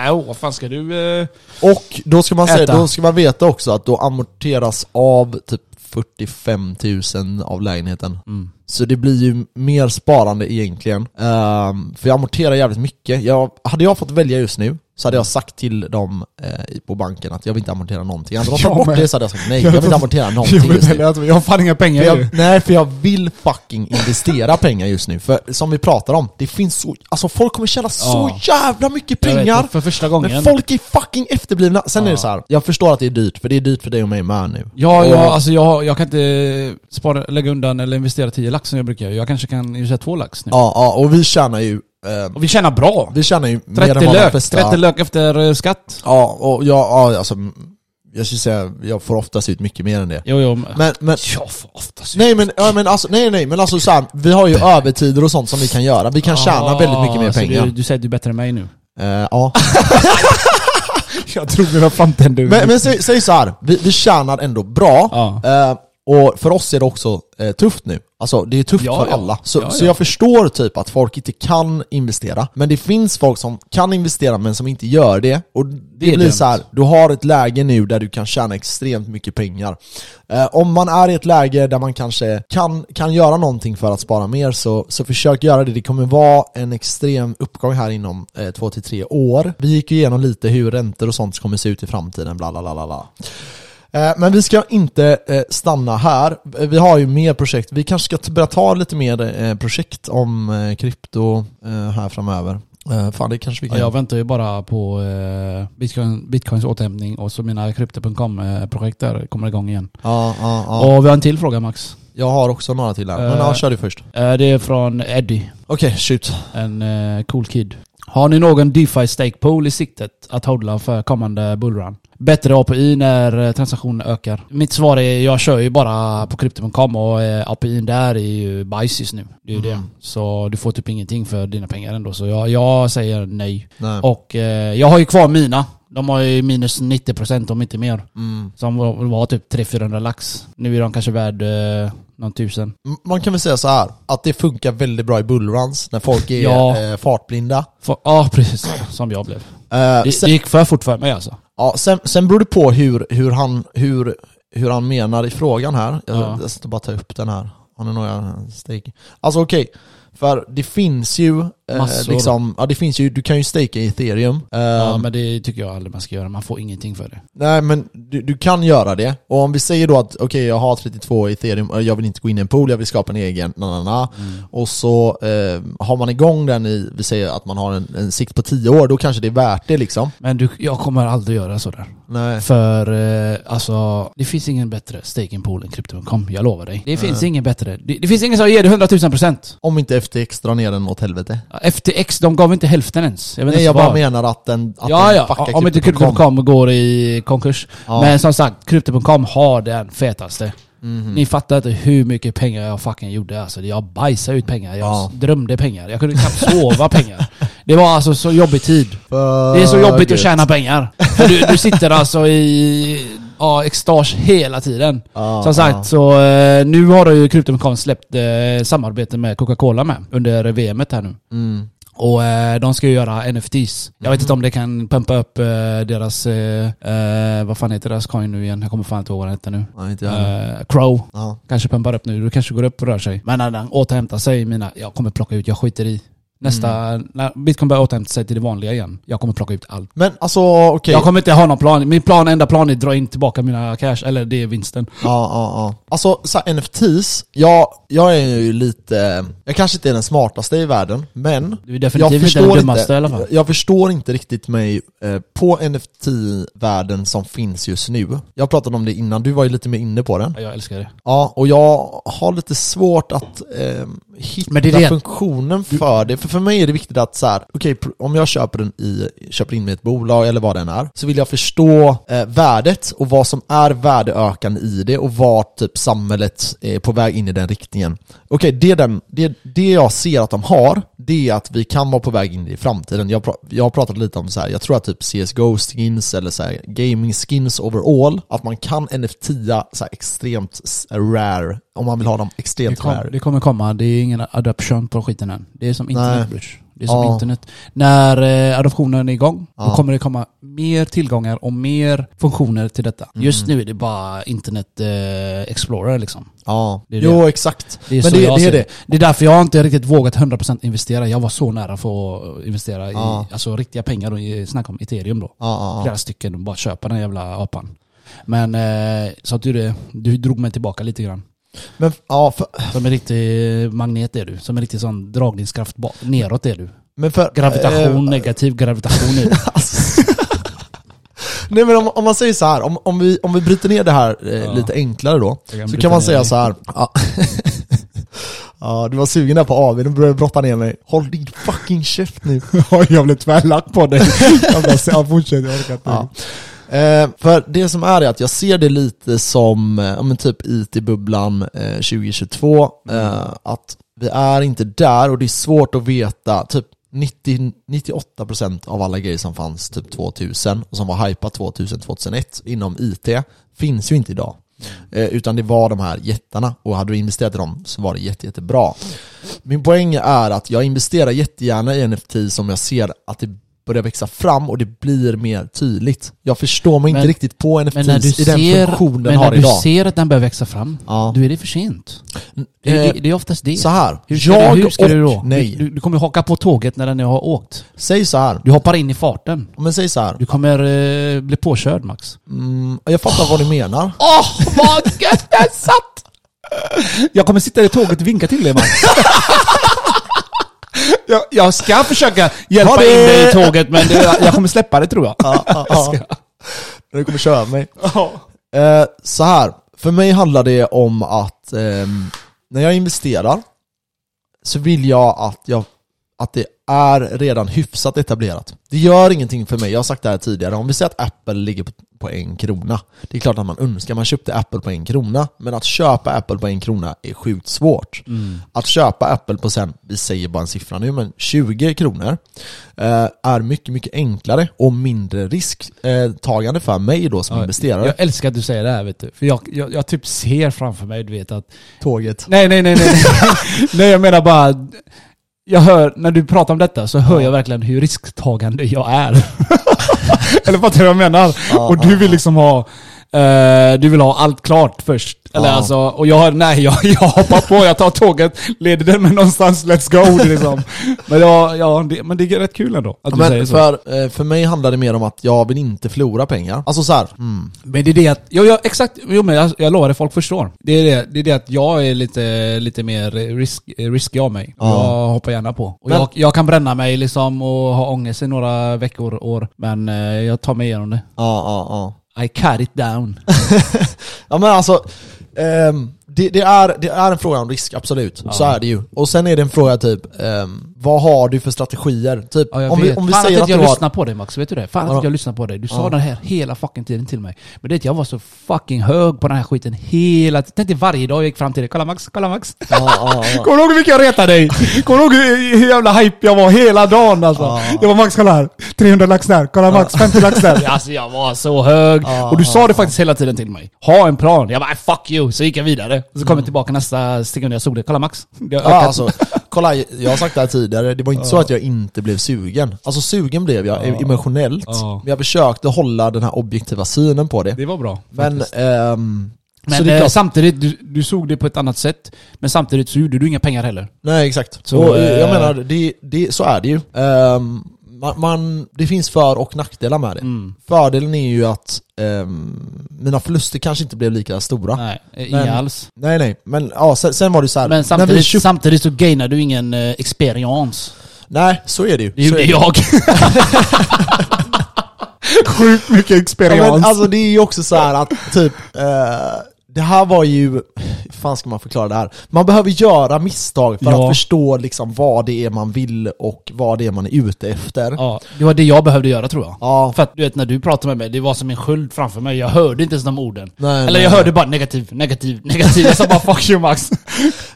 Speaker 2: Äh, oh, vad fan ska du... Eh...
Speaker 1: Och då ska man, säga,
Speaker 2: Äta.
Speaker 1: då ska man veta också att då amorteras av typ 45 000 av lägenheten.
Speaker 2: Mm.
Speaker 1: Så det blir ju mer sparande egentligen. Ehm, för jag amorterar jävligt mycket. Jag, hade jag fått välja just nu så hade jag sagt till dem eh, i- på banken att jag vill inte amortera någonting. Hade de
Speaker 5: Jag
Speaker 1: tagit bort
Speaker 5: med.
Speaker 1: det så hade jag sagt nej, jag vill inte amortera någonting just nu.
Speaker 5: jag, jag har fan inga pengar
Speaker 1: För
Speaker 5: ju.
Speaker 1: jag, nej, för jag vill fucking investera pengar just nu. För som vi pratar om, det finns så... Alltså folk kommer tjäna så
Speaker 2: Ja.
Speaker 1: jävla mycket
Speaker 2: Jag vet,
Speaker 1: pengar.
Speaker 2: för första gången.
Speaker 1: Men folk är fucking efterblivna. Sen är det så här. jag förstår att det är dyrt, för det är dyrt för dig och mig med nu.
Speaker 2: Ja,
Speaker 1: Och-
Speaker 2: ja alltså jag, jag kan inte spara, lägga undan eller investera 10 lax som jag brukar göra. Jag kanske kan investera 2 lax nu.
Speaker 1: Ja, ja, och vi tjänar ju... Eh,
Speaker 2: Och vi tjänar bra!
Speaker 1: vi tjänar ju mer
Speaker 2: 30
Speaker 1: än vad de
Speaker 2: lök,
Speaker 1: flesta...
Speaker 2: 30 lök efter eh, skatt.
Speaker 1: Ja, och jag, ja, alltså... Jag skulle säga, jag får oftast ut mycket mer än det.
Speaker 2: Jo, jo. Men,
Speaker 1: Men, men...
Speaker 2: jag får oftast
Speaker 1: Nej men, ja, men alltså, nej nej, men alltså så här, vi har ju övertider och sånt som vi kan göra. Vi kan tjäna väldigt mycket mer
Speaker 2: så
Speaker 1: pengar.
Speaker 2: alltså, Du, du säger att du är bättre än mig nu.
Speaker 1: Eh, ja.
Speaker 2: Jag tror det var framtiden du.
Speaker 1: Men, men säg, säg så här. Vi, vi tjänar ändå bra,
Speaker 2: Ja.
Speaker 1: eh, och för oss är det också eh, tufft nu. Alltså det är tufft
Speaker 2: Ja,
Speaker 1: för
Speaker 2: ja.
Speaker 1: alla. Så,
Speaker 2: Ja,
Speaker 1: så
Speaker 2: ja.
Speaker 1: jag förstår typ att folk inte kan investera, men det finns folk som kan investera men som inte gör det. Och det, blir
Speaker 2: är dumt.
Speaker 1: så här. du har ett läge nu där du kan tjäna extremt mycket pengar. Eh, om man är i ett läge där man kanske kan, kan göra någonting för att spara mer, så, så försök göra det. Det kommer vara en extrem uppgång här inom eh, två till tre år. Vi gick ju igenom lite hur räntor och sånt kommer se ut i framtiden, bla bla bla bla. bla. Eh, Men vi ska inte eh, stanna här. Eh, Vi har ju mer projekt. Vi kanske ska t- börja ta lite mer eh, projekt om eh, krypto eh, här framöver. Eh, Fan, det kanske vi
Speaker 2: Ja,
Speaker 1: kan.
Speaker 2: jag väntar ju bara på eh, Bitcoin, bitcoins återhämtning och så mina crypto.com-projekt eh, där kommer igång igen.
Speaker 1: Ja, ja, ja.
Speaker 2: Och vi har en till fråga Max.
Speaker 1: Jag har också några till här. Men
Speaker 2: Eh.
Speaker 1: ja, kör du först.
Speaker 2: Eh, det är från Eddie,
Speaker 1: Okej, shoot.
Speaker 2: en eh, cool kid. Har ni någon DeFi stake pool i siktet att hodla för kommande bullrun? Bättre API när eh, transaktionen ökar? Mitt svar är, jag kör ju bara på crypto.com och eh, API där är ju bajs just nu. Det är ju det. Så du får typ ingenting för dina pengar ändå. Så jag, jag säger nej.
Speaker 1: Nej.
Speaker 2: Och eh, jag har ju kvar mina. De har ju minus 90% om inte mer.
Speaker 1: Mm.
Speaker 2: Som var, var typ 300-400 lax. Nu är de kanske värd eh, någon tusen.
Speaker 1: M- Man kan väl säga så här att det funkar väldigt bra i bullruns när folk är
Speaker 2: Ja.
Speaker 1: eh, fartblinda.
Speaker 2: För- Ja precis, som jag blev.
Speaker 1: Eh,
Speaker 2: Det,
Speaker 1: sen,
Speaker 2: det gick för fort för mig alltså.
Speaker 1: ja, sen, sen beror det på hur, hur, han, hur, hur han menar i frågan här. Jag,
Speaker 2: Ja.
Speaker 1: jag ska bara ta upp den här. Har ni några steg? Alltså okej, för det finns ju... Eh,
Speaker 2: Massor.
Speaker 1: liksom, ja, det finns ju, du kan ju staka i ethereum. Eh,
Speaker 2: ja men det tycker jag aldrig man ska göra, man får ingenting för det.
Speaker 1: Nej men du, du kan göra det, och om vi säger då att okej jag har 32 ethereum, eh, jag vill inte gå in i en pool, jag vill skapa en egen, na, na, na.
Speaker 2: Mm.
Speaker 1: och så eh, har man igång den i, vi säger att man har en, en sikt på 10 år, då kanske det är värt det liksom.
Speaker 2: Men du, jag kommer aldrig göra sådär.
Speaker 1: Nej.
Speaker 2: För eh, alltså, det finns ingen bättre staking pool än crypto.com, jag lovar dig. Det finns ingen bättre. Det, det finns ingen som ger dig 100 000%.
Speaker 1: Om inte FTX drar ner den åt helvete.
Speaker 2: FTX, de gav inte hälften ens. Jag vet
Speaker 1: Nej
Speaker 2: inte
Speaker 1: jag bara
Speaker 2: vad.
Speaker 1: menar att den, att
Speaker 2: ja,
Speaker 1: den
Speaker 2: ja. Om inte
Speaker 1: krypto.com.
Speaker 2: Crypto.com går i konkurs.
Speaker 1: Ja.
Speaker 2: Men som sagt, Crypto.com har den fetaste.
Speaker 1: Mhm.
Speaker 2: Ni fattar inte hur mycket pengar jag fucking gjorde alltså. Jag bajsade ut pengar. Jag
Speaker 1: Ja.
Speaker 2: drömde pengar. Jag kunde knappt
Speaker 1: (laughs)
Speaker 2: sova pengar. Det var alltså så jobbig tid. det är så jobbigt
Speaker 1: gud.
Speaker 2: att tjäna pengar. För Du, du sitter alltså i ja, extas hela tiden.
Speaker 1: Ja,
Speaker 2: som sagt,
Speaker 1: ja.
Speaker 2: så eh, nu har då ju Crypto.com släppt eh, samarbete med Coca-Cola med under VM här nu.
Speaker 1: Mm.
Speaker 2: Och eh, de ska ju göra NFTs. Jag vet inte om det kan pumpa upp eh, deras, eh, eh, vad fan heter deras coin nu igen? Jag kommer fan inte ihåg vad den heter nu.
Speaker 1: Nej, inte jag heller.
Speaker 2: Eh, Crow.
Speaker 1: Ja.
Speaker 2: Kanske pumpar upp nu, då kanske går upp och rör sig. Men när den återhämtar sig, mina, jag kommer plocka ut, jag skiter i. Nästa, när bitcoin börjar återhämta sig till det vanliga igen. Jag kommer plocka ut allt.
Speaker 1: Men alltså okej.
Speaker 2: Jag kommer inte ha någon plan. Min plan, enda plan är att dra in tillbaka mina cash, eller det är vinsten.
Speaker 1: Ja, ja, ja. Alltså så här, NFTs, jag, jag är ju lite, jag kanske inte är den smartaste i världen, men
Speaker 2: Du är definitivt inte den dummaste i alla fall.
Speaker 1: jag- Jag förstår inte riktigt mig eh, på NFT-världen som finns just nu. Jag pratade om det innan, du var ju lite mer inne på den.
Speaker 2: Ja, Jag älskar det.
Speaker 1: Ja, och jag har lite svårt att eh, hitta
Speaker 2: Men det är det-
Speaker 1: funktionen för det. För för mig är det viktigt att så här, okej, pr- om jag köper den i, köper in mig i ett bolag eller vad den är, så vill jag förstå eh, värdet och vad som är värdeökande i det och var typ samhället är på väg in i den riktningen. Okej, det, är den- det, det jag ser att de har, det är att vi kan vara på väg in i framtiden. Jag, pra- jag har pratat lite om så här, jag tror att typ CSGO-skins eller så här, gaming-skins overall, att man kan NFTa så här extremt s- rare, om man vill ha dem
Speaker 2: Det,
Speaker 1: extremt
Speaker 2: kom,
Speaker 1: rare.
Speaker 2: det kommer komma, det är ingen adoption på skiten än. Det är som
Speaker 1: Nej.
Speaker 2: internet bridge. Det är som
Speaker 1: Ja.
Speaker 2: internet. När eh, adoptionen är igång,
Speaker 1: Ja.
Speaker 2: då kommer det komma mer tillgångar och mer funktioner till detta. Just nu är det bara internet eh, explorer liksom.
Speaker 1: Ja,
Speaker 2: Det är
Speaker 1: jo exakt.
Speaker 2: Det är,
Speaker 1: Men
Speaker 2: så
Speaker 1: det,
Speaker 2: jag
Speaker 1: det är
Speaker 2: ser
Speaker 1: det.
Speaker 2: det är därför jag inte riktigt vågat 100% investera. Jag var så nära för att eh, investera
Speaker 1: Ja.
Speaker 2: i alltså, riktiga pengar, och i- snacka om ethereum då.
Speaker 1: Ja, ja,
Speaker 2: Flera stycken och bara köpa den jävla apan. Men eh, så att du, det- du drog mig tillbaka lite grann.
Speaker 1: ja. Men, ja, för,
Speaker 2: Som en riktig magnet är du. Som en riktig sån dragningskraft ba- neråt är du.
Speaker 1: men för...
Speaker 2: Gravitation,
Speaker 1: eh, (laughs)
Speaker 2: negativ gravitation är du.
Speaker 1: Alltså. Nej men om, om man säger så här, om, om, vi, om vi bryter ner det här eh, lite enklare då,
Speaker 2: kan
Speaker 1: så
Speaker 2: bryta
Speaker 1: kan man
Speaker 2: ner
Speaker 1: säga
Speaker 2: det.
Speaker 1: så här. Ja. (laughs) ja, du var sugen där på AW, nu började du brotta ner mig. Håll din fucking käft nu.
Speaker 5: Oj, jag blev tvärlack på dig. Jag bara, ja, fortsätt, jag orkar inte.
Speaker 1: Ja. Eh, för det som är är att jag ser det lite som, eh, ja, men typ IT-bubblan eh, 2022, eh, att vi är inte där och det är svårt att veta, typ 90, 98% av alla grejer som fanns typ 2000 och som var hypat 2000-2001 inom IT finns ju inte idag. Eh, utan det var de här jättarna och hade du investerat i dem så var det jätte, jättebra. Min poäng är att jag investerar jättegärna i NFT som jag ser att det börjar växa fram och det blir mer tydligt. Jag förstår mig
Speaker 2: Men-
Speaker 1: inte riktigt på NFT
Speaker 2: Men när du
Speaker 1: i den
Speaker 2: ser,
Speaker 1: funktion
Speaker 2: men
Speaker 1: den har
Speaker 2: när du
Speaker 1: idag.
Speaker 2: ser att den börjar växa fram,
Speaker 1: Ja.
Speaker 2: då är det för sent. Det,
Speaker 1: Eh,
Speaker 2: är- det, det är oftast det.
Speaker 1: så här,
Speaker 2: hur ska,
Speaker 1: jag
Speaker 2: du, hur ska
Speaker 1: och
Speaker 2: du då?
Speaker 1: nej.
Speaker 2: Du, du kommer haka på tåget när den nu har åkt.
Speaker 1: Säg så här.
Speaker 2: Du hoppar in i farten.
Speaker 1: men säg så här.
Speaker 2: Du kommer eh, bli påkörd Max.
Speaker 1: Jag fattar
Speaker 2: Ah.
Speaker 1: vad du menar. (laughs)
Speaker 2: Åh oh, vad gött jag satt! Jag kommer sitta i tåget och vinka till dig Max. jag, jag ska försöka hjälpa
Speaker 1: Ha
Speaker 2: in
Speaker 1: det!
Speaker 2: dig i tåget men det, jag kommer släppa det tror jag.
Speaker 1: Ja, ja, ja. När du kommer köra mig.
Speaker 2: Ah.
Speaker 1: Eh, så här, för mig handlar det om att ehm, när jag investerar så vill jag att, jag att det är redan hyfsat etablerat. Det gör ingenting för mig, jag har sagt det här tidigare, om vi säger att Apple ligger på, på en krona, det är klart att man önskar, man köpte Apple på en krona, men att köpa Apple på en krona är sjukt svårt.
Speaker 2: Mm.
Speaker 1: Att köpa Apple på sen, vi säger bara en siffra nu, men 20 kronor eh, är mycket, mycket enklare och mindre risktagande för mig då som investerare.
Speaker 2: Jag älskar att du säger det här vet du. För jag, jag, jag typ ser framför mig du vet att...
Speaker 1: Tåget.
Speaker 2: Nej nej nej nej.
Speaker 1: (laughs)
Speaker 2: nej jag menar bara... Jag hör, när du pratar om detta så hör jag verkligen hur risktagande
Speaker 1: (laughs)
Speaker 2: jag är. Eller fattar du vad jag menar? och du vill liksom ha... eh, du vill ha allt klart först. Eller
Speaker 1: Ja.
Speaker 2: alltså, och jag har, nej jag, jag hoppar på, jag tar tåget, leder det mig någonstans, let's go det
Speaker 1: (laughs)
Speaker 2: är liksom. Men, jag, ja, det, men det är rätt kul ändå att du säger
Speaker 1: Men
Speaker 2: så.
Speaker 1: för, eh, för mig handlar det mer om att jag vill inte förlora pengar. Alltså så här, mm,
Speaker 2: Men det är det att, jo, ja, exakt, jo, men jag, jag lovar det, folk förstår. Det är det, det är det att jag är lite, lite mer risk, risky av mig.
Speaker 1: Ja.
Speaker 2: Jag hoppar gärna på. Och
Speaker 1: Men-
Speaker 2: jag, jag kan bränna mig liksom och ha ångest i några veckor, år. Men eh, jag tar mig igenom det.
Speaker 1: ja ja ja. (laughs)
Speaker 2: I cut it down.
Speaker 1: Ja men alltså, ehm, det, det, är, det är en fråga om risk, absolut. Så är det ju. Och sen är det en fråga typ, ehm, vad har du för strategier? Typ,
Speaker 2: Ja, jag
Speaker 1: om,
Speaker 2: vet.
Speaker 1: vi, om vi
Speaker 2: Fan
Speaker 1: säger
Speaker 2: att
Speaker 1: att
Speaker 2: jag
Speaker 1: du har...
Speaker 2: lyssnar på dig Max, vet du det? Fan
Speaker 1: Vadå?
Speaker 2: att jag lyssnar på dig. Du sa
Speaker 1: Ja.
Speaker 2: den här hela fucking tiden till mig. Men det är att jag var så fucking hög på den här skiten hela tiden. Tänk dig varje dag jag gick fram till dig. Kolla Max, kolla Max.
Speaker 1: Ja, ja, ja.
Speaker 2: (laughs) Kommer du ihåg hur mycket jag retade dig? Kommer du ihåg hur, hur jävla hype jag var hela dagen alltså?
Speaker 5: Jag bara, Max kolla här. 300 lax där. Kolla Max, 50 lax där.
Speaker 2: (laughs) Alltså jag var så hög. och du sa det faktiskt hela tiden till mig. Ha en plan. Jag bara "Äh, fuck you. Så gick jag vidare. Och så kom jag tillbaka nästa sekund jag såg det. Kolla Max. Det har
Speaker 1: Ja,
Speaker 2: ökat.
Speaker 1: alltså, kolla, jag har sagt det här tidigare, det var inte så att jag inte blev sugen. Alltså sugen blev jag emotionellt,
Speaker 2: Ja.
Speaker 1: men jag försökte hålla den här objektiva synen på det.
Speaker 2: Det var bra.
Speaker 1: Men ehm, Så
Speaker 2: Men
Speaker 1: det är
Speaker 2: eh,
Speaker 1: klart-
Speaker 2: samtidigt, du, du såg det på ett annat sätt. Men samtidigt så gjorde du inga pengar heller.
Speaker 1: Nej, exakt.
Speaker 2: Så,
Speaker 1: och, eh, jag
Speaker 2: eh,
Speaker 1: menar, det, det, så är det ju. Ehm, man, man, det finns för och nackdelar med det.
Speaker 2: Mm.
Speaker 1: Fördelen är ju att ehm, mina förluster kanske inte blev lika stora. Nej,
Speaker 2: Nej, eh,
Speaker 1: Ah. Men-
Speaker 2: inga alls.
Speaker 1: nej. men ja, sen, sen var det ju så här.
Speaker 2: Men
Speaker 1: när vi
Speaker 2: samtidigt,
Speaker 1: köpte,
Speaker 2: samtidigt så gainade du ingen eh, experience.
Speaker 1: nej, så är det ju.
Speaker 2: Det
Speaker 1: så är
Speaker 2: gjorde
Speaker 1: det. (laughs)
Speaker 2: jag.
Speaker 5: Sjukt mycket experience.
Speaker 1: Ja, men, alltså det är ju också så här att typ, eh, det här var ju, hur fan ska man förklara det här? Man behöver göra misstag för
Speaker 2: Ja.
Speaker 1: att förstå liksom vad det är man vill och vad det är man är ute efter.
Speaker 2: ja, det var det jag behövde göra tror jag.
Speaker 1: Ja.
Speaker 2: För att du vet när du pratade med mig, det var som en sköld framför mig. Jag hörde inte ens de orden.
Speaker 1: Nej,
Speaker 2: Eller
Speaker 1: nej,
Speaker 2: jag
Speaker 1: nej.
Speaker 2: hörde bara negativ, negativ, (laughs) negativ. Jag sa bara 'fuck
Speaker 1: (laughs)
Speaker 2: you Max'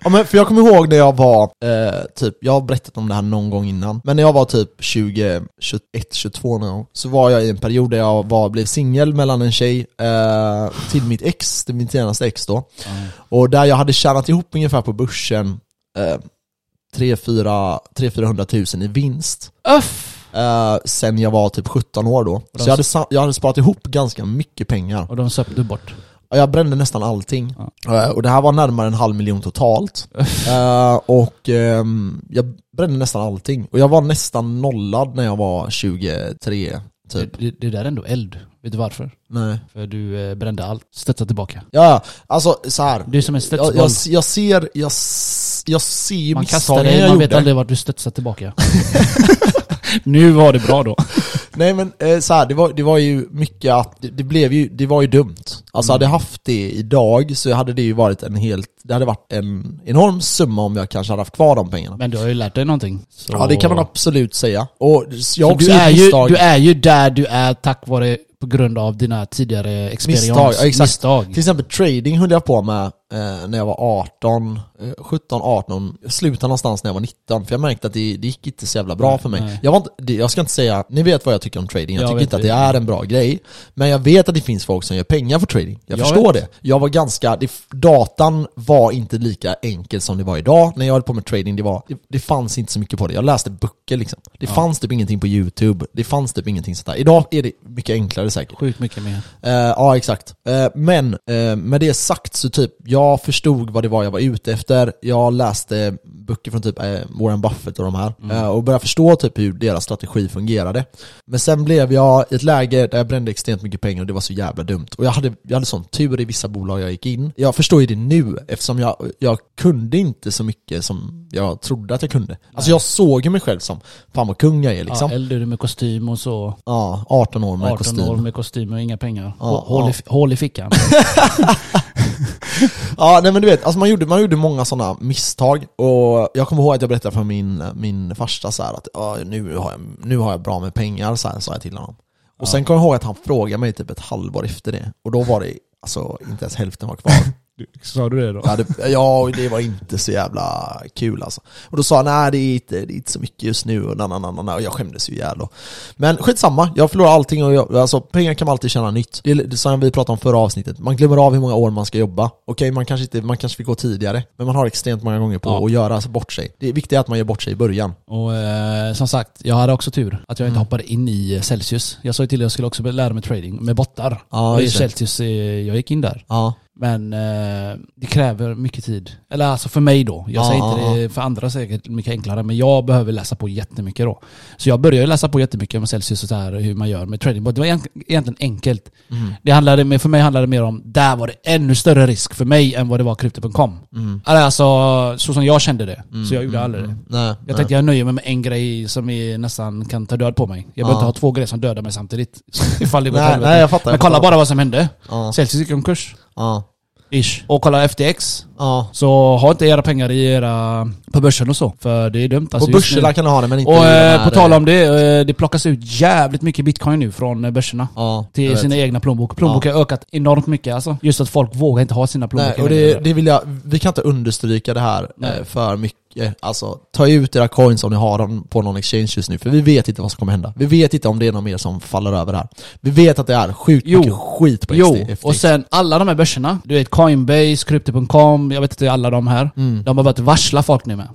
Speaker 1: Ja, men för jag kommer ihåg när jag var, eh, typ, jag har berättat om det här någon gång innan, men när jag var typ 20, 21, 22 någon gång, så var jag i en period där jag var, blev singel mellan en tjej eh, till mitt ex, till min senaste ex då. Och där jag hade tjänat ihop ungefär på börsen eh, 300-400 000 i vinst.
Speaker 2: Öff!
Speaker 1: Eh, sen jag var typ 17 år då. Så jag hade, sa- jag hade sparat ihop ganska mycket pengar.
Speaker 2: Och de söp du bort.
Speaker 1: Ja, Jag brände nästan allting. Eh, Och det här var närmare en halv miljon totalt. Eh, och ehm, jag brände nästan allting. Och jag var nästan nollad när jag var 23, typ.
Speaker 2: Det, det där är ändå eld. Vet du varför?
Speaker 1: Nej.
Speaker 2: För du eh, brände allt. Studsa tillbaka.
Speaker 1: Ja, ja. alltså så här.
Speaker 2: Du är som en
Speaker 1: Jag,
Speaker 2: studsboll.
Speaker 1: jag, jag ser, jag, s- jag ser ju
Speaker 2: man kastar
Speaker 1: misstagen
Speaker 2: dig,
Speaker 1: jag
Speaker 2: man vet
Speaker 1: gjorde.
Speaker 2: aldrig vart du
Speaker 1: (laughs)
Speaker 2: studsar tillbaka. nu var det bra då.
Speaker 1: Nej men eh, så här, det var, det var ju mycket att, det, det blev ju, det var ju dumt.
Speaker 2: Mm.
Speaker 1: Alltså hade jag haft det idag så hade det ju varit en helt, det hade varit en enorm summa om jag kanske hade haft kvar de pengarna.
Speaker 2: Men du har ju lärt dig någonting. Så...
Speaker 1: Ja det kan man absolut säga. Och jag har
Speaker 2: Så
Speaker 1: också
Speaker 2: du, är
Speaker 1: gjort
Speaker 2: ju,
Speaker 1: misstag.
Speaker 2: du är ju där du är tack vare, på grund av dina tidigare experience.
Speaker 1: misstag. Ja, exakt. Till
Speaker 2: Misstag.
Speaker 1: exempel trading höll jag på med eh, när jag var 18, eh, 17, 18. Jag slutade någonstans när jag var 19 för jag märkte att det, det gick inte så jävla bra för mig.
Speaker 2: nej.
Speaker 1: Jag, var inte, det, jag ska inte säga, ni vet vad jag tycker om trading, jag,
Speaker 2: Jag
Speaker 1: tycker
Speaker 2: vet
Speaker 1: inte att det
Speaker 2: det.
Speaker 1: är en bra grej. Men jag vet att det finns folk som gör pengar på trading. Jag,
Speaker 2: Jag
Speaker 1: förstår
Speaker 2: vet.
Speaker 1: det. Jag var ganska, det, datan var inte lika enkel som det var idag. När jag höll på med trading, det, var, det, det fanns inte så mycket på det. Jag läste böcker liksom. Det fanns typ ingenting på YouTube, det fanns typ ingenting sånt där. Idag är det mycket enklare säkert.
Speaker 2: Sjukt mycket mer.
Speaker 1: Eh, ja, exakt. Eh, men eh, med det sagt så typ, jag förstod vad det var jag var ute efter. Jag läste böcker från typ eh, Warren Buffett och de här
Speaker 2: Mm.
Speaker 1: eh, och började förstå typ hur deras strategi fungerade. Men sen blev jag i ett läge där jag brände extremt mycket pengar och det var så jävla dumt. Och jag hade, jag hade sån tur i vissa bolag jag gick in. Jag förstår ju det nu eftersom jag, jag kunde inte så mycket som jag trodde att jag kunde. Alltså jag såg ju mig själv som, fan vad kung jag är liksom. Ja,
Speaker 2: Ja, äldre du med kostym och så.
Speaker 1: 18 år med
Speaker 2: 18
Speaker 1: kostym.
Speaker 2: år med kostym och inga pengar.
Speaker 1: Ja,
Speaker 2: Hå- hål, I, hål
Speaker 1: (laughs)
Speaker 2: i fickan.
Speaker 1: Ja, nej men du vet, alltså man, gjorde, man gjorde många sådana misstag och jag kommer ihåg att jag berättade för min, min farsa så här att "Ja, nu, har jag, nu har jag bra med pengar, så här, sa jag till honom. Och sen kommer jag ihåg att han frågade mig typ ett halvår efter det och då var det alltså inte ens hälften var kvar.
Speaker 2: Sa du det då?
Speaker 1: Jag hade, ja, och det var inte så jävla kul alltså. Och då sa han nej det är inte, det är inte så mycket just nu och na, na, na, na, na. och jag skämdes ju ihjäl då. Men skitsamma, jag förlorar allting och jag, alltså, pengar kan man alltid tjäna nytt. Det är li- det som vi pratade om förra avsnittet, man glömmer av hur många år man ska jobba. Okej, man kanske inte, man kanske fick gå tidigare, men man har extremt många gånger på
Speaker 2: Ja.
Speaker 1: att göra alltså, bort sig. Det viktiga är att man gör bort sig i början.
Speaker 2: Och eh, som sagt, jag hade också tur att jag
Speaker 1: Mm.
Speaker 2: inte hoppade in i eh, Celsius. Jag sa ju till dig att jag skulle också lära mig trading med bottar.
Speaker 1: Ja,
Speaker 2: och i
Speaker 1: just det.
Speaker 2: Celsius, eh, jag gick in där.
Speaker 1: Ja.
Speaker 2: Men eh, det kräver mycket tid. Eller alltså för mig då. Jag
Speaker 1: Ja,
Speaker 2: säger
Speaker 1: ja,
Speaker 2: inte det för andra säkert mycket enklare. Men jag behöver läsa på jättemycket då. Så jag började läsa på jättemycket om Celsius och så här, hur man gör med trading. Det var egent- egentligen enkelt.
Speaker 1: Mm.
Speaker 2: Det handlade, mer- för mig handlade det mer om, där var det ännu större risk för mig än vad det var krypto.com.
Speaker 1: Mm.
Speaker 2: Alltså så som jag kände det. Så jag gjorde aldrig det.
Speaker 1: Nej,
Speaker 2: Jag
Speaker 1: nej.
Speaker 2: tänkte jag nöjer mig med en grej som är, nästan kan ta död på mig. Jag behöver
Speaker 1: Ja.
Speaker 2: inte ha två grejer som dödar mig samtidigt. (laughs) Ifall det går åt
Speaker 1: Nej,
Speaker 2: helvete.
Speaker 1: nej, jag fattar, jag
Speaker 2: Men kolla
Speaker 1: fattar.
Speaker 2: bara vad som hände.
Speaker 1: Ja.
Speaker 2: Celsius gick i konkurs.
Speaker 1: Ja.
Speaker 2: Ish. Och kolla FTX.
Speaker 1: ja.
Speaker 2: Så ha inte era pengar i era, på börsen och så. För det är dumt.
Speaker 1: På
Speaker 2: Alltså just nu.
Speaker 1: börserna kan du ha det men inte i
Speaker 2: Och
Speaker 1: den
Speaker 2: eh,
Speaker 1: här,
Speaker 2: på tal
Speaker 1: eh,
Speaker 2: om det, eh, det plockas ut jävligt mycket bitcoin nu från eh, börserna.
Speaker 1: Ja, jag
Speaker 2: Till
Speaker 1: vet.
Speaker 2: sina egna plånbok. Plånbok har ökat enormt mycket alltså. Just att folk vågar inte ha sina
Speaker 1: Nej,
Speaker 2: plånböcker
Speaker 1: och
Speaker 2: längre.
Speaker 1: det, det vill jag, vi kan inte understryka det här
Speaker 2: Nej.
Speaker 1: eh, för mycket. Alltså, ta ut era coins om ni har dem på någon exchange just nu, för vi vet inte vad som kommer hända. Vi vet inte om det är någon mer som faller över här. Vi vet att det är sjukt
Speaker 2: Jo.
Speaker 1: mycket skit på
Speaker 2: Jo,
Speaker 1: XT,
Speaker 2: och sen alla de här börserna,
Speaker 1: Mm.
Speaker 2: du vet Coinbase, Crypto.com, jag vet inte alla de här. De har börjat varsla folk nu med.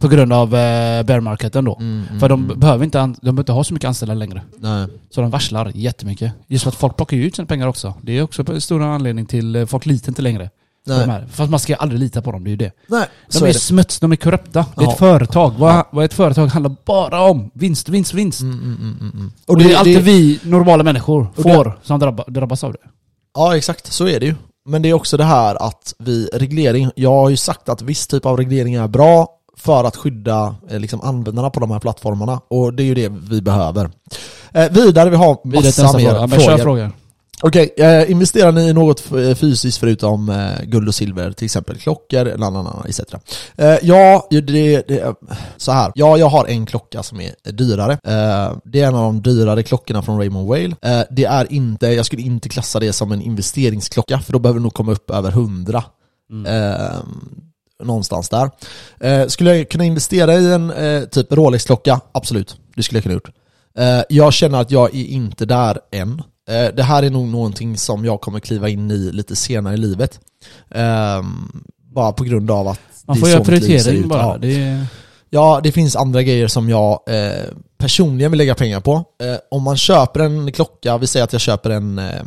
Speaker 2: På grund av eh, bear marketen då.
Speaker 1: Mm,
Speaker 2: För de behöver inte, an- de behöver inte ha så mycket anställda längre.
Speaker 1: Nej.
Speaker 2: Så de varslar jättemycket. Just för att folk plockar ju ut sina pengar också. Det är också en stor anledning till eh, folk litar inte längre. på
Speaker 1: Nej.
Speaker 2: De här. Fast man ska aldrig lita på dem, det är ju det.
Speaker 1: Nej,
Speaker 2: De
Speaker 1: så
Speaker 2: är,
Speaker 1: är det.
Speaker 2: smuts, de är korrupta. Det är
Speaker 1: Ja. Mm.
Speaker 2: ett företag. Vad, vad ett företag handlar bara om vinst, vinst, vinst. Och det, är alltid vi normala människor
Speaker 1: Och det-
Speaker 2: får som drabba, drabbas av det.
Speaker 1: Ja, exakt. Så är det ju. Men det är också det här att vi, reglering, jag har ju sagt att viss typ av reglering är bra för att skydda eh, liksom, användarna på de här plattformarna. Och det är ju det vi behöver. Eh, vidare, vi har
Speaker 2: Vidare
Speaker 1: massa
Speaker 2: till nästa
Speaker 1: mer
Speaker 2: fråga. Ja, Men
Speaker 1: frågor.
Speaker 2: kör frågan.
Speaker 1: Okej, eh, investerar ni i något f- eh, fysiskt förutom eh, guld och silver, till exempel klockor, la, la, la, etc. Eh, ja, ju- det, det, så här. Ja, jag har en klocka som är dyrare. Eh, det är en av de dyrare klockorna från Raymond Whale. Eh, det är inte, jag skulle inte klassa det som en investeringsklocka, för då behöver det nog komma upp över 100.
Speaker 2: Mm.
Speaker 1: Eh, någonstans där. Eh, skulle jag kunna investera i en eh, typ Rolex-klocka? Absolut, det skulle jag kunna gjort. Eh, jag känner att jag är inte där än. Eh, det här är nog någonting som jag kommer kliva in i lite senare i livet. Eh, bara på grund av att
Speaker 2: Man
Speaker 1: det är
Speaker 2: får
Speaker 1: så
Speaker 2: göra
Speaker 1: mitt liv ser
Speaker 2: prioritering
Speaker 1: ut.
Speaker 2: bara.
Speaker 1: Ja.
Speaker 2: Det är...
Speaker 1: Ja, det finns andra grejer som jag eh, personligen vill lägga pengar på. Eh, om man köper en klocka, vi säger att jag köper en... Eh,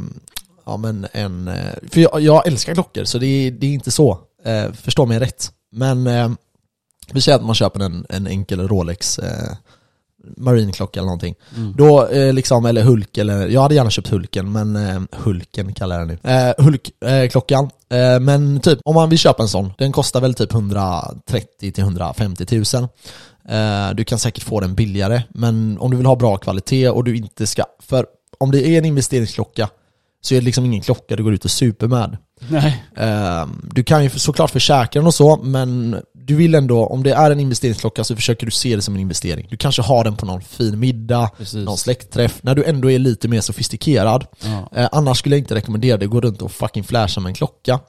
Speaker 1: ja, men en eh, för jag, jag älskar klockor, så det, är- det är inte så. Eh, förstå mig rätt. Men eh, vi säger att man köper en, en enkel Rolex eh, Marinklocka eller någonting. Då eh, liksom, eller Hulk, eller jag hade gärna köpt Hulken, men eh, Hulken kallar jag den nu. Eh, Hulk-klockan. Eh, klockan. eh, men typ, om man vill köpa en sån, den kostar väl typ 130 till 150 tusen. Eh, du kan säkert få den billigare, men om du vill ha bra kvalitet och du inte ska... För om det är en investeringsklocka så är det liksom ingen klocka du går ut och super med.
Speaker 2: Nej.
Speaker 1: Eh, Du kan ju såklart försäkra den och så, men du vill ändå, om det är en investeringsklocka så försöker du se det som en investering. Du kanske har den på någon fin middag,
Speaker 2: Precis.
Speaker 1: någon släktträff, när du ändå är lite mer sofistikerad.
Speaker 2: Ja.
Speaker 1: Eh, annars skulle jag inte rekommendera det, gå runt och fucking flasha med en klocka.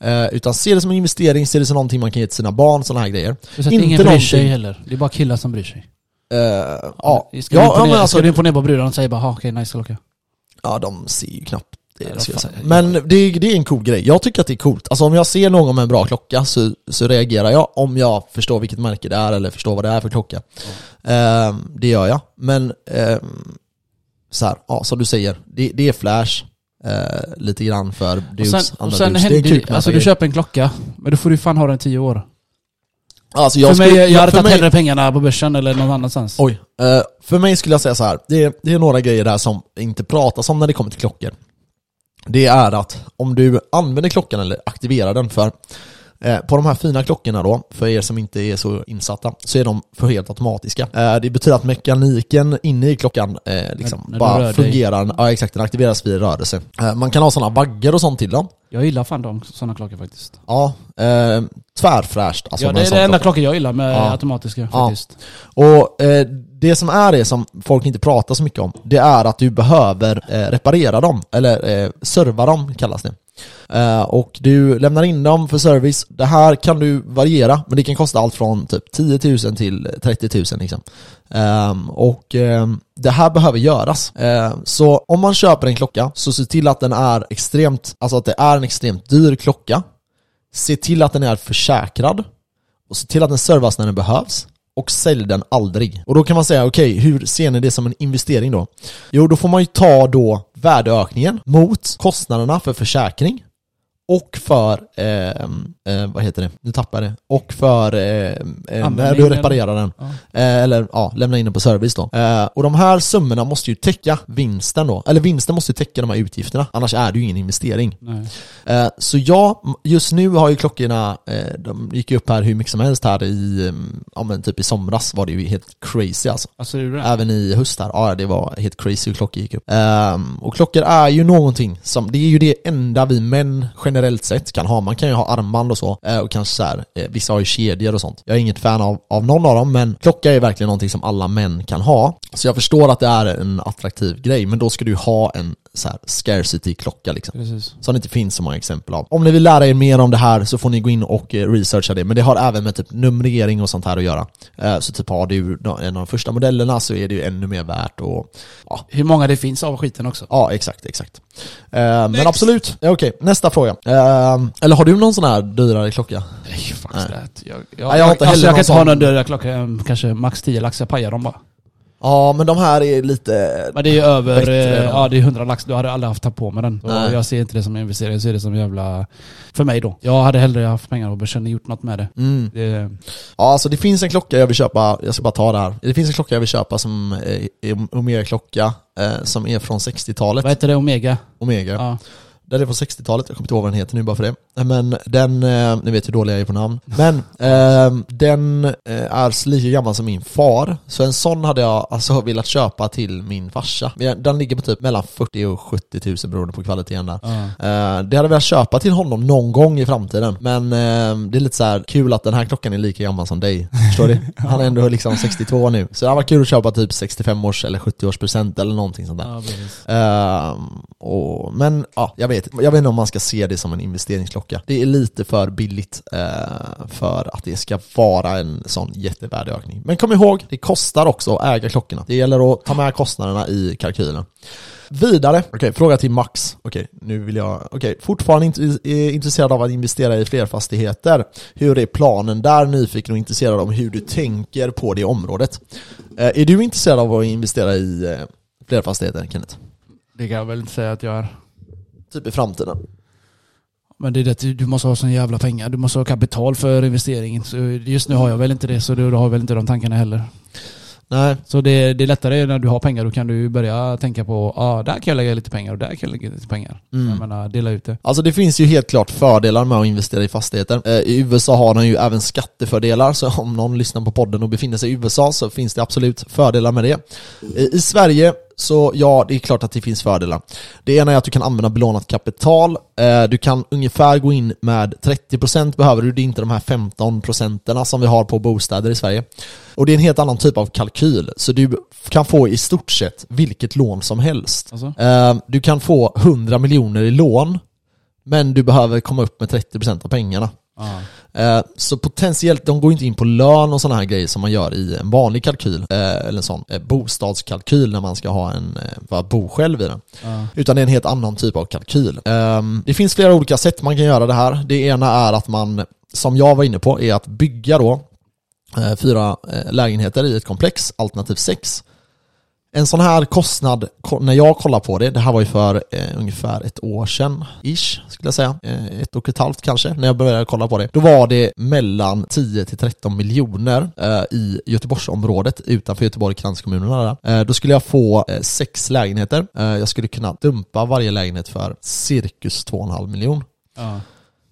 Speaker 1: Eh, utan se det som en investering, se det som någonting man kan ge till sina barn, sådana här grejer.
Speaker 2: Plus att ingen bryr sig heller. Det är bara killar som bryr sig.
Speaker 1: Eh, ja,
Speaker 2: Ska
Speaker 1: ja, ja,
Speaker 2: du imponera,
Speaker 1: men
Speaker 2: ska
Speaker 1: alltså,
Speaker 2: du imponera på brudarna och säga bara "Ha, okej, nice klocka.
Speaker 1: ja, de ser ju knappt det,
Speaker 2: Nej,
Speaker 1: skulle jag
Speaker 2: vad fan,
Speaker 1: säga. Men det, är- det är en cool grej. Jag tycker att det är coolt. Alltså om jag ser någon med en bra klocka så, så reagerar jag om jag förstår vilket märke det är eller förstår vad det är för klocka. Ehm, det gör jag. Men ehm, så här, ja, som du säger, det, det är flash. eh, lite grann för
Speaker 2: Och
Speaker 1: dus,
Speaker 2: sen, och
Speaker 1: andra
Speaker 2: sen
Speaker 1: dus.
Speaker 2: händer
Speaker 1: det är kul
Speaker 2: det,
Speaker 1: med
Speaker 2: alltså du
Speaker 1: grejer.
Speaker 2: köper en klocka, men då får du fan ha den i tio år.
Speaker 1: alltså,
Speaker 2: Jag, för mig,
Speaker 1: skulle-
Speaker 2: jag hade
Speaker 1: för
Speaker 2: tagit
Speaker 1: mig-
Speaker 2: hellre pengarna på börsen eller någon annanstans.
Speaker 1: Oj. Eh, för mig skulle jag säga så här. Det är, det är några grejer där som inte pratas om när det kommer till klockor. Det är att om du använder klockan eller aktiverar den för eh, på de här fina klockorna då, för er som inte är så insatta, så är de för helt automatiska. Eh, det betyder att mekaniken inne i klockan eh, liksom
Speaker 2: När- när du rör
Speaker 1: bara
Speaker 2: dig.
Speaker 1: fungerar, ja exakt, den aktiveras vid rörelse. Eh, man kan ha sådana vaggar och sånt till dem.
Speaker 2: Jag gillar fan de sådana klockor faktiskt.
Speaker 1: Ja, eh, tvärfräscht alltså
Speaker 2: ja,
Speaker 1: med
Speaker 2: det
Speaker 1: en
Speaker 2: är
Speaker 1: sån
Speaker 2: det enda
Speaker 1: klocka.
Speaker 2: klockan jag gillar med
Speaker 1: Ja.
Speaker 2: automatiska
Speaker 1: Ja.
Speaker 2: faktiskt.
Speaker 1: Och eh, det som är det som folk inte pratar så mycket om, det är att du behöver eh, reparera dem, eller eh, serva dem kallas det. Eh, och du lämnar in dem för service. Det här kan du variera, men det kan kosta allt från typ 10 000 till 30 000 liksom. Ehm, och ehm, det här behöver göras. Ehm, så om man köper en klocka, så se till att den är extremt, alltså att det är en extremt dyr klocka. Se till att den är försäkrad och se till att den servas när den behövs och sälj den aldrig. Och då kan man säga, okej, hur ser ni det som en investering då? Jo, då får man ju ta då värdeökningen mot kostnaderna för försäkring och för, eh, eh, vad heter det, nu tappar jag det, och för eh, eh, när
Speaker 2: Användning
Speaker 1: du
Speaker 2: eller-
Speaker 1: reparerar den.
Speaker 2: Ja.
Speaker 1: Eh, eller ja, lämna in den på service då. Eh, och de här summorna måste ju täcka vinsten då, eller vinsten måste ju täcka de här utgifterna, annars är det ju ingen investering.
Speaker 2: Nej.
Speaker 1: Eh, Så ja, m- just nu har ju klockorna, eh, de gick ju upp här hur mycket som helst här i, mm, ja men typ i somras var det ju helt crazy alltså.
Speaker 2: Alltså, är det det?
Speaker 1: Även i höst här, ja det var helt crazy hur klockor gick upp. Ehm, och klockor är ju någonting som, det är ju det enda vi män generellt sett kan ha. Man kan ju ha armband och så, eh, och kanske så här, eh, vissa har ju kedjor och sånt. Jag är inget fan av, av någon av dem, men klocka är verkligen någonting som alla män kan ha. Så jag förstår att det är en attraktiv grej, men då ska du ha en så här scarcity-klocka liksom.
Speaker 2: Precis.
Speaker 1: Som det inte finns så många exempel av. Om ni vill lära er mer om det här så får ni gå in och eh, researcha det. Men det har även med typ numrering och sånt här att göra. Eh, Så typ har du nå- en av de första modellerna så är det ju ännu mer värt och ja,
Speaker 2: Hur många det finns av skiten också.
Speaker 1: ja exakt, exakt. Eh, Men absolut, Ja, okej, nästa fråga. Eh, Eller har du någon sån här dyrare klocka?
Speaker 2: Nej, fuck
Speaker 1: Nej.
Speaker 2: that. Jag, jag,
Speaker 1: Nej, jag har inte heller
Speaker 2: alltså, jag
Speaker 1: någon
Speaker 2: kan inte ha
Speaker 1: sån.
Speaker 2: någon dörr klocka, eh, kanske max 10 lax, jag pajar dem bara.
Speaker 1: Ja, men de här är lite...
Speaker 2: Men det är ju över,
Speaker 1: Bättre
Speaker 2: eh,
Speaker 1: då.
Speaker 2: ja det är 100 lax, du hade aldrig haft ta på med den. Och
Speaker 1: Nej.
Speaker 2: jag ser inte det som en investering, jag ser det som jävla... För mig då. Jag hade hellre haft pengar och kände gjort något med det.
Speaker 1: Mm.
Speaker 2: det
Speaker 1: Ja, alltså det finns en klocka jag vill köpa, jag ska bara ta det här. Det finns en klocka jag vill köpa som eh, är Omega-klocka, eh, som är från 60-talet.
Speaker 2: vad heter det? Omega?
Speaker 1: Omega.
Speaker 2: Ja.
Speaker 1: Den är från 60-talet, jag kommer inte ihåg vad den heter nu bara för det. Men den, eh, ni vet hur dålig jag är på namn. Men eh, den eh, är lika gammal som min far. Så en sån hade jag alltså velat köpa till min farsa. Men jag- Den ligger på typ mellan 40 och 70 000 beroende på kvaliteten där.
Speaker 2: Ja.
Speaker 1: Eh, det hade jag velat köpa till honom någon gång i framtiden. Men eh, det är lite så här kul att den här klockan är lika gammal som dig. Förstår du? Han är ändå liksom 62 nu. Så det hade varit kul att köpa typ 65 års eller 70 års present eller någonting sånt där.
Speaker 2: Ja, precis.
Speaker 1: Ehm, och, men ja, jag vet, jag vet inte om man ska se det som en investeringsklocka. Det är lite för billigt eh, för att det ska vara en sån jättevärdeökning. Men kom ihåg, det kostar också att äga klockorna. Det gäller att ta med kostnaderna i kalkylen. Vidare, okej, fråga till Max. Okej, nu vill jag... Okej, fortfarande inte, är intresserad av att investera i fler fastigheter. Hur är planen där? Nyfiken och intresserad om hur du tänker på det området. Eh, är du intresserad av att investera i eh, fler fastigheter, Kenneth?
Speaker 2: Det kan jag väl inte säga att jag är.
Speaker 1: Typ i framtiden.
Speaker 2: Men det är det att du- du måste ha sån jävla pengar. Du måste ha kapital för investeringen. Så just nu har jag väl inte det, så du har väl inte de tankarna heller.
Speaker 1: Nej.
Speaker 2: Så det, det är lättare när du har pengar, då kan du börja tänka på ah, där kan jag lägga lite pengar och där kan jag lägga lite pengar.
Speaker 1: Mm.
Speaker 2: Jag menar, dela ut det.
Speaker 1: Alltså det finns ju helt klart fördelar med att investera i fastigheter. Eh, I USA har de ju även skattefördelar, så om någon lyssnar på podden och befinner sig i USA så finns det absolut fördelar med det. Eh, I Sverige så ja, det är klart att det finns fördelar. Det ena är att du kan använda belånat kapital. Eh, Du kan ungefär gå in med 30% behöver du, det är inte de här 15% som vi har på bostäder i Sverige. Och det är en helt annan typ av kalkyl, så du kan få i stort sett vilket lån som helst.
Speaker 2: Alltså?
Speaker 1: Eh, Du kan få 100 miljoner i lån, men du behöver komma upp med 30% av pengarna.
Speaker 2: Ja.
Speaker 1: Eh, Så potentiellt, de går inte in på lön och sådana här grejer som man gör i en vanlig kalkyl, eh, eller en sån eh, bostadskalkyl när man ska ha en, eh, för att bo själv i den.
Speaker 2: Ja.
Speaker 1: Utan det är en helt annan typ av kalkyl. Ehm, Det finns flera olika sätt man kan göra det här. Det ena är att man, som jag var inne på, är att bygga då eh, fyra eh, lägenheter i ett komplex, alternativ sex. En sån här kostnad, ko- när jag kollar på det, det här var ju för eh, ungefär ett år sedan, ish, skulle jag säga. Eh, ett och ett halvt kanske, när jag började kolla på det. Då var det mellan 10 till 13 miljoner eh, i Göteborgsområdet, utanför Göteborg, kranskommunerna där. Eh, då skulle jag få eh, sex lägenheter. Eh, jag skulle kunna dumpa varje lägenhet för cirkus 2,5 miljon.
Speaker 2: Ja.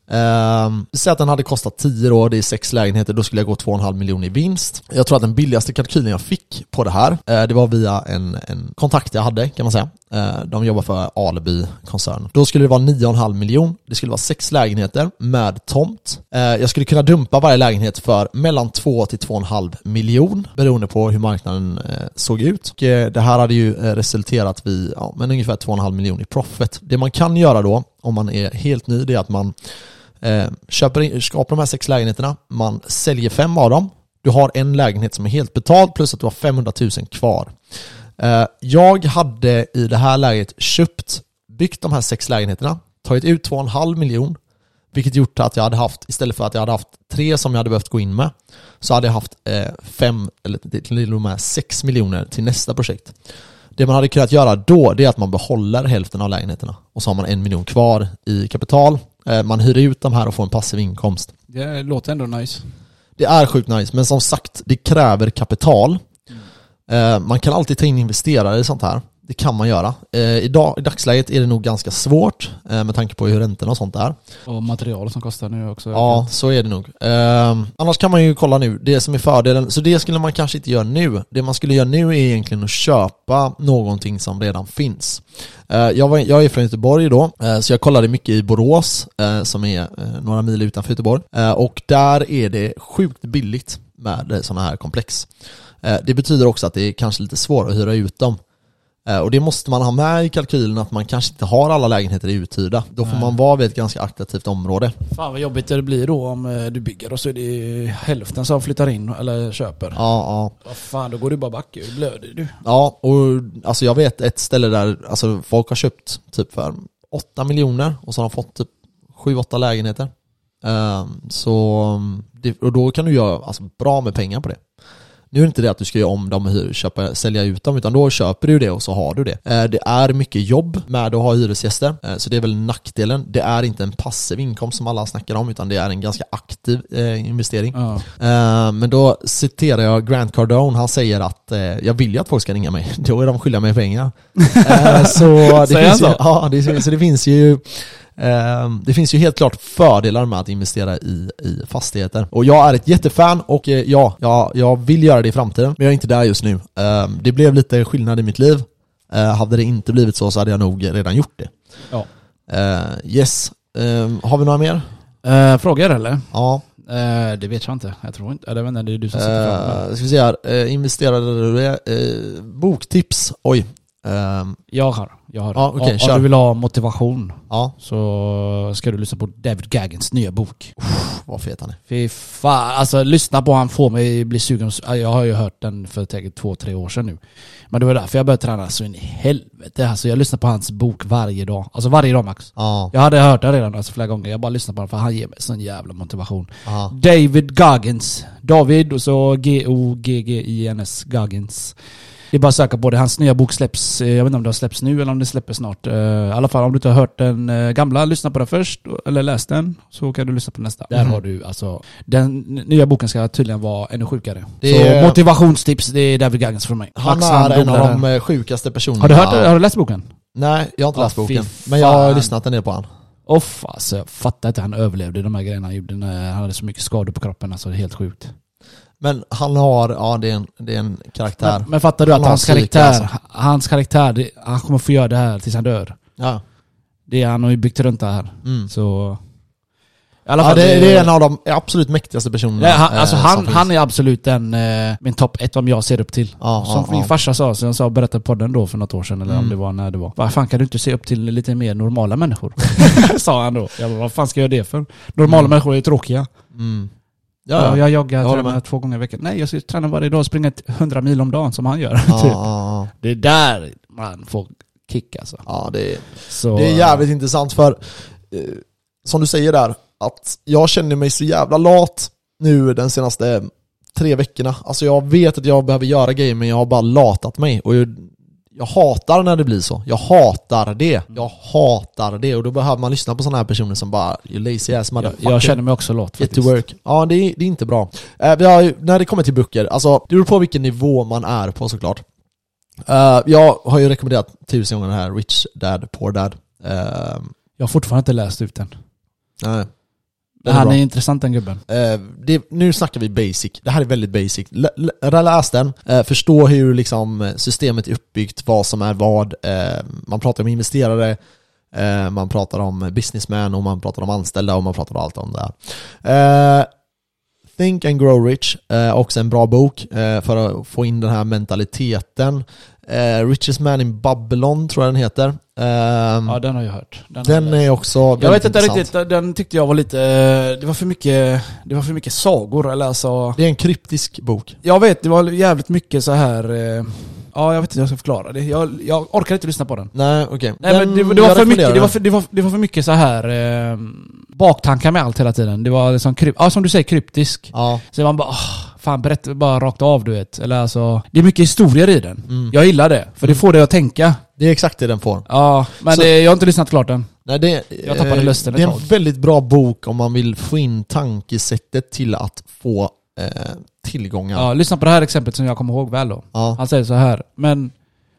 Speaker 1: Um, Säg att den hade kostat 10 då, det är sex lägenheter, då skulle jag gå 2,5 miljoner i vinst. Jag tror att den billigaste kalkylen jag fick på det här, eh, det var via en, en kontakt jag hade kan man säga. Eh, de jobbar för Alibi koncern. Då skulle det vara 9,5 miljon, det skulle vara sex lägenheter med tomt. Eh, jag skulle kunna dumpa varje lägenhet för mellan 2 till 2,5 miljon beroende på hur marknaden eh, såg ut. Och, eh, det här hade ju eh, resulterat vid ja, men ungefär 2,5 miljon i profit. Det man kan göra då, om man är helt ny, det är att man Eh, köper in, skapar de här sex lägenheterna, man säljer fem av dem. Du har en lägenhet som är helt betald plus att du har 500 000 kvar. Eh, jag hade i det här läget köpt, byggt de här sex lägenheterna, tagit ut 2,5 miljon, vilket gjort att jag hade haft, istället för att jag hade haft tre som jag hade behövt gå in med, så hade jag haft eh, fem, eller till och med sex miljoner till nästa projekt. Det man hade kunnat göra då, det är att man behåller hälften av lägenheterna och så har man en miljon kvar i kapital. Eh, Man hyr ut de här och får en passiv inkomst.
Speaker 2: Det låter ändå nice.
Speaker 1: Det är sjukt nice, men som sagt, det kräver kapital. Eh, Man kan alltid ta in investerare i sånt här. Det kan man göra. Eh, Idag, I dagsläget är det nog ganska svårt eh, med tanke på hur räntorna och sånt är.
Speaker 2: Och material som kostar nu också.
Speaker 1: Ja, så är det nog. Ehm, annars kan man ju kolla nu, det som är fördelen, så det skulle man kanske inte göra nu. Det man skulle göra nu är egentligen att köpa någonting som redan finns. Eh, jag, var, jag är från Göteborg då, eh, så jag kollade mycket i Borås, eh, som är eh, några mil utanför Göteborg. Eh, och där är det sjukt billigt Ehm, med sådana här komplex. Eh, det betyder också att det är kanske lite svårt att hyra ut dem. Eh, Eh, Och det måste man ha med i kalkylen att man kanske inte har alla lägenheter uthyrda. Då får man vara vid ett ganska attraktivt område.
Speaker 2: Fan vad jobbigt det blir då om eh, du bygger och så är det hälften som flyttar in eller köper.
Speaker 1: Ja, ja.
Speaker 2: Vad fan, då går du bara back ur. Blöder du?
Speaker 1: Ja, och alltså jag vet ett ställe där alltså folk har köpt typ för 8 miljoner och så har de fått typ 7-8 lägenheter. Ehm, så, mm, det, och då kan du göra alltså, bra med pengar på det. Nu är det inte det att du ska göra om dem och hyr, köpa, sälja ut dem, utan då köper du det och så har du det. Eh, Det är mycket jobb med att ha hyresgäster, eh, så det är väl nackdelen. Det är inte en passiv inkomst som alla snackar om, utan det är en ganska aktiv eh, investering.
Speaker 2: Ja.
Speaker 1: Eh, Men då citerar jag Grant Cardone, han säger att eh, jag vill ju att folk ska ringa mig, (laughs) då är de skyldiga mig pengar.
Speaker 2: (laughs)
Speaker 1: Eh, så, det
Speaker 2: Säger
Speaker 1: finns ju,
Speaker 2: han så?
Speaker 1: ja, det, så det finns ju eh, det finns ju helt klart fördelar med att investera i, i fastigheter. Och jag är ett jättefan och eh, ja, jag, jag vill göra det i framtiden, men jag är inte där just nu. Eh, Det blev lite skillnad i mitt liv. Eh, Hade det inte blivit så så hade jag nog redan gjort det.
Speaker 2: Ja.
Speaker 1: Eh, Yes, Eh, har vi några mer?
Speaker 2: Eh, frågor eller?
Speaker 1: Ja.
Speaker 2: Eh, det vet jag inte. Jag tror inte. Eller vänta, det är du som sitter framför mig.
Speaker 1: Uh, ska vi se här, Eh, investerare, eh, boktips, oj. Ehm,
Speaker 2: Jag har. Jag har.
Speaker 1: Ja, okej,
Speaker 2: Om- om
Speaker 1: kör.
Speaker 2: du vill ha motivation
Speaker 1: ja,
Speaker 2: så ska du lyssna på David Gaggins nya bok.
Speaker 1: vad fet han är.
Speaker 2: Fy fan, alltså lyssna på han får mig bli sugen. Jag har ju hört den för säkert två, tre år sedan nu. Men det var därför jag började träna så in i helvete. Alltså jag lyssnar på hans bok varje dag. Alltså varje dag max.
Speaker 1: Ja,
Speaker 2: Jag hade hört den redan alltså, flera gånger. Jag bara lyssnar på den för han ger mig sån jävla motivation.
Speaker 1: ja.
Speaker 2: David Goggins. David och så G-O-G-G-I-N-S. Goggins. Det är bara att söka på det. Hans nya bok släpps, eh, jag vet inte om det har släpps nu eller om det släpps snart. Eh, I alla fall om du inte har hört den eh, gamla, lyssna på den först. Eller läs den, så kan du lyssna på nästa. Där har du alltså, den n- nya boken ska tydligen vara ännu sjukare.
Speaker 1: Det
Speaker 2: så
Speaker 1: är-
Speaker 2: motivationstips, det är David Goggins för mig.
Speaker 1: Han
Speaker 2: Max,
Speaker 1: är en
Speaker 2: googlar
Speaker 1: av de
Speaker 2: här.
Speaker 1: eh, sjukaste personerna.
Speaker 2: Har du hört Har du läst boken?
Speaker 1: Nej, jag har inte
Speaker 2: Ja,
Speaker 1: läst boken.
Speaker 2: fy
Speaker 1: Men jag har
Speaker 2: fan.
Speaker 1: lyssnat en del på han.
Speaker 2: Åh fan, alltså, jag fattar inte hur han överlevde de här grejerna han gjorde. När han hade så mycket skador på kroppen, alltså det är helt sjukt.
Speaker 1: Men han har, ja det är en, det är en karaktär.
Speaker 2: Men, men fattar du
Speaker 1: Han
Speaker 2: att
Speaker 1: har
Speaker 2: hans
Speaker 1: psyke,
Speaker 2: karaktär,
Speaker 1: alltså.
Speaker 2: hans karaktär, det, han kommer få göra det här tills han dör.
Speaker 1: Ja.
Speaker 2: Det är, han har ju byggt runt det här.
Speaker 1: Mm.
Speaker 2: Så... I alla
Speaker 1: Ja,
Speaker 2: fall,
Speaker 1: det, det är en av de absolut mäktigaste personerna.
Speaker 2: Nej, han, alltså
Speaker 1: eh, som
Speaker 2: han,
Speaker 1: finns.
Speaker 2: han är absolut den, eh, min topp ett om jag ser upp till.
Speaker 1: Ja,
Speaker 2: Som
Speaker 1: ja, Mm.
Speaker 2: min
Speaker 1: ja.
Speaker 2: farsa sa, som jag sa berättade på podden då för något år sedan, eller om det var när det var. Vad fan kan du inte se upp till lite mer normala människor? (laughs) sa han då. Jag bara, vad fan ska jag göra det för? Normala människor är tråkiga.
Speaker 1: Mm.
Speaker 2: Ja,
Speaker 1: Ja, ja.
Speaker 2: Jag joggar,
Speaker 1: Jag håller
Speaker 2: tränar
Speaker 1: med.
Speaker 2: två gånger i veckan. Nej, jag ska träna varje dag och springa ett 100 mil om dagen som han gör.
Speaker 1: Ja,
Speaker 2: (laughs) typ.
Speaker 1: ja, ja.
Speaker 2: Det är där man får kick alltså.
Speaker 1: ja det är
Speaker 2: Så,
Speaker 1: Det är jävligt intressant för, eh, som du säger där, att jag känner mig så jävla lat nu den senaste tre veckorna. Alltså jag vet att jag behöver göra grejer men jag har bara latat mig. Och jag, jag hatar när det blir så. Jag hatar det. Jag hatar det. Och då behöver man lyssna på sådana här personer som bara, you lazy ass
Speaker 2: Jag,
Speaker 1: motherfucker.
Speaker 2: jag känner mig också lat
Speaker 1: Get
Speaker 2: faktiskt.
Speaker 1: to work. Ja, det är, det är inte bra. Eh, vi har, ju- när det kommer till böcker, alltså det beror på vilken nivå man är på såklart. Eh, jag har ju rekommenderat tusen gånger den här Rich Dad, Poor Dad. Eh,
Speaker 2: Jag har fortfarande inte läst ut den.
Speaker 1: nej. Den är
Speaker 2: Han
Speaker 1: bra.
Speaker 2: är, intressant den gubben.
Speaker 1: Eh, det, nu snackar vi basic. Det här är väldigt basic. L- l- läs den, eh, förstå hur liksom, systemet är uppbyggt, vad som är vad. Eh, man pratar om investerare, eh, man pratar om businessman och man pratar om anställda och man pratar om allt om det här. Eh, Think and Grow Rich, eh, också en bra bok eh, för att få in den här mentaliteten. Eh, Richest Man in Babylon tror jag den heter. Eh,
Speaker 2: Ja, den har jag hört. Den har
Speaker 1: den
Speaker 2: läst.
Speaker 1: är också väldigt
Speaker 2: jag vet inte
Speaker 1: intressant.
Speaker 2: riktigt, den tyckte jag var lite... eh, Det var för mycket, det var för mycket sagor eller alltså...
Speaker 1: Det är en kryptisk bok.
Speaker 2: Jag vet, det var jävligt mycket så här... eh, Ja, jag vet inte hur jag ska förklara det. Jag, jag orkar inte lyssna på den.
Speaker 1: Nej, okej.
Speaker 2: Nej,
Speaker 1: Den-
Speaker 2: men det, det, var
Speaker 1: jag
Speaker 2: för mycket, det,
Speaker 1: rekommenderar
Speaker 2: var för, det, var, det var för mycket så här eh, baktankar med allt hela tiden. Det var liksom kryp, ja, som du säger, kryptisk.
Speaker 1: den. Ja,
Speaker 2: Så man bara, "Ah, fan berätta bara rakt av du vet. Eller alltså, det är mycket historier i den.
Speaker 1: Mm.
Speaker 2: Jag gillar det, för det får dig att tänka.
Speaker 1: det är exakt det den får.
Speaker 2: Ja, men
Speaker 1: Så-
Speaker 2: det, jag har inte lyssnat klart än.
Speaker 1: Nej, det,
Speaker 2: Jag tappade
Speaker 1: eh,
Speaker 2: lusten ett
Speaker 1: Det är
Speaker 2: tag.
Speaker 1: en väldigt bra bok om man vill få in tankesättet till att få eh, tillgångar.
Speaker 2: Ja. lyssna på det här exemplet som jag kommer ihåg väl då.
Speaker 1: Ja.
Speaker 2: Han säger så här, men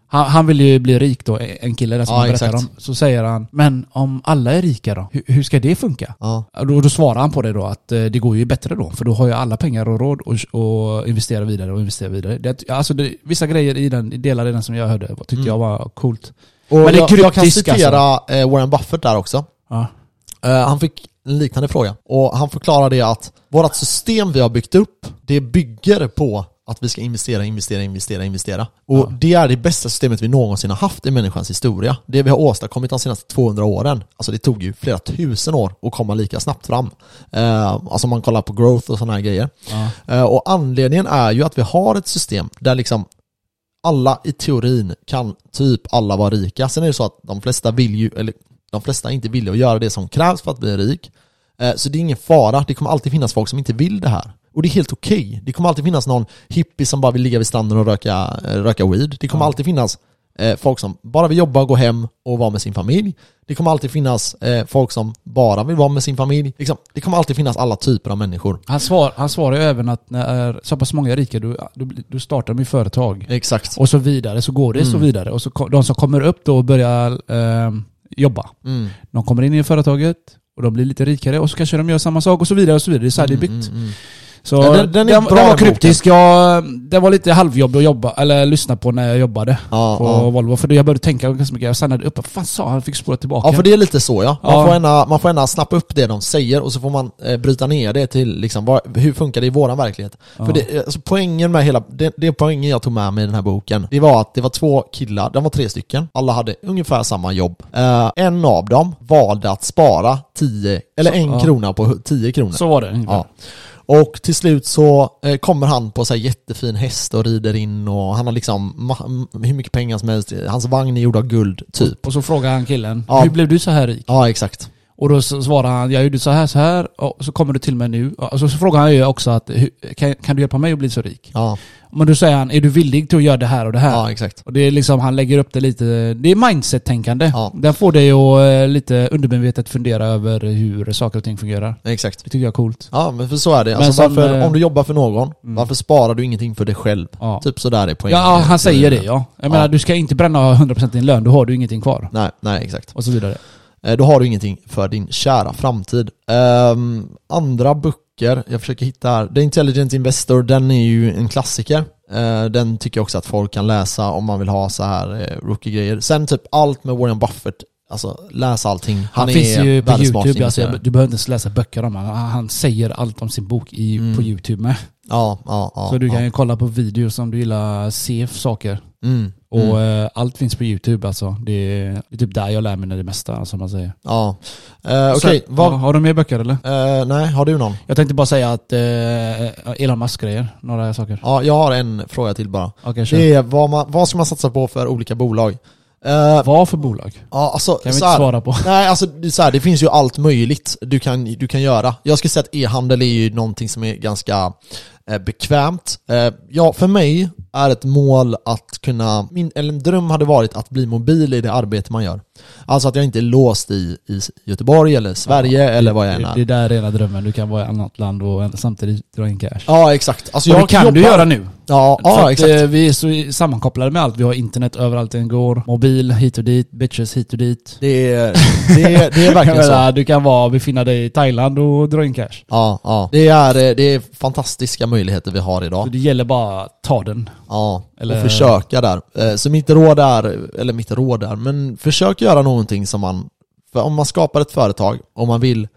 Speaker 2: han, han vill ju bli rik då, en kille där som
Speaker 1: Ja,
Speaker 2: han berättar
Speaker 1: exakt.
Speaker 2: om. Så säger han, men om alla är rika då, hur, hur ska det funka?
Speaker 1: Ja.
Speaker 2: Då, då svarar han på det då att eh, det går ju bättre då, för då har ju alla pengar och råd och, och investera vidare och investera vidare. Det, alltså det, vissa grejer i den, delar i den som jag hörde tyckte jag var coolt.
Speaker 1: Mm. Och
Speaker 2: Men det är
Speaker 1: jag, jag kan
Speaker 2: kryptisk, alltså.
Speaker 1: citera eh, Warren Buffett där också.
Speaker 2: Ja.
Speaker 1: Eh, han fick en liknande fråga. Och han förklarade det att vårt system vi har byggt upp, det bygger på att vi ska investera, investera, investera, investera. Och det är det bästa systemet vi någonsin har haft i människans historia. Det vi har åstadkommit de senaste 200 åren, alltså det tog ju flera tusen år att komma lika snabbt fram. Eh, alltså om man kollar på growth och sådana här grejer. Eh, och anledningen är ju att vi har ett system där liksom alla i teorin kan typ alla vara rika. Sen är det så att de flesta vill ju, eller de flesta är inte villiga att göra det som krävs för att bli rik. Eh, Så det är ingen fara, det kommer alltid finnas folk som inte vill det här. Och det är helt okej. Det kommer alltid finnas någon hippie som bara vill ligga vid stranden och röka, eh, röka weed. Det kommer alltid finnas eh, folk som bara vill jobba, gå hem och vara med sin familj. Det kommer alltid finnas eh, folk som bara vill vara med sin familj. Liksom, det kommer alltid finnas alla typer av människor.
Speaker 2: Han, svar, han svarar ju även att när eh, så pass många är rika, då, då, blir- då startar de ju företag.
Speaker 1: Exakt.
Speaker 2: Och så vidare, så går det
Speaker 1: Mm.
Speaker 2: så vidare. Och så ko- de som kommer upp då och börjar eh, jobba.
Speaker 1: Mm.
Speaker 2: De kommer in i företaget och de blir lite rikare och så kanske de gör samma sak och så vidare och så vidare. Det är så här det är byggt. Så
Speaker 1: Ja,
Speaker 2: den,
Speaker 1: Mm, den- den är bra, den
Speaker 2: var
Speaker 1: boken.
Speaker 2: kryptisk. Jag, den var lite halvjobbig att jobba, eller lyssna på när jag jobbade
Speaker 1: Ja,
Speaker 2: på
Speaker 1: ja.
Speaker 2: Volvo. För då jag började tänka ganska mycket. Jag stannade upp. Vad fan sa han? Fick spola tillbaka.
Speaker 1: Ja för det är lite så ja. Man,
Speaker 2: Ja.
Speaker 1: Får ena, man får ena snappa upp det de säger och så får man eh, bryta ner det till liksom, vad, hur funkar det i våran verklighet? För det, eh, alltså, poängen med hela, det, det poängen jag tog med mig i den här boken, det var att det var två killar, de var tre stycken, alla hade ungefär samma jobb. Eh, en av dem valde att spara 10, eller en
Speaker 2: ja.
Speaker 1: krona på hu- 10 kronor.
Speaker 2: Så var det. ungefär.
Speaker 1: Ja. Och till slut så eh, kommer han på så här jättefin häst och rider in och han har liksom ma- m- hur mycket pengar som helst, hans vagn är gjord av guld typ.
Speaker 2: Och så frågar han killen,
Speaker 1: Ja.
Speaker 2: hur blev du så här rik?
Speaker 1: Ja exakt.
Speaker 2: Och då så svarar han, jag gjorde så här, så här, och så kommer du till mig nu. Och så, så frågar han ju också att, "Hur- kan, kan du hjälpa mig att bli så rik?
Speaker 1: Ja,
Speaker 2: Men då säger han, är du villig till att göra det här och det här?
Speaker 1: ja exakt.
Speaker 2: Och det är liksom, han lägger upp det lite, det är mindset-tänkande.
Speaker 1: Ja.
Speaker 2: Den får dig att eh, lite undermedvetet fundera över hur saker och ting fungerar.
Speaker 1: Exakt.
Speaker 2: Det tycker jag är coolt.
Speaker 1: Ja men för så är det.
Speaker 2: Men
Speaker 1: Alltså,
Speaker 2: som,
Speaker 1: varför,
Speaker 2: eh, Mm.
Speaker 1: om du jobbar för någon, varför sparar du ingenting för dig själv?
Speaker 2: Ja.
Speaker 1: Typ sådär är poängen. Eh,
Speaker 2: Ja, han säger det ja. Jag
Speaker 1: Ja.
Speaker 2: menar, du ska inte bränna 100% av din lön, då har du ingenting kvar.
Speaker 1: Nej, nej exakt.
Speaker 2: Och så vidare.
Speaker 1: Eh, Då har du ingenting för din kära framtid. Ehm, andra böcker, jag försöker hitta här. The Intelligent Investor, den är ju en klassiker. Eh, den tycker jag också att folk kan läsa om man vill ha så här eh, rookie-grejer. Sen typ allt med Warren Buffett, alltså läs allting. Han,
Speaker 2: Han,
Speaker 1: är
Speaker 2: finns ju
Speaker 1: världens
Speaker 2: på
Speaker 1: smartaste
Speaker 2: YouTube, alltså,
Speaker 1: investerare.
Speaker 2: jag- du behöver inte ens läsa böcker om honom. Han han säger allt om sin bok i, på YouTube med.
Speaker 1: Ja, ja, Mm. ja.
Speaker 2: Så du kan
Speaker 1: ja.
Speaker 2: ju kolla på videos om du gillar se saker.
Speaker 1: Mm,
Speaker 2: Och
Speaker 1: mm.
Speaker 2: eh, allt finns på YouTube alltså. Det är, det är typ där jag lär mig det mesta, som man säger.
Speaker 1: Ja. Eh,
Speaker 2: Så-
Speaker 1: Okej, vad...
Speaker 2: har, har du mer böcker eller?
Speaker 1: eh, nej, har du någon?
Speaker 2: Jag tänkte bara säga att eh, Elon Musk-grejer, några saker.
Speaker 1: Ja, jag har en fråga till bara.
Speaker 2: Okej, kör.
Speaker 1: Det är vad, man, vad ska man satsa på för olika bolag? Eh,
Speaker 2: Vad för bolag?
Speaker 1: ja, alltså,
Speaker 2: Kan vi
Speaker 1: så
Speaker 2: inte
Speaker 1: här,
Speaker 2: svara på.
Speaker 1: Nej, alltså det, är så här, det finns ju allt möjligt du kan, du kan göra. Jag skulle säga att e-handel är ju någonting som är ganska eh, bekvämt. Eh, ja, för mig är ett mål att kunna, min, eller en dröm hade varit att bli mobil i det arbete man gör. Alltså att jag inte är låst i, i Göteborg eller Sverige eller vad jag än
Speaker 2: Det,
Speaker 1: är.
Speaker 2: det där är rena drömmen. Du kan vara i ett annat land och en- samtidigt dra in cash.
Speaker 1: Ja, exakt. Alltså,
Speaker 2: och det
Speaker 1: jag
Speaker 2: kan du
Speaker 1: jobbar-
Speaker 2: göra nu.
Speaker 1: Ja,
Speaker 2: För
Speaker 1: ja
Speaker 2: att,
Speaker 1: exakt.
Speaker 2: eh, vi är så i- sammankopplade med allt. Vi har internet överallt den går. Mobil hit och dit, bitches hit och dit.
Speaker 1: Det är, det, är, det är (laughs) verkligen
Speaker 2: Jag
Speaker 1: så.
Speaker 2: menar, Du kan vara, befinna dig i Thailand och dra in cash.
Speaker 1: Ja, ja. Det, är, eh, det är fantastiska möjligheter vi har
Speaker 2: Så
Speaker 1: idag.
Speaker 2: det gäller bara att ta den.
Speaker 1: Ja,
Speaker 2: Eller-
Speaker 1: och försöka där. Eh, Så mitt råd är, eller mitt råd är, men försök göra någonting som man, för om man skapar ett företag, om man vill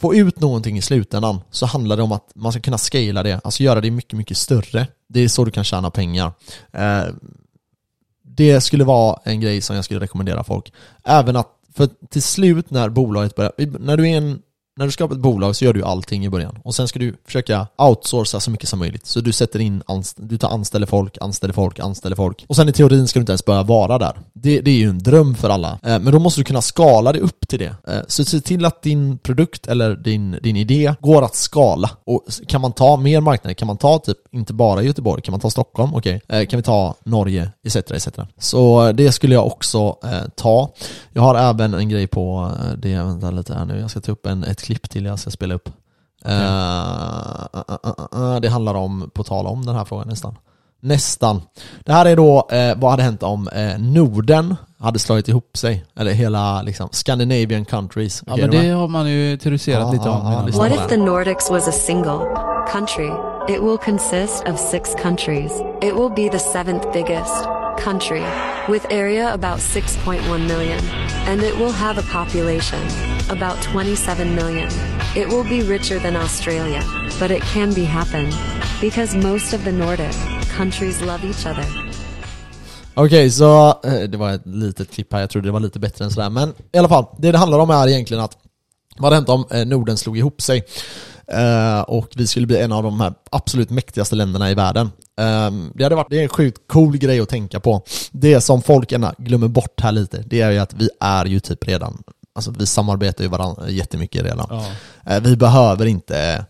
Speaker 1: få ut någonting i slutändan, så handlar det om att man ska kunna scala det, alltså göra det mycket, mycket större. Det är så du kan tjäna pengar. Eh, Det skulle vara en grej som jag skulle rekommendera folk. Även att, för till slut när bolaget börjar, när du är en när du skapar ett bolag så gör du allting i början och sen ska du försöka outsourca så mycket som möjligt. Så du sätter in, anst- du tar anställer folk, anställer folk, anställer folk. Och sen i teorin ska du inte ens börja vara där. Det, det är ju en dröm för alla. Eh, men då måste du kunna skala det upp till det. Eh, så se till att din produkt eller din, din idé går att skala. Och s- kan man ta mer marknader? Kan man ta typ, inte bara Göteborg, kan man ta Stockholm? Okej. Eh, kan vi ta Norge? Etc, etc. Så eh, det skulle jag också eh, ta. Jag har även en grej på eh, det, vänta lite här nu, jag ska ta upp en, ett klipp till jag ska spela upp. Eh, eh, eh, eh, eh, det handlar om, på tal om den här frågan nästan. Nästan. Det här är då, eh, vad hade hänt om eh, Norden hade slagit ihop sig? Eller hela liksom, Scandinavian countries.
Speaker 2: Ja,
Speaker 1: Okej,
Speaker 2: men
Speaker 1: de här-
Speaker 2: det har man ju teoriserat
Speaker 1: Ja,
Speaker 2: lite
Speaker 1: ja,
Speaker 2: om.
Speaker 1: ja,
Speaker 2: innan.
Speaker 1: lyssna.
Speaker 6: What if the Nordics was a single country? It will consist of six countries. It will be the seventh biggest country with area about 6.1 million. And it will have a population about 27 million. It will be richer than Australia, but it can be happen. because most of the Nordic countries love each other.
Speaker 1: Okej, så eh, det var ett litet klipp här, jag trodde det var lite bättre än sådär. Men i alla fall, det det handlar om är egentligen att vad hade hänt om eh, Norden slog ihop sig? Eh, och vi skulle bli en av de här absolut mäktigaste länderna i världen. Eh, det hade varit det är en sjukt cool grej att tänka på. Det som folk gärna glömmer bort här lite, det är ju att vi är ju typ redan, alltså vi samarbetar ju varandra jättemycket redan. Eh, vi behöver inte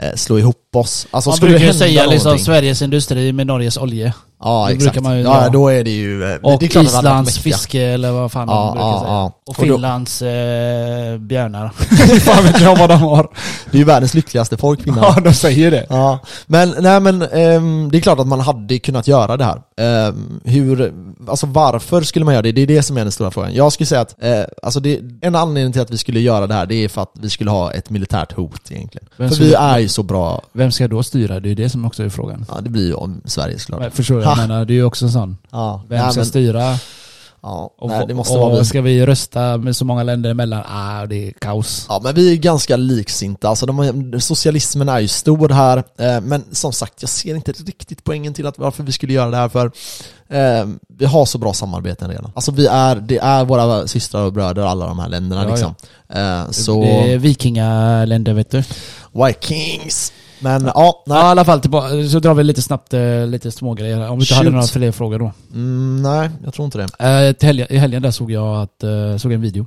Speaker 1: eh, slå ihop oss. Alltså,
Speaker 7: Man
Speaker 1: skulle det
Speaker 7: brukar ju
Speaker 1: hända
Speaker 7: säga liksom
Speaker 1: någonting-
Speaker 7: Sveriges industri med Norges olje.
Speaker 1: Ja,
Speaker 7: det
Speaker 1: exakt.
Speaker 7: brukar man ju
Speaker 1: ja,
Speaker 7: dra.
Speaker 1: då är det ju... eh, det-
Speaker 7: Och
Speaker 1: det är klart att vi hade varit
Speaker 7: Islands
Speaker 1: mäktiga.
Speaker 7: fiske eller vad fan
Speaker 1: Ja,
Speaker 7: man brukar
Speaker 1: ja,
Speaker 7: säga.
Speaker 1: ja.
Speaker 7: Och
Speaker 1: Och då-
Speaker 7: Finlands eh,
Speaker 1: (laughs)
Speaker 7: björnar.
Speaker 2: (laughs) Fan vet jag vad de har.
Speaker 1: Det är ju världens lyckligaste folk kvinnan.
Speaker 2: Ja, de säger det.
Speaker 1: Ja, men nej men ehm, det är klart att man hade kunnat göra det här. Ehm, hur, alltså varför skulle man göra det? Det är det som är den stora frågan. Jag skulle säga att, eh, alltså det, en anledning till att vi skulle göra det här, det är för att vi skulle ha ett militärt hot egentligen.
Speaker 2: Vem
Speaker 1: för
Speaker 2: skulle-
Speaker 1: vi är ju så bra,
Speaker 2: Vem ska då styra? Det är det som också är frågan.
Speaker 1: ja det blir ju om Sverige såklart.
Speaker 2: Nej, Förstår du? Jag
Speaker 1: Ha.
Speaker 2: menar, det är ju också en sån.
Speaker 1: Ja,
Speaker 2: Vem
Speaker 1: nej,
Speaker 2: ska
Speaker 1: men,
Speaker 2: styra?
Speaker 1: ja,
Speaker 2: Och,
Speaker 1: nej, det måste
Speaker 2: och,
Speaker 1: vara vi.
Speaker 2: Ska vi rösta med så många länder emellan? Ah, det är kaos.
Speaker 1: Ja men vi är ganska liksinta, alltså de, socialismen är ju stor här, eh, men som sagt jag ser inte riktigt poängen till att varför vi skulle göra det här för eh, vi har så bra samarbeten redan. Alltså vi är, det är våra systrar och bröder alla de här länderna
Speaker 2: Ja,
Speaker 1: liksom. Eh, så,
Speaker 2: Det är vikingaländer vet du.
Speaker 1: Vikings! Men ja,
Speaker 2: Ja,
Speaker 1: nej.
Speaker 2: i alla fall tillbaka, så drar vi lite snabbt eh, lite smågrejer. Om vi inte hade
Speaker 1: Shoot.
Speaker 2: några fler frågor då.
Speaker 1: Mm, nej, jag tror inte det.
Speaker 2: Eh, till helgen, I helgen där såg jag att, eh, såg en video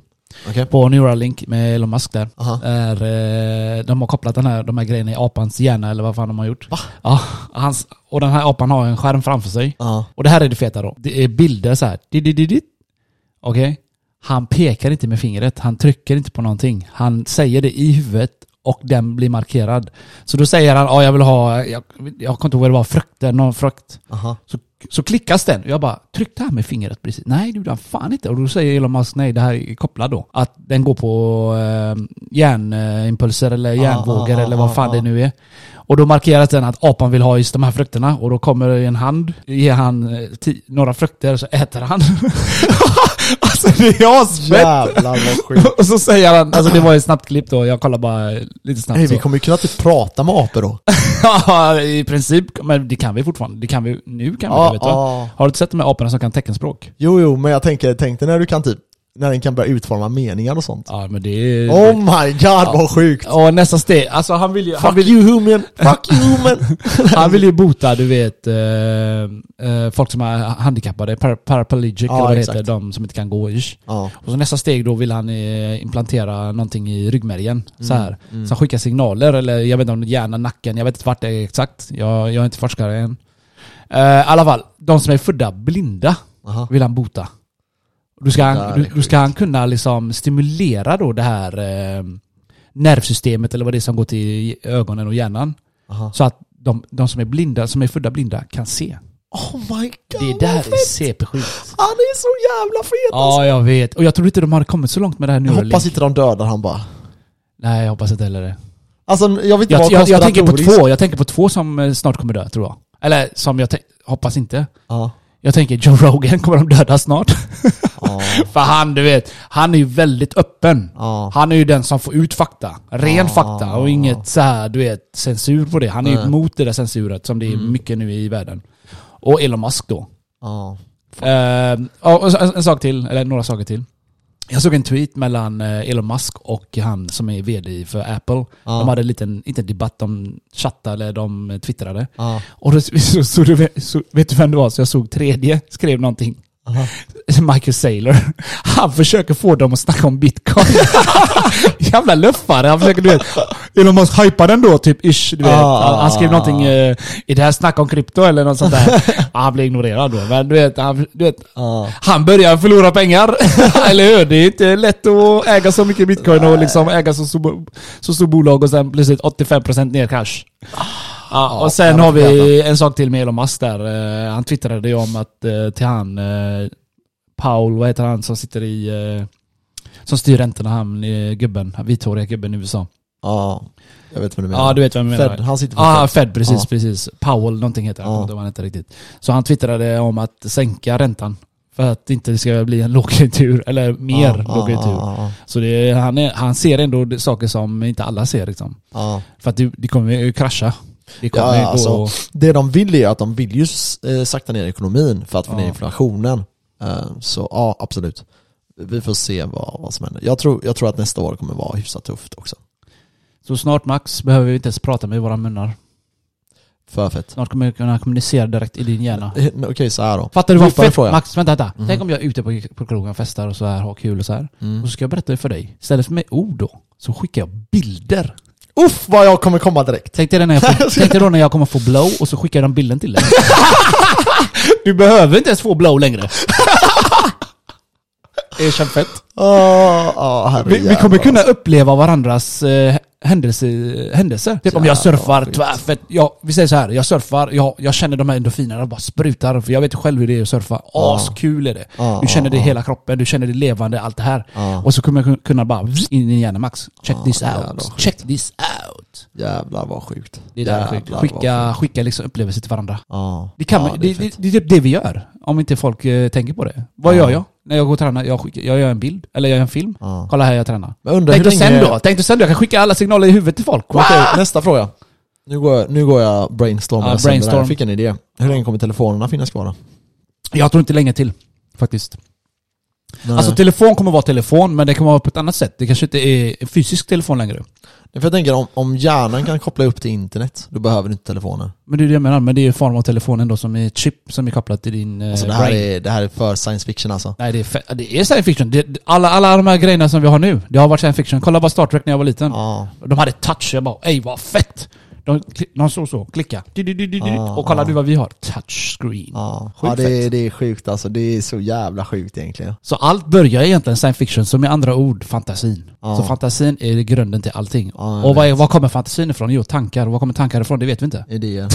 Speaker 1: Okej.
Speaker 2: på Neuralink med Elon Musk där.
Speaker 1: Aha.
Speaker 2: Där, eh, de har kopplat den här, de här grejerna i apans hjärna eller vad fan de har gjort. Ja, hans, och den här apan har en skärm framför sig.
Speaker 1: Ja.
Speaker 2: Och det här är det feta då. Det är bilder så här. Didididid. Okej? Han pekar inte med fingret. Han trycker inte på någonting. Han säger det i huvudet och den blir markerad. Så då säger han, ja jag vill ha, jag, jag kommer inte ihåg vad det var, frukter, någon frukt.
Speaker 1: Aha.
Speaker 2: Så, så klickas den. Jag bara, tryckte här med fingret precis? Nej, det gjorde han fan inte. Och då säger Elon Musk, nej det här är kopplat då. Att den går på eh, hjärnimpulser eller hjärnvågor
Speaker 1: ah,
Speaker 2: eller
Speaker 1: ah,
Speaker 2: vad fan
Speaker 1: ah.
Speaker 2: det nu är. Och då markeras den att apan vill ha just de här frukterna. Och då kommer det en hand, ger han eh, ti- några frukter så äter han. (laughs) alltså det är asfett!
Speaker 1: Jävlar vad
Speaker 2: (laughs)
Speaker 1: sjukt.
Speaker 2: Och så säger han, alltså det var ju ett snabbt klipp då, jag kollar bara lite snabbt
Speaker 1: Hej, vi
Speaker 2: så.
Speaker 1: kommer ju kunna typ prata med apor då.
Speaker 2: (laughs) Ja, i princip. Men det kan vi fortfarande. Det kan vi, nu kan vi
Speaker 1: Ja,
Speaker 2: det, vet du.
Speaker 1: ja.
Speaker 2: Har du inte sett de här aporna som kan teckenspråk?
Speaker 1: Jo, jo, men jag tänker, tänk dig när du kan typ, när den kan börja utforma meningar och sånt.
Speaker 2: Ja, men det är...
Speaker 1: Oh my god vad sjukt!
Speaker 2: Och nästa steg, alltså han vill ju... Han
Speaker 1: Fuck
Speaker 2: vill,
Speaker 1: you human! Fuck you human!
Speaker 2: han vill ju bota, du vet, eh, eh, folk som är handikappade, par paraplegic eller vad det
Speaker 1: exakt.
Speaker 2: heter, de som inte kan gå. ish.
Speaker 1: (laughs) Ja.
Speaker 2: Och så nästa steg då vill han eh, implantera någonting i ryggmärgen. Så
Speaker 1: Mm,
Speaker 2: här. Så han skickar signaler, eller jag vet inte om det är hjärnan, nacken, jag vet inte vart det är exakt. Jag, jag är inte forskare än. Eh, I alla fall, de som är födda blinda
Speaker 1: Aha.
Speaker 2: vill han bota. Då ska
Speaker 1: där är
Speaker 2: han, då, då
Speaker 1: sjukt.
Speaker 2: ska han kunna liksom stimulera då det här eh, nervsystemet eller vad det är som går till ögonen och hjärnan.
Speaker 1: Aha.
Speaker 2: Så att de, de som är blinda, som är födda blinda kan se.
Speaker 1: Oh my god
Speaker 2: Det
Speaker 1: vad
Speaker 2: där
Speaker 1: fett.
Speaker 2: är CP-sjukt.
Speaker 1: Han är så jävla fet alltså.
Speaker 2: Ja, jag vet. Och jag tror inte de hade kommit så långt med det här nu.
Speaker 1: Jag hoppas inte de dödar han bara.
Speaker 2: Nej, jag hoppas inte heller det.
Speaker 1: Alltså jag vet inte
Speaker 2: Jag,
Speaker 1: vad
Speaker 2: jag, jag tänker på
Speaker 1: konspiratoriskt-
Speaker 2: två. Jag tänker på två som eh, snart kommer dö, tror jag. Eller som jag tän- hoppas inte.
Speaker 1: Ja.
Speaker 2: Jag tänker Joe (laughs) Rogan kommer de döda snart.
Speaker 1: Ja.
Speaker 2: (laughs) För han, du vet, han är ju väldigt öppen.
Speaker 1: Ja.
Speaker 2: Han är ju den som får ut fakta. Ren fakta och inget så här, du vet, censur på det. Han är ju emot det där censuret som det är
Speaker 1: Mm.
Speaker 2: mycket nu i världen. Och Elon Musk då.
Speaker 1: ja.
Speaker 2: Ehm, ja, och så- en, en sak till, eller några saker till. Jag såg en tweet mellan eh, Elon Musk och han som är VD för Apple. De hade en liten, inte en debatt, de chattade eller de eh, twittrade.
Speaker 1: Ja.
Speaker 2: Och då, (laughs) så, så, så, så, vet du vem det var? Så jag såg tredje skrev någonting. (laughs) Michael Saylor. Han försöker få dem att snacka om bitcoin. (laughs) Jävla luffare. Han försöker, du vet, Elon Musk hypar den då, typ ish. Du vet.
Speaker 1: Ah.
Speaker 2: Han, han skrev någonting, eh, är det här snack om krypto eller något
Speaker 1: (laughs)
Speaker 2: sånt där? Ja, han blev ignorerad då. Men du vet, han, du vet,
Speaker 1: Ja.
Speaker 2: han börjar förlora pengar. eller hur? Det är inte lätt att äga så mycket bitcoin och liksom äga så stor, så stor bolag och sen plötsligt 85% ner cash. Ja, och sen
Speaker 1: jävla
Speaker 2: har vi
Speaker 1: jävlar.
Speaker 2: en sak till med Elon Musk där. Eh, Han twittrade ju om att eh, till han eh, Paul, vad heter han som sitter i... eh, Som styr räntorna, han eh, gubben, han vithåriga gubben i USA.
Speaker 1: ja. Jag vet vad du menar.
Speaker 2: Ja, du vet vem jag menar.
Speaker 1: Fed. Han sitter på
Speaker 2: Ja,
Speaker 1: Fed.
Speaker 2: Fed. precis,
Speaker 1: Ja.
Speaker 2: precis. Powell någonting heter han,
Speaker 1: Ja.
Speaker 2: jag kommer inte ihåg vad han heter riktigt. Så han twittrade om att sänka räntan. För att det inte ska bli en (laughs) lågkonjunktur, eller mer
Speaker 1: Ja,
Speaker 2: lågkonjunktur.
Speaker 1: ja, ja,
Speaker 2: Så det, är- han, är, han ser ändå saker som inte alla ser liksom.
Speaker 1: ja.
Speaker 2: För att det, det kommer ju krascha. Det kommer
Speaker 1: Ja,
Speaker 2: ju
Speaker 1: ja,
Speaker 2: gå...
Speaker 1: alltså, det de vill är ju att de vill ju s- eh, sakta ner ekonomin för att få ner
Speaker 2: Ja.
Speaker 1: inflationen. Eh, Så ja, absolut. Vi får se vad, vad som händer. Jag tror, jag tror att nästa år kommer vara hyfsat tufft också.
Speaker 2: Så snart Max behöver vi inte ens prata med våra munnar.
Speaker 1: För fett.
Speaker 2: Snart kommer jag kunna kommunicera direkt i din hjärna.
Speaker 1: Eh, Okej, så här då.
Speaker 2: Fattar du vad
Speaker 1: Djupare
Speaker 2: fett
Speaker 1: fråga.
Speaker 2: Max, vänta, vänta. Tänk om jag är ute på, på krogen och festar och så här, har kul och så här. Och så ska jag berätta det för dig. Istället för med ord då, så skickar jag bilder.
Speaker 1: Uff vad jag kommer komma direkt!
Speaker 2: Tänk dig, det när jag får, tänk dig då när jag kommer få blow och så skickar jag den bilden till dig. du behöver inte ens få blow längre. Det känns fett.
Speaker 1: Åh, åh, herrejävlar.
Speaker 2: Vi, vi kommer kunna uppleva varandras eh, händelse, händelser. Typ om jag surfar tvärfett. Jag, vi säger så här, jag surfar, jag, jag känner de här endorfinerna och bara sprutar. För jag vet ju själv hur det är att surfa. Askul är det.
Speaker 1: Ja,
Speaker 2: Du känner det i
Speaker 1: ja,
Speaker 2: hela kroppen, du känner det levande, allt det här.
Speaker 1: Ja.
Speaker 2: Och så kommer jag kun- kunna bara vzz, in i hjärnan Max. Check
Speaker 1: Ja,
Speaker 2: this
Speaker 1: jävlar
Speaker 2: out.
Speaker 1: skit.
Speaker 2: Check this out.
Speaker 1: Jävlar vad sjukt.
Speaker 2: Det är där
Speaker 1: Jävlar, vad
Speaker 2: skicka,
Speaker 1: sjukt. Ah.
Speaker 2: skicka liksom upplevelser till varandra.
Speaker 1: Ja.
Speaker 2: Det, kan
Speaker 1: Ja,
Speaker 2: man,
Speaker 1: det är
Speaker 2: det, det,
Speaker 1: fett.
Speaker 2: det är typ det vi gör. Om inte folk eh, tänker på det. Vad
Speaker 1: Ja.
Speaker 2: gör jag? När jag går och tränar, jag, skickar, jag gör en bild. Eller jag gör en film.
Speaker 1: Ja.
Speaker 2: Kolla här jag tränar.
Speaker 1: Men undrar
Speaker 2: Tänk
Speaker 1: hur
Speaker 2: dig
Speaker 1: länge...
Speaker 2: sen då? Tänk dig sen då? Jag kan skicka alla signaler i huvudet till folk. Wow.
Speaker 1: Okej, nästa fråga. Nu går jag, nu går jag brainstormar
Speaker 2: Ja,
Speaker 1: sönder det här.
Speaker 2: brainstorm.
Speaker 1: Jag fick en idé. Hur länge kommer telefonerna finnas kvar då?
Speaker 2: Jag tror inte länge till. Faktiskt.
Speaker 1: Nej.
Speaker 2: Alltså telefon kommer vara telefon, men det kan vara på ett annat sätt. Det kanske inte är en fysisk telefon längre.
Speaker 1: för jag tänker om, om hjärnan kan koppla upp till internet, då behöver du inte telefonen.
Speaker 2: Men det är det jag menar. Men det är ju en form av telefonen då som är ett chip som är kopplat till din eh,
Speaker 1: Alltså det här,
Speaker 2: brain.
Speaker 1: är, det här är för science fiction alltså.
Speaker 2: Nej, det är, fe- det är science fiction. Det, det- alla, alla de här grejerna som vi har nu, det har varit science fiction. Kolla bara Star Trek när jag var liten.
Speaker 1: Ja.
Speaker 2: De hade touch, jag bara ey vad fett! De, kli- de såg så, klicka. Du, du, du, du, du.
Speaker 1: Ja,
Speaker 2: och kolla
Speaker 1: ja.
Speaker 2: nu vad vi har. Touchscreen.
Speaker 1: Ja,
Speaker 2: Sjukt
Speaker 1: ja det, är,
Speaker 2: fett.
Speaker 1: det är sjukt alltså. Det är så jävla sjukt egentligen.
Speaker 2: Så allt börjar egentligen science fiction, som med andra ord fantasin.
Speaker 1: Ja.
Speaker 2: Så fantasin är grunden till allting.
Speaker 1: Ja, jag
Speaker 2: och vad, är, vad kommer fantasin ifrån? Jo, tankar. Och var kommer tankar ifrån? Det vet
Speaker 1: (laughs)
Speaker 2: vi inte.
Speaker 1: Idéer.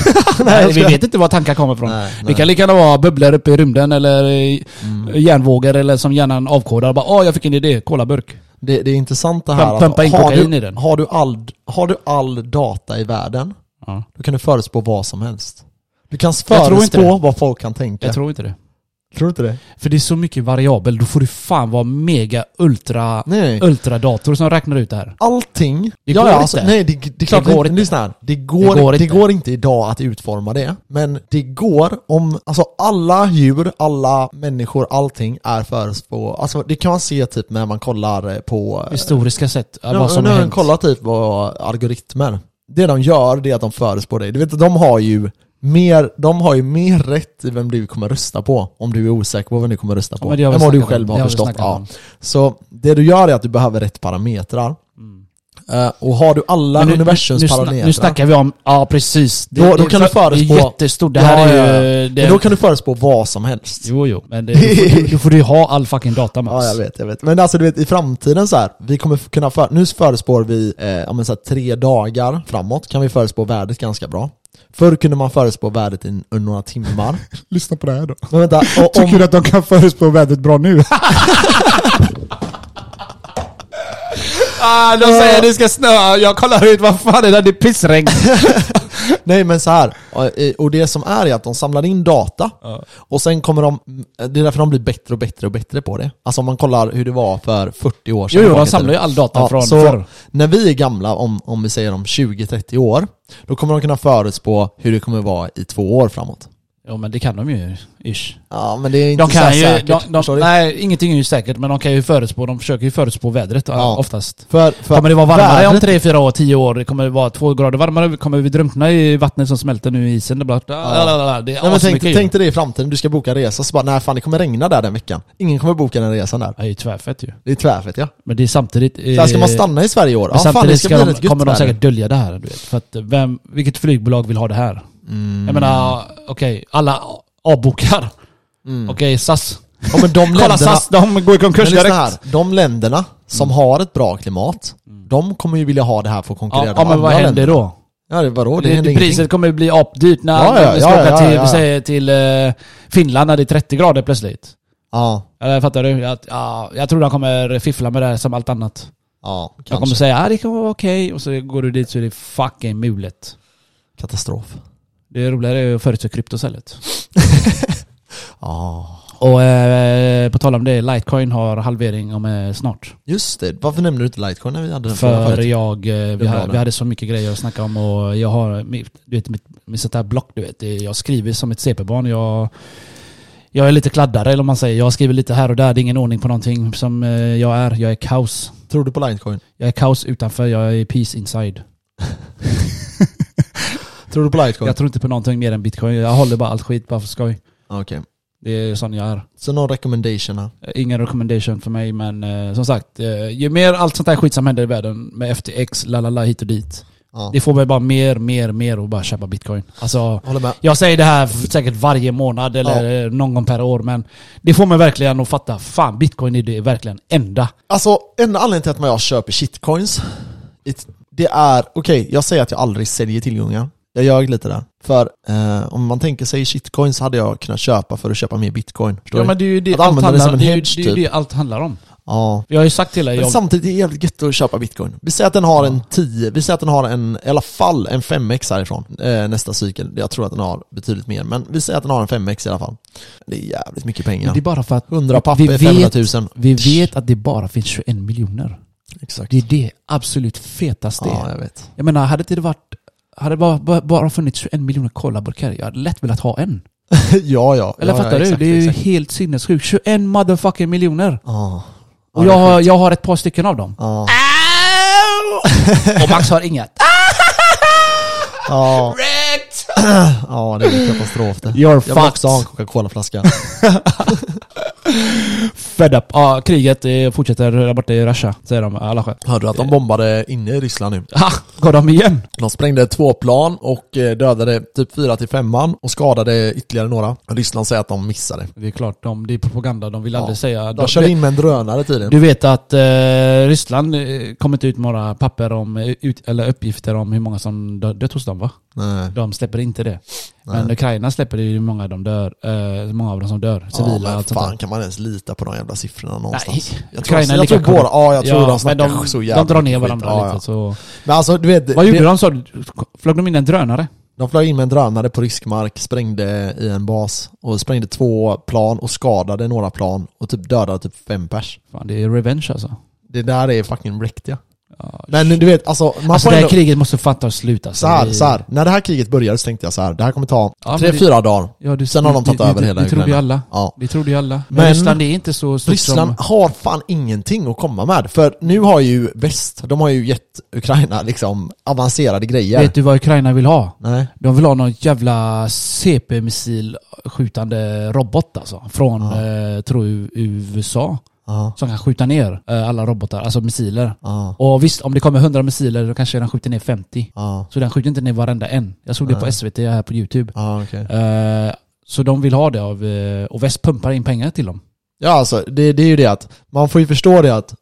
Speaker 2: Nej, vi vet inte var tankar kommer ifrån.
Speaker 1: Nej,
Speaker 2: Det
Speaker 1: nej. Mm.
Speaker 2: kan lika gärna vara bubblor uppe i rymden eller i järnvågor eller som hjärnan avkodar. Bara åh, jag fick en idé. Kolaburk.
Speaker 1: Det, det är intressant det här
Speaker 2: Pump- pumpa in
Speaker 1: har,
Speaker 2: kokain
Speaker 1: du,
Speaker 2: i den.
Speaker 1: Har, du all, har du all data i världen,
Speaker 2: Ja.
Speaker 1: då kan du förutspå vad som helst. Du kan
Speaker 2: Jag tror inte
Speaker 1: förutspå vad folk kan tänka.
Speaker 2: Jag tror inte det.
Speaker 1: tror du inte det?
Speaker 2: För det är så mycket variabel. Då får du fan vara mega ultra,
Speaker 1: Nej.
Speaker 2: ultradator som räknar ut det här.
Speaker 1: allting... alltså,
Speaker 2: Det går inte.
Speaker 1: nej, det, det, är klart,
Speaker 2: går
Speaker 1: det,
Speaker 2: inte.
Speaker 1: Lyssna här. Det går, det,
Speaker 2: går
Speaker 1: går
Speaker 2: inte.
Speaker 1: inte. idag att utforma det, men det går om... Alltså alla djur, alla människor, allting är förutspå... Alltså det kan man se typ när man kollar eh, på... eh,
Speaker 2: Historiska sätt.
Speaker 1: nu-
Speaker 2: vad som
Speaker 1: nu
Speaker 2: har
Speaker 1: har jag
Speaker 2: hänt.
Speaker 1: kollat typ på algoritmer. Det de gör, det är att de förutspår dig. Du vet, de har ju mer, de har ju mer rätt i vem du kommer rösta på, om du är osäker på vem du kommer rösta
Speaker 2: Ja,
Speaker 1: på,
Speaker 2: men det har vi
Speaker 1: än vad du själv
Speaker 2: snackat om. Det
Speaker 1: har
Speaker 2: har vi
Speaker 1: förstått.
Speaker 2: snackat
Speaker 1: Ja.
Speaker 2: om.
Speaker 1: Så det du gör är att du behöver rätt parametrar. Eh, och har du alla
Speaker 2: Mm. Men nu-
Speaker 1: universums
Speaker 2: nu, nu,
Speaker 1: parametrar,
Speaker 2: sna- nu snackar vi om, ja precis. Det,
Speaker 1: då, då
Speaker 2: det-
Speaker 1: kan du
Speaker 2: Det
Speaker 1: förutspå...
Speaker 2: är jättestort. Det här
Speaker 1: Ja, ja,
Speaker 2: är
Speaker 1: ja.
Speaker 2: ju... Det,
Speaker 1: Men då kan du förutspå vad som helst.
Speaker 2: Jo, jo. Men det, då, får, du- då får du ju ha all fucking data Max.
Speaker 1: Ja, jag vet, jag vet. Men alltså du vet, i framtiden så här, vi kommer f- kunna för, nu förespår vi, eh, ja, men så här, tre dagar framåt kan vi förespå värdet ganska bra. Förr kunde man förespå värdet i n- några timmar.
Speaker 5: Lyssna på det här då.
Speaker 1: Men vänta, och,
Speaker 5: Tycker
Speaker 1: om,
Speaker 5: du att de kan förutspå vädret bra nu?
Speaker 2: Ah, de säger det ska snöa. Jag kollar ut, vad fan är det? Det är pissregn.
Speaker 1: nej men så här, och, eh, och det som är är att de samlar in data, och sen kommer de, det är därför de blir bättre och bättre och bättre på det. Alltså om man kollar hur det var för 40 år sedan.
Speaker 2: (laughs) Jo, jo, de
Speaker 1: Bakåt i
Speaker 2: samlar ju
Speaker 1: tiden.
Speaker 2: all data från
Speaker 1: så
Speaker 2: förr.
Speaker 1: När vi är gamla, om, om vi säger om 20-30 år, då kommer de kunna förutspå hur det kommer vara i två år framåt.
Speaker 2: Jo, men det kan de ju. Ish.
Speaker 1: Ja men det är inte
Speaker 2: De
Speaker 1: så här
Speaker 2: kan ju...
Speaker 1: säkert.
Speaker 2: De, de,
Speaker 1: förstår du?
Speaker 2: nej, ingenting är ju säkert, men de kan ju förutspå. De försöker ju förutspå vädret ja.
Speaker 1: Ja.
Speaker 2: oftast.
Speaker 1: för, för
Speaker 2: Kommer det vara varmare om
Speaker 1: vädret-
Speaker 2: tre fyra år, tio år? Det Kommer det vara två grader varmare? Kommer vi drunkna i vattnet som smälter nu i isen? Det, bara, ja. det
Speaker 1: Nej, men
Speaker 2: är
Speaker 1: tänk,
Speaker 2: asmycket ju.
Speaker 1: tänk dig det i framtiden, du ska boka resa så bara nej fan det kommer regna där den veckan. Ingen kommer boka den resan där.
Speaker 2: Det är ju tvärfett ju.
Speaker 1: Det är tvärfett ja.
Speaker 2: Men det är samtidigt...
Speaker 1: Så här, ska man
Speaker 2: eh,
Speaker 1: stanna i Sverige i år?
Speaker 2: men
Speaker 1: Ja fan det
Speaker 2: samtidigt
Speaker 1: ska,
Speaker 2: ska
Speaker 1: bli
Speaker 2: de,
Speaker 1: rätt
Speaker 2: kommer
Speaker 1: gött
Speaker 2: de
Speaker 1: väder.
Speaker 2: säkert dölja det här. Du vet. För att vem, vilket flygbolag vill ha det här?
Speaker 1: Mm.
Speaker 2: Jag menar, okej, alla avbokar.
Speaker 1: Mm.
Speaker 2: Okej, SAS.
Speaker 1: Ja, men de
Speaker 2: (laughs) Kolla
Speaker 1: länderna,
Speaker 2: SAS, de går i konkurs
Speaker 1: men lyssna
Speaker 2: direkt. Mm.
Speaker 1: här, de länderna som har ett bra klimat, de kommer ju vilja ha det här för att konkurrera
Speaker 2: Ja, ja,
Speaker 1: med
Speaker 2: men vad
Speaker 1: andra
Speaker 2: händer
Speaker 1: länder.
Speaker 2: då?
Speaker 1: Ja det, vadå? Det,
Speaker 2: Det,
Speaker 1: händer
Speaker 2: priset
Speaker 1: ingenting.
Speaker 2: kommer ju bli apdyrt när
Speaker 1: Ja, ja,
Speaker 2: vi ska
Speaker 1: ja,
Speaker 2: åka
Speaker 1: ja,
Speaker 2: till,
Speaker 1: ja.
Speaker 2: vi säger till eh, Finland när det är 30 grader plötsligt.
Speaker 1: Ja,
Speaker 2: Eller fattar du? Jag, ja, jag tror de kommer fiffla med det här som allt annat.
Speaker 1: ja
Speaker 2: De kommer
Speaker 1: kanske.
Speaker 2: säga att ah, det kan vara okej och så går du dit så är det fucking mulet.
Speaker 1: Katastrof.
Speaker 2: (laughs) Det är roligare är att förutse krypto istället.
Speaker 1: Ja.
Speaker 2: Och eh, på tal om det, Litecoin har halvering om eh, snart.
Speaker 1: Just det, varför nämnde du inte Litecoin när vi hade den frågan
Speaker 2: För
Speaker 1: förut?
Speaker 2: jag, eh, vi,
Speaker 1: bra
Speaker 2: ha,
Speaker 1: det.
Speaker 2: vi hade så mycket grejer att snacka om och jag har, mitt- du vet mitt, mitt sånt här block du vet. det- Jag skriver som ett CP-barn. Jag, jag är lite kladdare eller om man säger. Jag skriver lite här och där. Det är ingen ordning på någonting som eh, jag är. Jag är kaos.
Speaker 1: Tror du på Litecoin?
Speaker 2: Jag är kaos utanför, jag är peace inside.
Speaker 1: Tror du på Litecoin?
Speaker 2: Jag tror inte på någonting mer än bitcoin. Jag håller bara allt skit bara för skoj.
Speaker 1: Ah, Okej.
Speaker 2: Det är sån jag är.
Speaker 1: Så någon recommendation här.
Speaker 2: Ingen recommendation för mig men eh, som sagt, eh, ju mer allt sånt här skit som händer i världen med FTX, lalala hit och dit.
Speaker 1: Ja.
Speaker 2: Det får mig bara mer, mer, mer och bara köpa bitcoin. Alltså,
Speaker 1: Håller med.
Speaker 2: jag säger det här säkert varje månad eller någon gång per år men det får mig verkligen att fatta, fan bitcoin är det verkligen enda.
Speaker 1: Alltså, en anledning till att man jag köper shitcoins, it- det är, okej, jag säger att jag aldrig säljer tillgångar. Jag ljög lite där. För eh, om man tänker sig shitcoins hade jag kunnat köpa för att köpa mer bitcoin. Förstår
Speaker 2: Ja
Speaker 1: du?
Speaker 2: men det är ju det,
Speaker 1: Att
Speaker 2: allt
Speaker 1: använda det
Speaker 2: handlar,
Speaker 1: som en
Speaker 2: det, är ju-
Speaker 1: hedge,
Speaker 2: det, är ju
Speaker 1: typ.
Speaker 2: det allt handlar om.
Speaker 1: ja.
Speaker 2: Jag har ju sagt till dig,
Speaker 1: Men
Speaker 2: jag,
Speaker 1: samtidigt är det jävligt gött att köpa bitcoin. Vi säger att den har en 10, vi säger att den har en, i alla fall en 5x härifrån eh, nästa cykel. Jag tror att den har betydligt mer, men vi säger att den har en 5x i alla fall. Det är jävligt mycket pengar.
Speaker 2: det är bara för att
Speaker 1: 100
Speaker 2: vi
Speaker 1: papper,
Speaker 2: vet-
Speaker 1: 500 000.
Speaker 2: vi vet att det bara finns 21 miljoner.
Speaker 1: Exakt.
Speaker 2: Det är det absolut fetaste.
Speaker 1: Ja, jag vet.
Speaker 2: (laughs) Jag menar, hade inte det varit... Hade det bara, bara, bara funnits 21 miljoner kolaburkar, jag hade lätt velat ha en.
Speaker 1: ja, ja.
Speaker 2: Eller
Speaker 1: ja,
Speaker 2: fattar
Speaker 1: ja,
Speaker 2: du?
Speaker 1: exakt,
Speaker 2: det är ju
Speaker 1: exakt.
Speaker 2: helt sinnessjukt. 21 motherfucking miljoner!
Speaker 1: Ja.
Speaker 2: Och jag, har- jag har ett par stycken av dem.
Speaker 1: Ja.
Speaker 2: Och Max har inget.
Speaker 1: (laughs) Ja. ja, det är en katastrof det.
Speaker 2: You're
Speaker 1: jag vill också
Speaker 2: fucked.
Speaker 1: ha en
Speaker 2: (laughs)
Speaker 1: Coca-Cola-flaska.
Speaker 2: (laughs) Fed up. Ja, kriget eh, fortsätter där borta i Russia, säger de. Alla skäl.
Speaker 1: Hörde du att de bombade inne i Ryssland nu?
Speaker 2: Ha! Går de igen?
Speaker 1: De sprängde två plan och eh, dödade typ fyra till femman och skadade ytterligare några. Ryssland säger att de missade.
Speaker 2: Det är klart, de, det är propaganda. De vill aldrig säga...
Speaker 1: De körde in med en drönare tydligen.
Speaker 2: Du vet att eh, Ryssland eh, kommer inte ut med några papper om, eh, ut, eller uppgifter om hur många som dö- dött hos dem va?
Speaker 1: Nej.
Speaker 2: De släpper inte det. Men Ukraina släpper det ju hur många, de dör, eh, många av dem som dör.
Speaker 1: Ja,
Speaker 2: Civila och
Speaker 1: men
Speaker 2: allt sånt
Speaker 1: fan
Speaker 2: där.
Speaker 1: kan man ens lita på de jävla siffrorna någonstans?
Speaker 2: Nej,
Speaker 1: jag tror,
Speaker 2: Ukraina är
Speaker 1: jag
Speaker 2: lika
Speaker 1: tror båda,
Speaker 2: korrupt.
Speaker 1: ja jag tror de
Speaker 2: men
Speaker 1: snackar så jävla
Speaker 2: De drar ner
Speaker 1: mycket
Speaker 2: varandra
Speaker 1: skit. Ja,
Speaker 2: lite.
Speaker 1: ja.
Speaker 2: Så.
Speaker 1: Men alltså du vet,
Speaker 2: Vad gjorde
Speaker 1: det,
Speaker 2: de? Så, flög de in en drönare?
Speaker 1: de flög in med en drönare på rysk mark, sprängde i en bas och sprängde två plan och skadade några plan och typ dödade typ fem pers.
Speaker 2: Fan, det är revenge alltså.
Speaker 1: Det där är fucking wrecked ja. Men du vet, alltså man
Speaker 2: Alltså
Speaker 1: får
Speaker 2: det här
Speaker 1: ändå...
Speaker 2: kriget måste fan ta slut alltså.
Speaker 1: Så här,
Speaker 2: Det-
Speaker 1: så här. När det här kriget började så tänkte jag så här, det här kommer ta
Speaker 2: Ja, men
Speaker 1: tre,
Speaker 2: det-
Speaker 1: fyra dagar.
Speaker 2: Ja, det,
Speaker 1: Sen har de tagit
Speaker 2: det,
Speaker 1: över
Speaker 2: det,
Speaker 1: hela
Speaker 2: Det trodde ju
Speaker 1: Ukraina.
Speaker 2: alla.
Speaker 1: Ja.
Speaker 2: Det trodde ju alla. Men,
Speaker 1: Men-
Speaker 2: Ryssland är inte så stort
Speaker 1: Ryssland
Speaker 2: som...
Speaker 1: har fan ingenting att komma med. För nu har ju väst, de har ju gett Ukraina liksom avancerade grejer.
Speaker 2: Vet du vad Ukraina vill ha?
Speaker 1: Nej.
Speaker 2: De vill ha någon jävla CP-missilskjutande robot alltså. Från, eh, tror jag, USA.
Speaker 1: Ja.
Speaker 2: Som kan skjuta ner eh, alla robotar, alltså missiler.
Speaker 1: Ja.
Speaker 2: Och visst, om det kommer 100 missiler då kanske den skjuter ner 50.
Speaker 1: Ja.
Speaker 2: Så den skjuter inte ner varenda en. Jag såg det på SVT här på YouTube.
Speaker 1: Ja, okej.
Speaker 2: Eh, så de vill ha det av, eh, och väst pumpar in pengar till dem.
Speaker 1: Ja, alltså det, det är ju det att man får ju förstå det att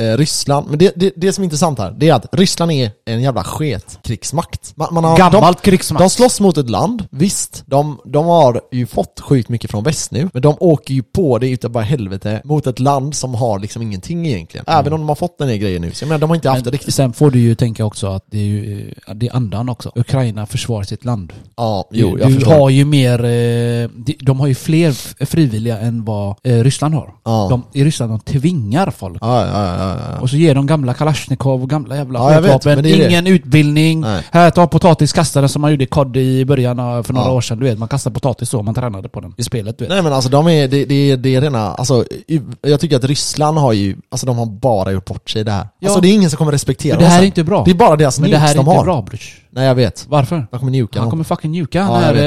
Speaker 1: eh, Ryssland, men det, det, det som är intressant här, det är att Ryssland är en jävla sketkrigsmakt. Man, man har, de,
Speaker 2: Gammalt krigsmakt.
Speaker 1: de slåss mot ett land, visst. De, de har ju fått sjukt mycket från väst nu, men de åker ju på det utav bara helvete mot ett land som har liksom ingenting egentligen. Även om de har fått den här grejen nu. Så jag menar, de har inte haft det
Speaker 2: Mm. Men
Speaker 1: riktigt.
Speaker 2: sen får du ju tänka också att det är, ju, eh, det är andan också. Ukraina försvarar sitt land.
Speaker 1: Ja, jo, jag
Speaker 2: du
Speaker 1: förstår.
Speaker 2: har ju mer, eh, de- de har ju fler f- frivilliga än vad eh, Ryssland har.
Speaker 1: Ja.
Speaker 2: De, I Ryssland de tvingar folk.
Speaker 1: Ja, ja, ja, ja, ja.
Speaker 2: Och så ger de gamla Kalashnikov och gamla jävla
Speaker 1: Ja, jag vet,
Speaker 2: skjutvapen.
Speaker 1: men det är det.
Speaker 2: Ingen utbildning.
Speaker 1: Nej.
Speaker 2: Här, ta potatis, kasta den som man gjorde i COD i början av, för några
Speaker 1: Ja.
Speaker 2: år sedan. Du vet, man kastar potatis så, man tränade på den i spelet. Du vet.
Speaker 1: Nej men alltså de är, det, det, det är rena, alltså u- jag tycker att Ryssland har ju, alltså de har bara gjort bort sig i det här.
Speaker 2: Ja.
Speaker 1: Alltså det är ingen som kommer respektera
Speaker 2: Men det här
Speaker 1: oss.
Speaker 2: är inte bra.
Speaker 1: Det är bara deras
Speaker 2: Men
Speaker 1: nukes
Speaker 2: det här är
Speaker 1: de
Speaker 2: inte
Speaker 1: har.
Speaker 2: bra brors.
Speaker 1: Nej jag vet.
Speaker 2: Varför?
Speaker 1: De kommer njuka
Speaker 2: Han
Speaker 1: någon.
Speaker 2: kommer fucking njuka
Speaker 1: Ja,
Speaker 2: han
Speaker 1: jag
Speaker 2: här
Speaker 1: vet,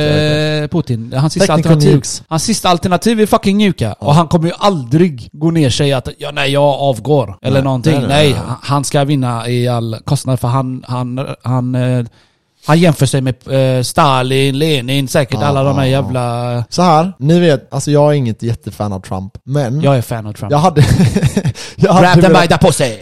Speaker 1: jag
Speaker 2: eh, Putin. Hans sista
Speaker 1: Technical
Speaker 2: alternativ.
Speaker 1: nukes.
Speaker 2: Hans sista alternativ är fucking njuka. Och han kommer ju aldrig gå ner sig att ja, nej, jag avgår. Eller
Speaker 1: Nej,
Speaker 2: någonting.
Speaker 1: nej,
Speaker 2: Nej,
Speaker 1: nej, nej.
Speaker 2: han- han ska vinna i all kostnad för han, han, han, eh, han jämför sig med eh, Stalin, Lenin, säkert
Speaker 1: Ja,
Speaker 2: alla de här
Speaker 1: ja, Mm. ja.
Speaker 2: jävla...
Speaker 1: Så här, ni vet, alltså jag är inget jättefan av Trump, men
Speaker 2: Jag är fan av Trump.
Speaker 1: jag hade... (laughs) jag hade
Speaker 2: Grab them by
Speaker 1: velat,
Speaker 2: the pussy!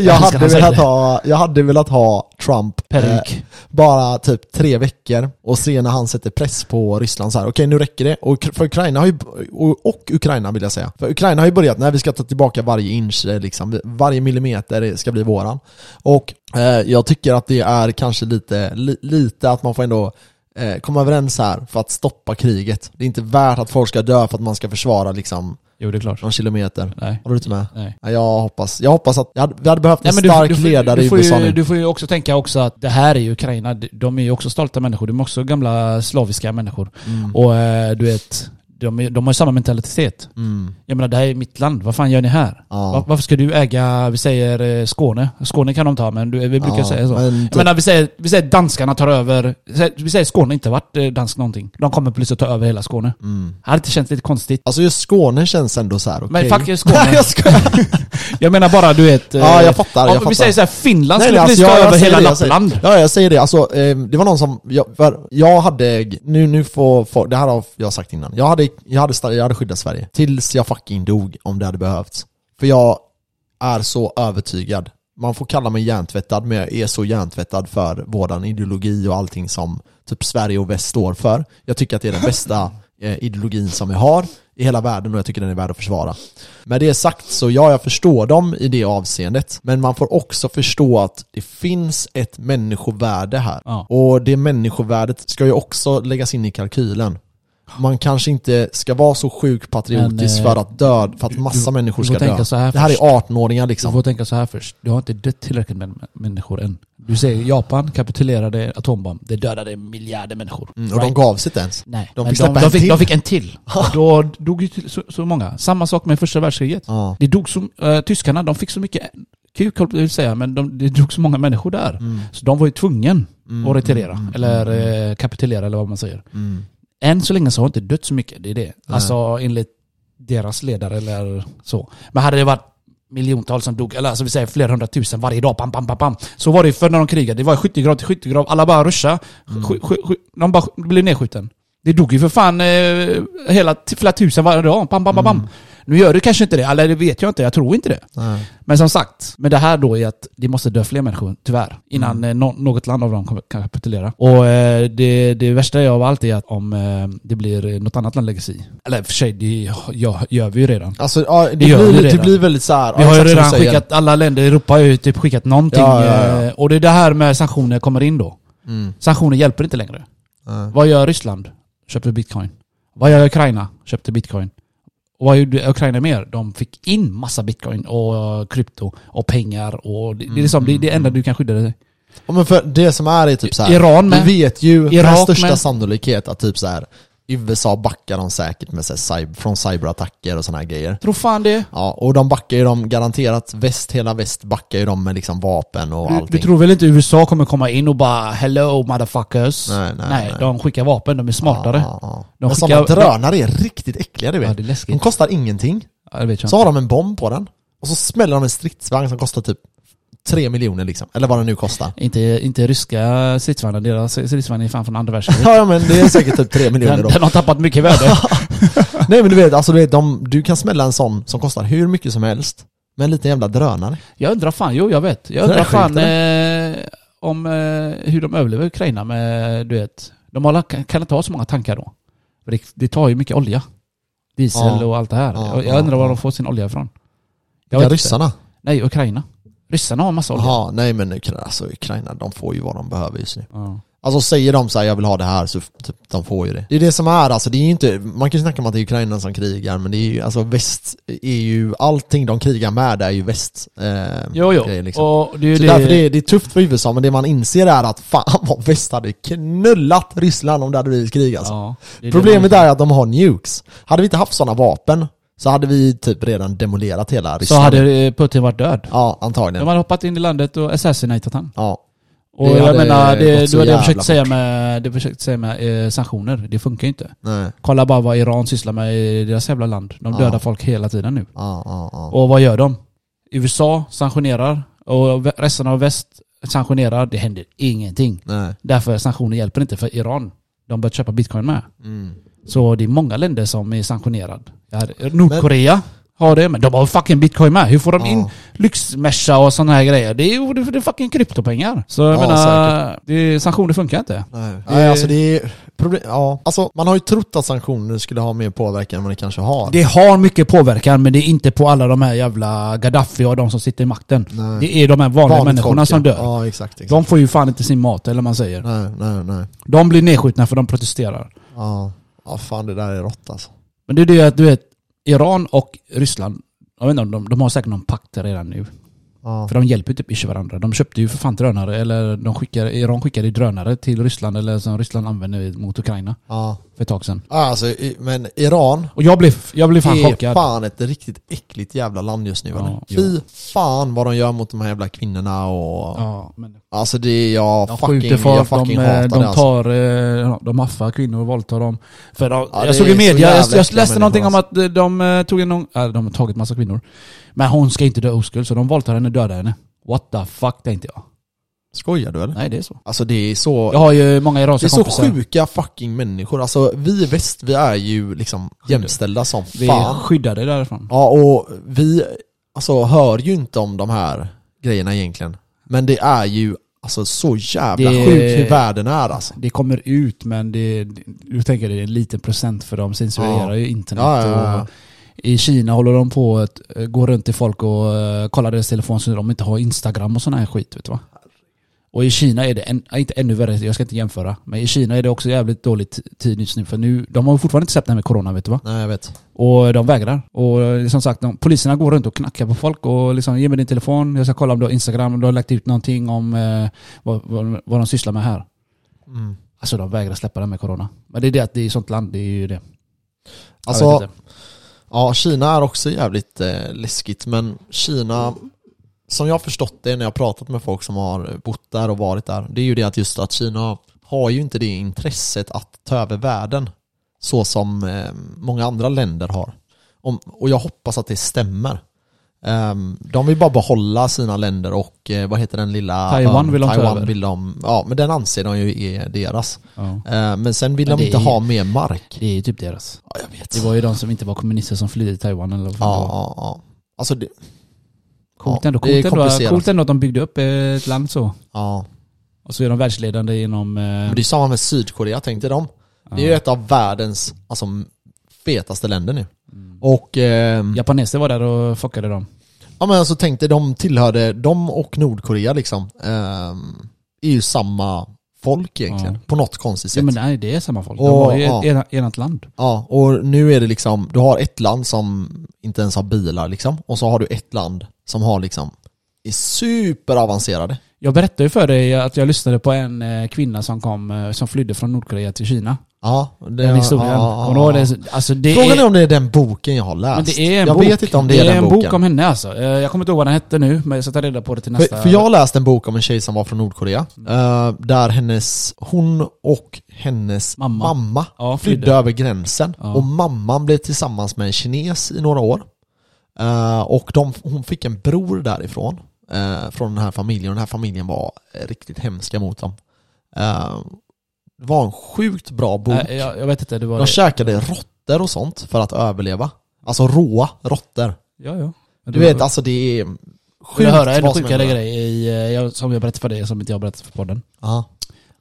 Speaker 1: (laughs) jag
Speaker 2: Han
Speaker 1: hade
Speaker 2: ska- han säger
Speaker 1: velat
Speaker 2: det.
Speaker 1: ha, jag hade velat ha Trump
Speaker 2: Peruk.
Speaker 1: eh, bara typ tre veckor och se när han sätter press på Ryssland så här. okej nu räcker det. Och Ukra- för Ukraina har ju, och, och Ukraina vill jag säga, för Ukraina har ju börjat, när vi ska ta tillbaka varje inch, eh, liksom, varje millimeter ska bli våran. Och eh, jag tycker att det är kanske lite, li, lite att man får ändå eh, komma överens här för att stoppa kriget. Det är inte värt att folk ska dö för att man ska försvara liksom
Speaker 2: Jo, det är klart.
Speaker 1: någon kilometer.
Speaker 2: Nej.
Speaker 1: Har du inte med?
Speaker 2: Nej.
Speaker 1: Ja, Jag hoppas, jag hoppas att, jag hade, vi hade behövt en
Speaker 2: Nej, men du-
Speaker 1: stark
Speaker 2: du får-
Speaker 1: ledare
Speaker 2: du får
Speaker 1: i USA
Speaker 2: ju,
Speaker 1: nu.
Speaker 2: Du får ju också tänka också att det här är ju Ukraina, de- de är ju också stolta människor. De är också gamla slaviska människor.
Speaker 1: Mm.
Speaker 2: Och eh, du vet, de, är- de har ju samma mentalitet.
Speaker 1: Mm.
Speaker 2: Jag menar, det här är mitt land. Vad fan gör ni här?
Speaker 1: Ja.
Speaker 2: Va- Varför ska du äga, vi säger eh, Skåne. Skåne kan de ta, men du, vi brukar
Speaker 1: Ja,
Speaker 2: säga så.
Speaker 1: men typ-
Speaker 2: jag menar, vi säger, vi säger danskarna tar över. vi säger- Vi säger Skåne inte varit eh, dansk någonting. De kommer plötsligt ta över hela Skåne. Mm. Hade inte känts lite konstigt?
Speaker 1: Alltså just Skåne känns ändå så här. okej.
Speaker 2: Men fuck Skåne.
Speaker 1: (laughs) Nej, jag skojar.
Speaker 2: Jag menar bara du vet... eh,
Speaker 1: Ja, jag fattar, jag
Speaker 2: om
Speaker 1: fattar.
Speaker 2: Vi säger såhär, Finland
Speaker 1: Nej,
Speaker 2: skulle
Speaker 1: nej, alltså,
Speaker 2: bli
Speaker 1: jag,
Speaker 2: större
Speaker 1: jag
Speaker 2: över
Speaker 1: säger
Speaker 2: hela
Speaker 1: det, jag säger-
Speaker 2: Lappland.
Speaker 1: Ja, jag säger det. Alltså, eh, det var någon som, jag, för jag hade, nu, nu får, får, det här har jag sagt innan. Jag hade, jag, hade, sta- jag hade skyddat Sverige tills jag fucking dog om det hade behövts. För jag är så övertygad. Man får kalla mig hjärntvättad, men jag är så hjärntvättad för våran ideologi och allting som typ Sverige och väst står för. Jag tycker att det är den
Speaker 2: (laughs)
Speaker 1: bästa eh, ideologin som vi har i hela världen och jag tycker den är värd att försvara. Med det sagt så ja, jag förstår dem i det avseendet. Men man får också förstå att det finns ett människovärde här.
Speaker 2: Ja.
Speaker 1: Och det människovärdet ska ju också läggas in i kalkylen. Man kanske inte ska vara så sjuk patriotisk
Speaker 2: Men, eh,
Speaker 1: för att dö, för att massa människor
Speaker 2: du
Speaker 1: ska
Speaker 2: får tänka
Speaker 1: dö.
Speaker 2: så här
Speaker 1: det här är
Speaker 2: först.
Speaker 1: 18-åringar
Speaker 2: Du
Speaker 1: liksom.
Speaker 2: får tänka så här först. Du har inte dött tillräckligt med med människor än. Du
Speaker 1: Mm.
Speaker 2: säger Japan kapitulerade atombomb. Det dödade miljarder människor.
Speaker 1: Mm, och de gav sig inte ens.
Speaker 2: Nej,
Speaker 1: de
Speaker 2: men
Speaker 1: fick
Speaker 2: de,
Speaker 1: släppa
Speaker 2: de,
Speaker 1: en
Speaker 2: fick,
Speaker 1: till.
Speaker 2: de fick
Speaker 1: (laughs)
Speaker 2: en till. Och då dog ju till så, så många. Samma sak med första världskriget.
Speaker 1: Ja.
Speaker 2: Det dog så, eh, tyskarna, de fick så mycket kuk höll jag på att säga, men de, det dog så många människor där. Så de var ju tvungen att retirera, eller eh, kapitulera eller vad man säger.
Speaker 1: Mm.
Speaker 2: Än så länge så har inte dött så mycket, det är det. Alltså enligt deras ledare eller så. Men hade det varit miljontals som dog, eller alltså vi säger flera hundratusen varje dag, pam, pam, pam, pam. Så var det ju förr när de krigade, det var skyttegrav till skyttegrav, alla bara ruscha. Sk- sk- sk- de bara sk- blev nedskjuten. Det dog ju för fan eh, hela, t- flera tusen varje dag, pam, pam, pam, pam. Nu gör det kanske inte det, eller det vet jag inte, jag tror inte det.
Speaker 1: Nej.
Speaker 2: Men som sagt, med det här då är att det måste dö fler människor, tyvärr, innan eh, nå- något land av dem kommer- kan kapitulera. Och eh, det, det värsta jag av allt är att om eh, det blir eh, något annat land lägger sig i. Eller för sig, det gör, gör vi ju redan.
Speaker 1: Alltså, ja, det,
Speaker 2: gör vi
Speaker 1: blir, det
Speaker 2: redan.
Speaker 1: blir väldigt så här.
Speaker 2: Vi
Speaker 1: ja,
Speaker 2: har ju
Speaker 1: exakt som
Speaker 2: redan
Speaker 1: du säger.
Speaker 2: skickat, alla länder i Europa har ju typ skickat någonting.
Speaker 1: Ja, ja, ja.
Speaker 2: eh, Och det är det här med sanktioner kommer in då.
Speaker 1: Mm.
Speaker 2: Sanktioner hjälper inte längre.
Speaker 1: Nej.
Speaker 2: Vad gör Ryssland? Köpte bitcoin. Vad gör Ukraina? Köpte bitcoin. Och vad gjorde Ukraina mer? De fick in massa bitcoin och krypto och pengar och det, det är liksom, det, det
Speaker 1: Mm,
Speaker 2: enda du kan skydda dig.
Speaker 1: Ja, men för det som är är typ så här,
Speaker 2: Iran med.
Speaker 1: Du vet ju med
Speaker 2: Irak
Speaker 1: största
Speaker 2: med.
Speaker 1: sannolikhet att typ så här, USA backar dem säkert med så här, cyber, från cyberattacker och sådana här grejer.
Speaker 2: Tror fan det.
Speaker 1: Ja, och de backar ju dem garanterat, väst, hela väst backar ju dem med liksom vapen och
Speaker 2: Du,
Speaker 1: allting.
Speaker 2: du tror väl inte USA kommer komma in och bara hello motherfuckers?
Speaker 1: Nej, nej, nej.
Speaker 2: de skickar vapen, de är smartare.
Speaker 1: Ja, ja, ja.
Speaker 2: De
Speaker 1: Men sådana
Speaker 2: skickar-
Speaker 1: drönare är riktigt äckliga du vet.
Speaker 2: Ja, det är läskigt.
Speaker 1: de kostar ingenting.
Speaker 2: Ja, det vet jag
Speaker 1: Så
Speaker 2: inte.
Speaker 1: har de en bomb på den. Och så smäller de en stridsvagn som kostar typ 3 miljoner liksom. Eller vad den nu kostar.
Speaker 2: Inte, inte ryska stridsvagnar, deras stridsvagnar är fan från andra världskriget.
Speaker 1: (laughs) Ja ja, men det är säkert typ 3 miljoner
Speaker 2: Mm. den,
Speaker 1: då.
Speaker 2: den har tappat mycket värde.
Speaker 1: (laughs) Nej men du vet, alltså, du, vet de, du kan smälla en sån som kostar hur mycket som helst. Med en liten jävla drönare.
Speaker 2: Jag undrar fan, jo jag vet. Jag
Speaker 1: Det där
Speaker 2: undrar
Speaker 1: är sjukt,
Speaker 2: fan eh, om eh, hur de överlever Ukraina med, du vet. De har, kan kan inte ha så många tankar då. För det, det tar ju mycket olja. Diesel
Speaker 1: Ja.
Speaker 2: och allt det här.
Speaker 1: Ja,
Speaker 2: jag,
Speaker 1: ja,
Speaker 2: jag undrar var
Speaker 1: ja.
Speaker 2: de får sin olja ifrån. Jag
Speaker 1: Ja,
Speaker 2: vet inte.
Speaker 1: ryssarna.
Speaker 2: Nej, Ukraina. Ryssarna har massa olja.
Speaker 1: Jaha, nej men Ukra- alltså, Ukraina, de får ju vad de behöver just nu.
Speaker 2: Ja.
Speaker 1: Alltså säger de så här, jag vill ha det här, så f- typ, de får ju det. Det är det som är alltså, det är ju inte, man kan ju snacka om att det är Ukraina som krigar, men det är ju, alltså väst är ju, allting de krigar med är ju väst. Eh,
Speaker 2: Jo, jo.
Speaker 1: grejer, liksom.
Speaker 2: Och det är ju
Speaker 1: så
Speaker 2: det,
Speaker 1: därför det är, det är tufft för USA, men det man inser är att fan vad väst hade knullat Ryssland om det hade blivit krig alltså.
Speaker 2: Ja, det är det
Speaker 1: Problemet
Speaker 2: de-
Speaker 1: är att de har nukes. Hade vi inte haft sådana vapen så hade vi typ redan demolerat hela
Speaker 2: Så
Speaker 1: Ryssland.
Speaker 2: hade eh, Putin varit död.
Speaker 1: Ja,
Speaker 2: De
Speaker 1: antagligen.
Speaker 2: hade hoppat in i landet och assassinatat han.
Speaker 1: Ja.
Speaker 2: Och
Speaker 1: Det
Speaker 2: jag
Speaker 1: hade
Speaker 2: menar, det,
Speaker 1: gått
Speaker 2: det
Speaker 1: så
Speaker 2: var det jag
Speaker 1: jävla
Speaker 2: försökte
Speaker 1: fort.
Speaker 2: säga med, det jag försökte säga med eh, sanktioner. Det funkar ju inte.
Speaker 1: Nej.
Speaker 2: Kolla bara vad Iran sysslar med i deras jävla land. De
Speaker 1: Ja.
Speaker 2: dödar folk hela tiden nu.
Speaker 1: Ja, ja, ja.
Speaker 2: Och vad gör de? USA sanktionerar och vä- resten av väst sanktionerar. Det händer ingenting.
Speaker 1: Nej.
Speaker 2: Därför sanktioner hjälper inte för Iran. De börjar köpa bitcoin med.
Speaker 1: Mm.
Speaker 2: Så det är många länder som är sanktionerade. Det här- Nordkorea har det. Men de har fucking bitcoin med. Hur får de in
Speaker 1: Ja.
Speaker 2: lyxmerca och sådana här grejer? Det är ju det är- det är fucking kryptopengar. Så jag
Speaker 1: Ja,
Speaker 2: menar, det, är- sanktioner funkar inte.
Speaker 1: Nej, Nej alltså det är problem, ja. Alltså man har ju trott att sanktioner skulle ha mer påverkan än vad det kanske har.
Speaker 2: Det har mycket påverkan men det är inte på alla de här jävla Gaddafi och de som sitter i makten.
Speaker 1: Nej.
Speaker 2: Det är de här vanliga
Speaker 1: Vanligt
Speaker 2: människorna
Speaker 1: folk,
Speaker 2: som
Speaker 1: ja.
Speaker 2: dör.
Speaker 1: Ja, exakt. exakt.
Speaker 2: De får ju fan inte sin mat eller vad man säger.
Speaker 1: Nej, nej, nej.
Speaker 2: De blir nedskjutna för de protesterar.
Speaker 1: Ja. ja, fan det där är rått alltså.
Speaker 2: Men det är det att du vet, Iran och Ryssland, jag vet inte, om de, de har säkert någon pakt redan nu.
Speaker 1: Ja.
Speaker 2: För de hjälper ju typ inte varandra. De köpte ju för fan drönare, eller de skickar, Iran skickade ju drönare till Ryssland, eller som Ryssland använde mot Ukraina
Speaker 1: Ja.
Speaker 2: för ett tag sedan.
Speaker 1: Ja, Alltså, i- men Iran
Speaker 2: Och jag blev, jag blev fan
Speaker 1: är
Speaker 2: chockad.
Speaker 1: fan ett riktigt äckligt jävla land just nu
Speaker 2: Ja,
Speaker 1: eller?
Speaker 2: jo.
Speaker 1: Fy fan vad de gör mot de här jävla kvinnorna och...
Speaker 2: Ja, men
Speaker 1: Alltså det är jag
Speaker 2: De
Speaker 1: fucking,
Speaker 2: skjuter folk,
Speaker 1: jag fucking
Speaker 2: de, eh,
Speaker 1: hatar
Speaker 2: de
Speaker 1: det alltså.
Speaker 2: tar, eh, de affar kvinnor och våldtar dem. För de,
Speaker 1: Ja, det
Speaker 2: jag såg
Speaker 1: är
Speaker 2: i
Speaker 1: så
Speaker 2: media,
Speaker 1: jävla alltså.
Speaker 2: jag, jag
Speaker 1: äckliga
Speaker 2: läste någonting om
Speaker 1: människor,
Speaker 2: att eh, de eh, tog en, äh, de har tagit massa kvinnor. Men hon ska inte dö oskuld, så de våldtar henne och dödar henne. What the fuck tänkte jag.
Speaker 1: Skojar du eller?
Speaker 2: Nej det är så.
Speaker 1: Alltså det är så...
Speaker 2: Jag har ju många
Speaker 1: det är
Speaker 2: iranska
Speaker 1: så
Speaker 2: kompisar.
Speaker 1: sjuka fucking människor. Alltså vi i väst, vi är ju liksom jämställda som
Speaker 2: Vi är
Speaker 1: fan.
Speaker 2: skyddade därifrån.
Speaker 1: Ja och vi, alltså hör ju inte om de här grejerna egentligen. Men det är ju alltså så jävla
Speaker 2: Det-
Speaker 1: sjukt hur världen är alltså.
Speaker 2: Det kommer ut men det, du tänker det är en liten procent för de censurerar
Speaker 1: Ja.
Speaker 2: ju internet.
Speaker 1: Ja, ja, ja, ja.
Speaker 2: Och I Kina håller de på att eh, gå runt till folk och eh, kolla deras telefon så de inte har Instagram och sån här skit. Vet du, va? Och i Kina är det, en, ja, inte ännu värre, jag ska inte jämföra, men i Kina är det också jävligt dåligt tid just nu för nu, de har ju fortfarande inte släppt det här med corona vet du va?
Speaker 1: Nej jag vet.
Speaker 2: Och de vägrar. Och eh, som sagt, de, poliserna går runt och knackar på folk och liksom ge mig din telefon, jag ska kolla om du har Instagram, om du har lagt ut någonting om eh, vad, vad, vad de sysslar med här.
Speaker 1: Mm.
Speaker 2: Alltså de vägrar släppa det med corona. Men det är det att det är ett sånt land, det är ju det. Jag
Speaker 1: Alltså,
Speaker 2: vet inte.
Speaker 1: Ja, Kina är också jävligt eh, läskigt, men Kina, som jag har förstått det när jag har pratat med folk som har bott där och varit där, det är ju det att just att Kina har ju inte det intresset att ta över världen så som eh, många andra länder har. Om, och jag hoppas att det stämmer. Ehm, de vill bara behålla sina länder och eh, vad heter den lilla...
Speaker 2: Taiwan
Speaker 1: ön?
Speaker 2: vill de ta
Speaker 1: Taiwan
Speaker 2: över.
Speaker 1: vill de, Ja, men den anser de ju är deras.
Speaker 2: ja.
Speaker 1: Ehm, men sen vill
Speaker 2: Men
Speaker 1: de
Speaker 2: det
Speaker 1: inte
Speaker 2: är-
Speaker 1: ha mer mark.
Speaker 2: Det är ju typ deras.
Speaker 1: Ja, jag vet.
Speaker 2: Det var ju de som inte var kommunister som flydde till Taiwan eller vad fan
Speaker 1: Ja,
Speaker 2: det var.
Speaker 1: ja, ja. Alltså det...
Speaker 2: Coolt
Speaker 1: ja,
Speaker 2: ändå,
Speaker 1: det är
Speaker 2: coolt ändå,
Speaker 1: komplicerat.
Speaker 2: coolt ändå att de byggde upp ett land så.
Speaker 1: Ja.
Speaker 2: Och så är de världsledande inom... eh,
Speaker 1: Men det är samma med Sydkorea, tänkte de. Det är ju
Speaker 2: ja.
Speaker 1: ett av världens alltså, fetaste länder nu.
Speaker 2: Mm.
Speaker 1: Och ehm, ja.
Speaker 2: Japaneser var där och fuckade dem.
Speaker 1: men alltså tänkte de tillhörde, de och Nordkorea liksom, ehm, är ju samma folk egentligen.
Speaker 2: Ja.
Speaker 1: På något konstigt sätt.
Speaker 2: Ja, men nej, det är samma folk. De
Speaker 1: Och,
Speaker 2: var ju
Speaker 1: ja.
Speaker 2: ett ena- enat land.
Speaker 1: Ja, och nu är det liksom, du har ett land som inte ens har bilar liksom, och så har du ett land som har liksom, är superavancerade.
Speaker 2: Jag berättade ju för dig att jag lyssnade på en eh, kvinna som kom, eh, som flydde från Nordkorea till Kina.
Speaker 1: Ja, det,
Speaker 2: Den historien.
Speaker 1: ja,
Speaker 2: Kommer du ihåg det? Alltså det
Speaker 1: Frågan
Speaker 2: är-
Speaker 1: är om det är den boken jag har läst.
Speaker 2: Men det är en
Speaker 1: jag
Speaker 2: bok.
Speaker 1: vet inte om det, är, den
Speaker 2: en
Speaker 1: boken.
Speaker 2: bok om henne alltså. Eh, Jag kommer inte ihåg vad den hette nu, men jag ska ta reda på det till nästa. Mm.
Speaker 1: för, för jag har läst en bok om en tjej som var från Nordkorea, eh, där hennes, hon och hennes
Speaker 2: Mamma.
Speaker 1: mamma,
Speaker 2: Ja,
Speaker 1: flydde
Speaker 2: flydde.
Speaker 1: över gränsen.
Speaker 2: Ja.
Speaker 1: Och mamman blev tillsammans med en kines i några år. Eh, och de, hon fick en bror därifrån, eh, från den här familjen. Och den här familjen var eh, riktigt hemska mot dem. Eh, det var en sjukt bra bok.
Speaker 2: Nej, jag, jag vet inte, det var...
Speaker 1: de käkade råttor och sånt för att överleva. Alltså råa råttor.
Speaker 2: ja, ja.
Speaker 1: Du
Speaker 2: Men det
Speaker 1: vet,
Speaker 2: var-
Speaker 1: alltså det är
Speaker 2: Mm. Vill
Speaker 1: sjukt
Speaker 2: du höra en
Speaker 1: vad som
Speaker 2: sjukare
Speaker 1: händer.
Speaker 2: grej i, eh, jag, som jag berättade för dig, som inte jag berättade för podden?
Speaker 1: Ja.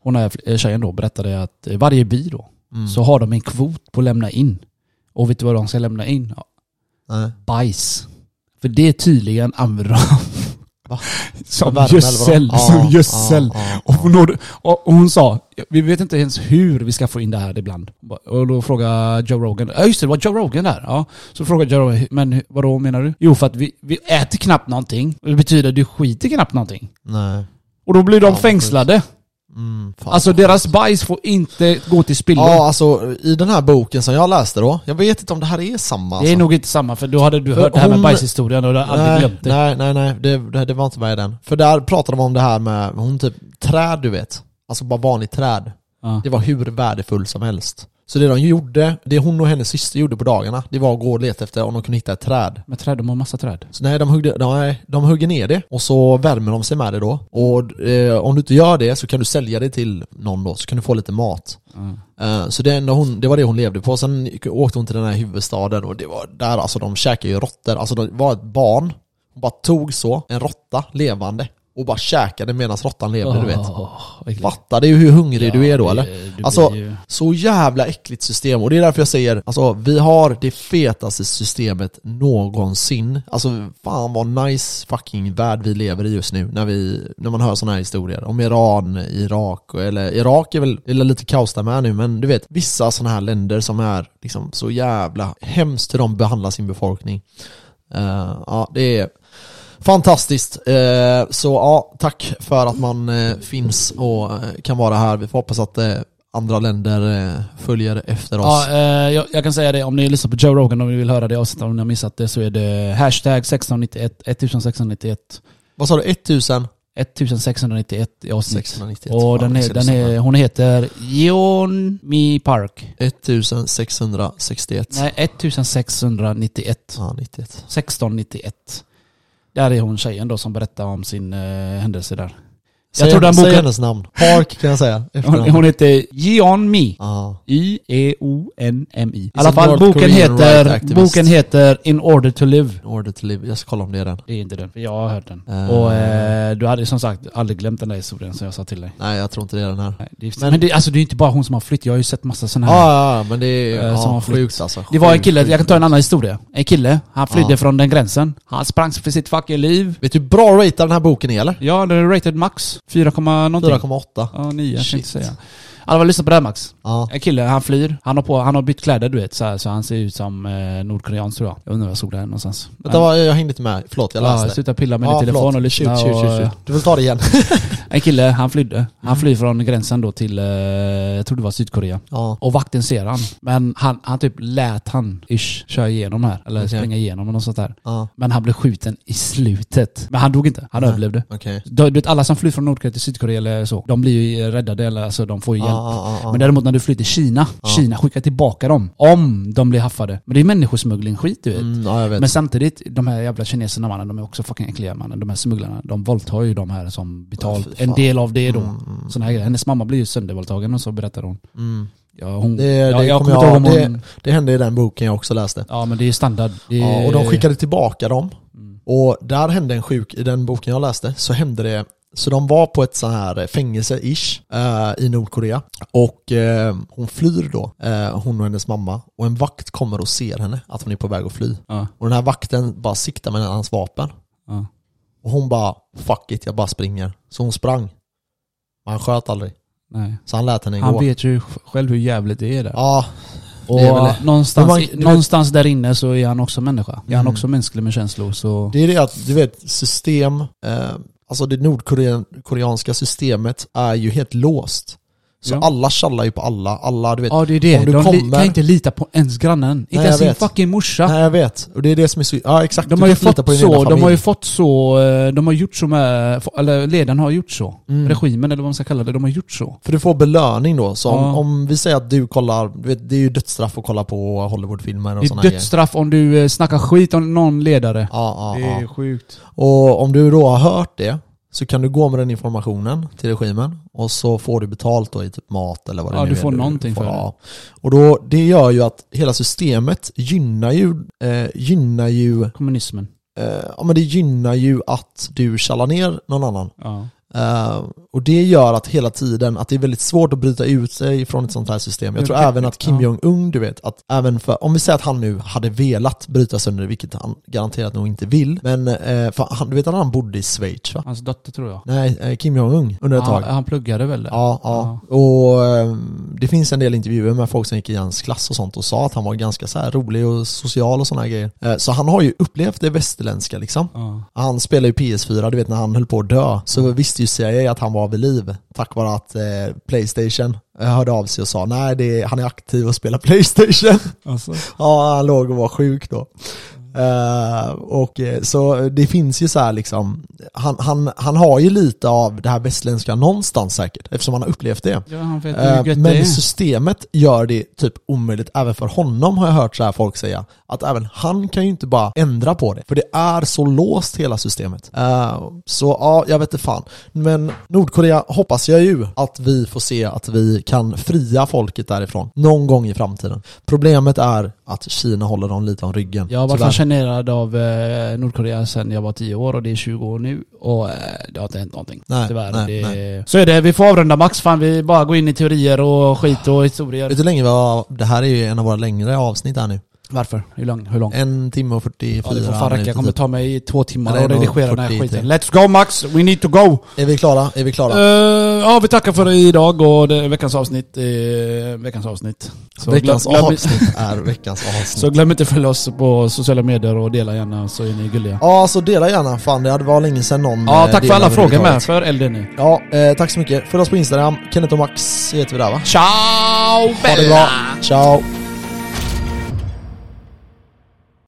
Speaker 2: Hon här eh, tjejen då berättade att eh, varje by då,
Speaker 1: Mm.
Speaker 2: så har de en kvot på att lämna in. Och vet du vad de ska lämna in? Ja,
Speaker 1: Nej.
Speaker 2: bajs. För det tydligen använder de
Speaker 1: Va?
Speaker 2: som
Speaker 1: värme,
Speaker 2: gödsel.
Speaker 1: eller vadå?
Speaker 2: Som
Speaker 1: Ja,
Speaker 2: gödsel.
Speaker 1: ja, ja,
Speaker 2: Och, hon, nådde- och och hon sa, vi vet inte ens hur vi ska få in det här ibland. Och då frågade Joe Rogan, ja just det, det var Joe Rogan där. Ja. Så frågade Joe Rogan, men hur- vadå menar du? Jo för att vi, vi äter knappt någonting. Det betyder att du skiter knappt någonting.
Speaker 1: Nej.
Speaker 2: Och då blir de
Speaker 1: Ja, vad
Speaker 2: fängslade.
Speaker 1: Mm, fan.
Speaker 2: Alltså deras bajs får inte gå till spillo.
Speaker 1: Ja, alltså i den här boken som jag läste då, jag vet inte om det här är samma.
Speaker 2: Det
Speaker 1: Alltså.
Speaker 2: är nog inte samma för då hade du hört
Speaker 1: Hon-
Speaker 2: det här med bajshistorien och du hade aldrig
Speaker 1: nej,
Speaker 2: glömt det.
Speaker 1: nej, nej, nej, det, det, det var inte med i den. För där pratade de om det här med, hon typ, träd du vet. Alltså bara vanligt träd.
Speaker 2: Ja.
Speaker 1: Det var hur värdefull som helst. Så det de gjorde, det hon och hennes syster gjorde på dagarna, det var att gå och leta efter om de kunde hitta ett träd.
Speaker 2: Med träd, de har massa träd.
Speaker 1: Så nej, de, huggde, nej, de hugger ner det och så värmer de sig med det då. Och eh, om du inte gör det så kan du sälja det till någon då, så kan du få lite mat. Eh, så det, enda hon, det var det hon levde på. Sen gick- åkte hon till den här huvudstaden och det var där alltså de käkade ju råttor. Alltså det var ett barn, hon bara tog så, en råtta levande och bara käkade medan råttan levde, du vet.
Speaker 2: vet.
Speaker 1: Fattar du hur hungrig du är då eller?
Speaker 2: blir
Speaker 1: alltså,
Speaker 2: ju-
Speaker 1: så jävla äckligt system och det är därför jag säger, alltså vi har det fetaste systemet någonsin. Alltså fan vad nice fucking värld vi lever i just nu när, vi, när man hör sådana här historier om Iran, Irak, eller Irak är väl eller lite kaos där med nu men du vet vissa sådana här länder som är liksom så jävla hemskt hur de behandlar sin befolkning. Eh, ja, det är Fantastiskt! Eh, Så ja, tack för att man eh, finns och eh, kan vara här. Vi får hoppas att eh, andra länder eh, följer efter oss.
Speaker 2: Ja, eh, jag, jag kan säga det, om ni lyssnar på Joe Rogan och ni vill höra det avsnittet om ni har missat det så är det hashtag 1691, 1691,
Speaker 1: Vad sa du? 1000?
Speaker 2: 1691 i avsnitt.
Speaker 1: 691.
Speaker 2: Och den
Speaker 1: Fan,
Speaker 2: är,
Speaker 1: jag ska
Speaker 2: den är,
Speaker 1: lyssna.
Speaker 2: hon heter Yeon Mi Park.
Speaker 1: 1661.
Speaker 2: Nej, 1691.
Speaker 1: Ja, 91.
Speaker 2: 1691. Där är hon tjejen då som berättar om sin eh, händelse där.
Speaker 1: Säg,
Speaker 2: tror den
Speaker 1: säg
Speaker 2: boken-
Speaker 1: hennes namn. Park kan jag säga.
Speaker 2: (laughs) Hon, hon heter Yeon Mi. E
Speaker 1: Ja.
Speaker 2: Y-E-O-N-M-I. I
Speaker 1: a
Speaker 2: alla fall,
Speaker 1: North
Speaker 2: boken
Speaker 1: Korean right
Speaker 2: heter,
Speaker 1: activist.
Speaker 2: boken heter In Order to Live.
Speaker 1: In order to live. Jag ska kolla om det är den.
Speaker 2: Det är inte den, för jag har hört den.
Speaker 1: Eh.
Speaker 2: Och eh, du hade som sagt aldrig glömt den där historien som jag sa till dig.
Speaker 1: Nej, jag tror inte det är den här.
Speaker 2: Nej, det är, men
Speaker 1: Men-
Speaker 2: det, alltså, det är inte bara hon som har flytt, jag har ju sett massa sådana
Speaker 1: Ja,
Speaker 2: här.
Speaker 1: ja, ja, men det är
Speaker 2: Eh, som har
Speaker 1: ja,
Speaker 2: flytt.
Speaker 1: sjukt alltså.
Speaker 2: det var en
Speaker 1: Sjukt,
Speaker 2: kille,
Speaker 1: sjukt.
Speaker 2: jag kan ta en annan historia. En kille, han flydde
Speaker 1: Ja.
Speaker 2: från den gränsen. Han sprang för sitt fucking liv.
Speaker 1: Vet du hur bra ratead den här boken är eller?
Speaker 2: Ja, det är rated max. 4, någonting.
Speaker 1: 4,8.
Speaker 2: Ja, 9 jag
Speaker 1: Shit.
Speaker 2: tänkte säga. Alla lyssna på det här Max.
Speaker 1: Ja.
Speaker 2: En kille, han flyr. Han har, på, han har bytt kläder du vet, så, här, så han ser ut som eh, nordkorean tror jag. Jag undrar var jag såg det här någonstans.
Speaker 1: Vänta, vad- jag hängde inte med. Förlåt, jag
Speaker 2: Ja,
Speaker 1: läste.
Speaker 2: sluta pilla med
Speaker 1: Ja,
Speaker 2: din telefon
Speaker 1: förlåt.
Speaker 2: och lyssna.
Speaker 1: Shoot, shoot,
Speaker 2: och, eh,
Speaker 1: shoot, shoot. Du vill ta det
Speaker 2: (laughs)
Speaker 1: igen.
Speaker 2: En kille, han flydde. Han flyr från gränsen då till, eh, jag tror det var Sydkorea.
Speaker 1: Ja.
Speaker 2: Och vakten ser han. Men han, han typ lät han ish köra igenom här. Eller
Speaker 1: Okej.
Speaker 2: springa igenom och något sånt där.
Speaker 1: Ja.
Speaker 2: Men han blev skjuten i slutet. Men han dog inte. Han överlevde.
Speaker 1: Okej.
Speaker 2: Du, du vet alla som flyr från Nordkorea till Sydkorea eller så, de blir ju räddade eller alltså de får ju hjälp.
Speaker 1: ja, ja.
Speaker 2: Men däremot när du flyr till Kina, Kina skickar tillbaka dem. Om de blir haffade. Men det är människosmuggling skit du vet.
Speaker 1: Mm, ja, jag vet.
Speaker 2: Men samtidigt, de här jävla kineserna mannen, de är också fucking äckliga mannen. De här smugglarna, de våldtar ju de här som betalt
Speaker 1: Ja, fy
Speaker 2: en
Speaker 1: fan. Mm,
Speaker 2: del av det då. Såna här grejer. Hennes mamma blir ju söndervåldtagen och så berättar hon. Ja, hon
Speaker 1: Mm. Det,
Speaker 2: ja,
Speaker 1: det,
Speaker 2: jag
Speaker 1: kommer
Speaker 2: kommer inte ihåg om
Speaker 1: jag,
Speaker 2: hon...
Speaker 1: det, det hände i den boken jag också läste.
Speaker 2: Ja men det är ju standard. Det är,
Speaker 1: Ja, och de skickade tillbaka dem.
Speaker 2: Mm.
Speaker 1: Och där hände en sjuk, i den boken jag läste, så hände det så de var på ett sån här fängelse-ish eh, i Nordkorea och eh, hon flyr då, eh, hon och hennes mamma och en vakt kommer och ser henne, att hon är på väg att fly.
Speaker 2: Ja.
Speaker 1: Och den här vakten bara siktar med hans vapen.
Speaker 2: Ja.
Speaker 1: Och hon bara 'fuck it, jag bara springer' Så hon sprang. Men han sköt aldrig.
Speaker 2: Nej.
Speaker 1: Så han lät henne
Speaker 2: Han
Speaker 1: gå.
Speaker 2: vet ju själv hur jävligt det är där.
Speaker 1: Ja,
Speaker 2: och
Speaker 1: det är väl- Men
Speaker 2: någonstans,
Speaker 1: man- du vet-
Speaker 2: någonstans där inne så är han också människa. Är han också mänsklig med känslor så...
Speaker 1: Mm. Det är det att, du vet, system, eh, alltså det nordkoreanska systemet är ju helt låst. Så
Speaker 2: Ja.
Speaker 1: alla tjallar ju på alla, alla, du vet.
Speaker 2: Ja det är det.
Speaker 1: Om du
Speaker 2: De li-
Speaker 1: kommer-
Speaker 2: kan inte lita på ens grannen. Inte
Speaker 1: jag
Speaker 2: ens sin
Speaker 1: vet.
Speaker 2: fucking morsa.
Speaker 1: Nej jag vet, och det är det som är så, ja exakt.
Speaker 2: De
Speaker 1: Du
Speaker 2: har, ju
Speaker 1: kan inte lita
Speaker 2: fått
Speaker 1: på din egna
Speaker 2: så, de
Speaker 1: familj.
Speaker 2: har ju fått så, eh, de har gjort så med, eller ledaren har gjort så.
Speaker 1: Mm.
Speaker 2: Regimen eller vad man ska kalla det, de har gjort så.
Speaker 1: För du får belöning då, så om,
Speaker 2: Ja.
Speaker 1: om vi säger att du kollar, du vet, det är ju dödsstraff att kolla på Hollywoodfilmer och
Speaker 2: Det är
Speaker 1: sådana grejer.
Speaker 2: dödsstraff om du eh, snackar skit om någon ledare.
Speaker 1: Ja, ja, ja.
Speaker 2: sjukt.
Speaker 1: Och om du då har hört det, så kan du gå med den informationen till regimen och så får du betalt då i typ mat eller vad det
Speaker 2: Ja,
Speaker 1: nu
Speaker 2: du
Speaker 1: är
Speaker 2: får någonting för det.
Speaker 1: ja. Och då, det gör ju att hela systemet gynnar ju, eh, gynnar ju,
Speaker 2: Kommunismen.
Speaker 1: eh, ja men det gynnar ju att du tjallar ner någon annan.
Speaker 2: Ja.
Speaker 1: Eh, och det gör att hela tiden, att det är väldigt svårt att bryta ut sig från ett sånt här system. Jag
Speaker 2: Ja,
Speaker 1: tror
Speaker 2: det-
Speaker 1: även att Kim
Speaker 2: ja.
Speaker 1: Jong-Un, du vet, att även för, om vi säger att han nu hade velat bryta sönder det, vilket han garanterat nog inte vill, men eh, för han, du vet att han bodde i Schweiz va?
Speaker 2: Hans dotter tror jag.
Speaker 1: Nej, eh, Kim Jong-Un under ett
Speaker 2: Han,
Speaker 1: tag.
Speaker 2: han pluggade väl där?
Speaker 1: Ja, ja. Och ehm, det finns en del intervjuer med folk som gick i hans klass och sånt och sa att han var ganska så här rolig och social och såna här grejer. Eh, Så han har ju upplevt det västerländska liksom.
Speaker 2: Ja.
Speaker 1: Han spelade ju PS4, du vet när han höll på att dö, så visste ju CIA att han var vid liv tack vare att eh, Playstation eh, hörde av sig och sa nej, det är, han är aktiv och spelar (laughs) Playstation.
Speaker 2: Alltså.
Speaker 1: ja, han låg och var sjuk då. Eh, Eh, och eh, så det finns ju så här liksom, han, han, han har ju lite av det här västländska någonstans säkert, eftersom han har upplevt det.
Speaker 2: Ja, han vet
Speaker 1: Eh,
Speaker 2: hur gött det
Speaker 1: Men
Speaker 2: är.
Speaker 1: systemet gör det typ omöjligt även för honom har jag hört så här folk säga. Att även han kan ju inte bara ändra på det. För det är så låst hela systemet. Eh, Så ja, jag vet inte fan. Men Nordkorea hoppas jag ju att vi får se att vi kan fria folket därifrån. Någon gång i framtiden. Problemet är att Kina håller dem lite om ryggen.
Speaker 2: Jag har varit
Speaker 1: tyvärr.
Speaker 2: fascinerad av eh, Nordkorea sedan jag var 10 år och det är 20 år nu. Och eh, det har inte hänt någonting.
Speaker 1: Nej,
Speaker 2: Tyvärr.
Speaker 1: nej,
Speaker 2: det, Så är det, vi får avrunda Max. Fan vi bara går in i teorier och skit och historier.
Speaker 1: Vet du hur länge vi har, det här är ju en av våra längre avsnitt här nu.
Speaker 2: Varför? Hur lång? Hur lång?
Speaker 1: En timme och 44
Speaker 2: Ja, det får fan
Speaker 1: minuter
Speaker 2: räcka. Jag kommer
Speaker 1: typ.
Speaker 2: ta mig två
Speaker 1: Ja, det
Speaker 2: timmar
Speaker 1: är
Speaker 2: och
Speaker 1: nog
Speaker 2: redigera den här
Speaker 1: 40
Speaker 2: skiten.
Speaker 1: till.
Speaker 2: Let's go Max! We need to go!
Speaker 1: Är vi klara? Är vi klara?
Speaker 2: typ. Eh, ja, vi tackar för idag och det, veckans avsnitt är veckans avsnitt. Så
Speaker 1: veckans
Speaker 2: glöm, glöm, (laughs)
Speaker 1: avsnitt är veckans avsnitt.
Speaker 2: så glöm inte att följa oss på sociala medier och dela gärna så är ni gulliga.
Speaker 1: Ja, så dela gärna. Fan, det hade varit länge sedan någon
Speaker 2: Ja,
Speaker 1: eh,
Speaker 2: tack för
Speaker 1: delade
Speaker 2: alla frågor med.
Speaker 1: överhuvudtaget.
Speaker 2: För eld är ni.
Speaker 1: Ja, eh, tack så mycket. Följ oss på Instagram. Kenneth och Max heter vi där va?
Speaker 2: Ciao
Speaker 1: Ha det
Speaker 2: Bella!
Speaker 1: bra. Ciao.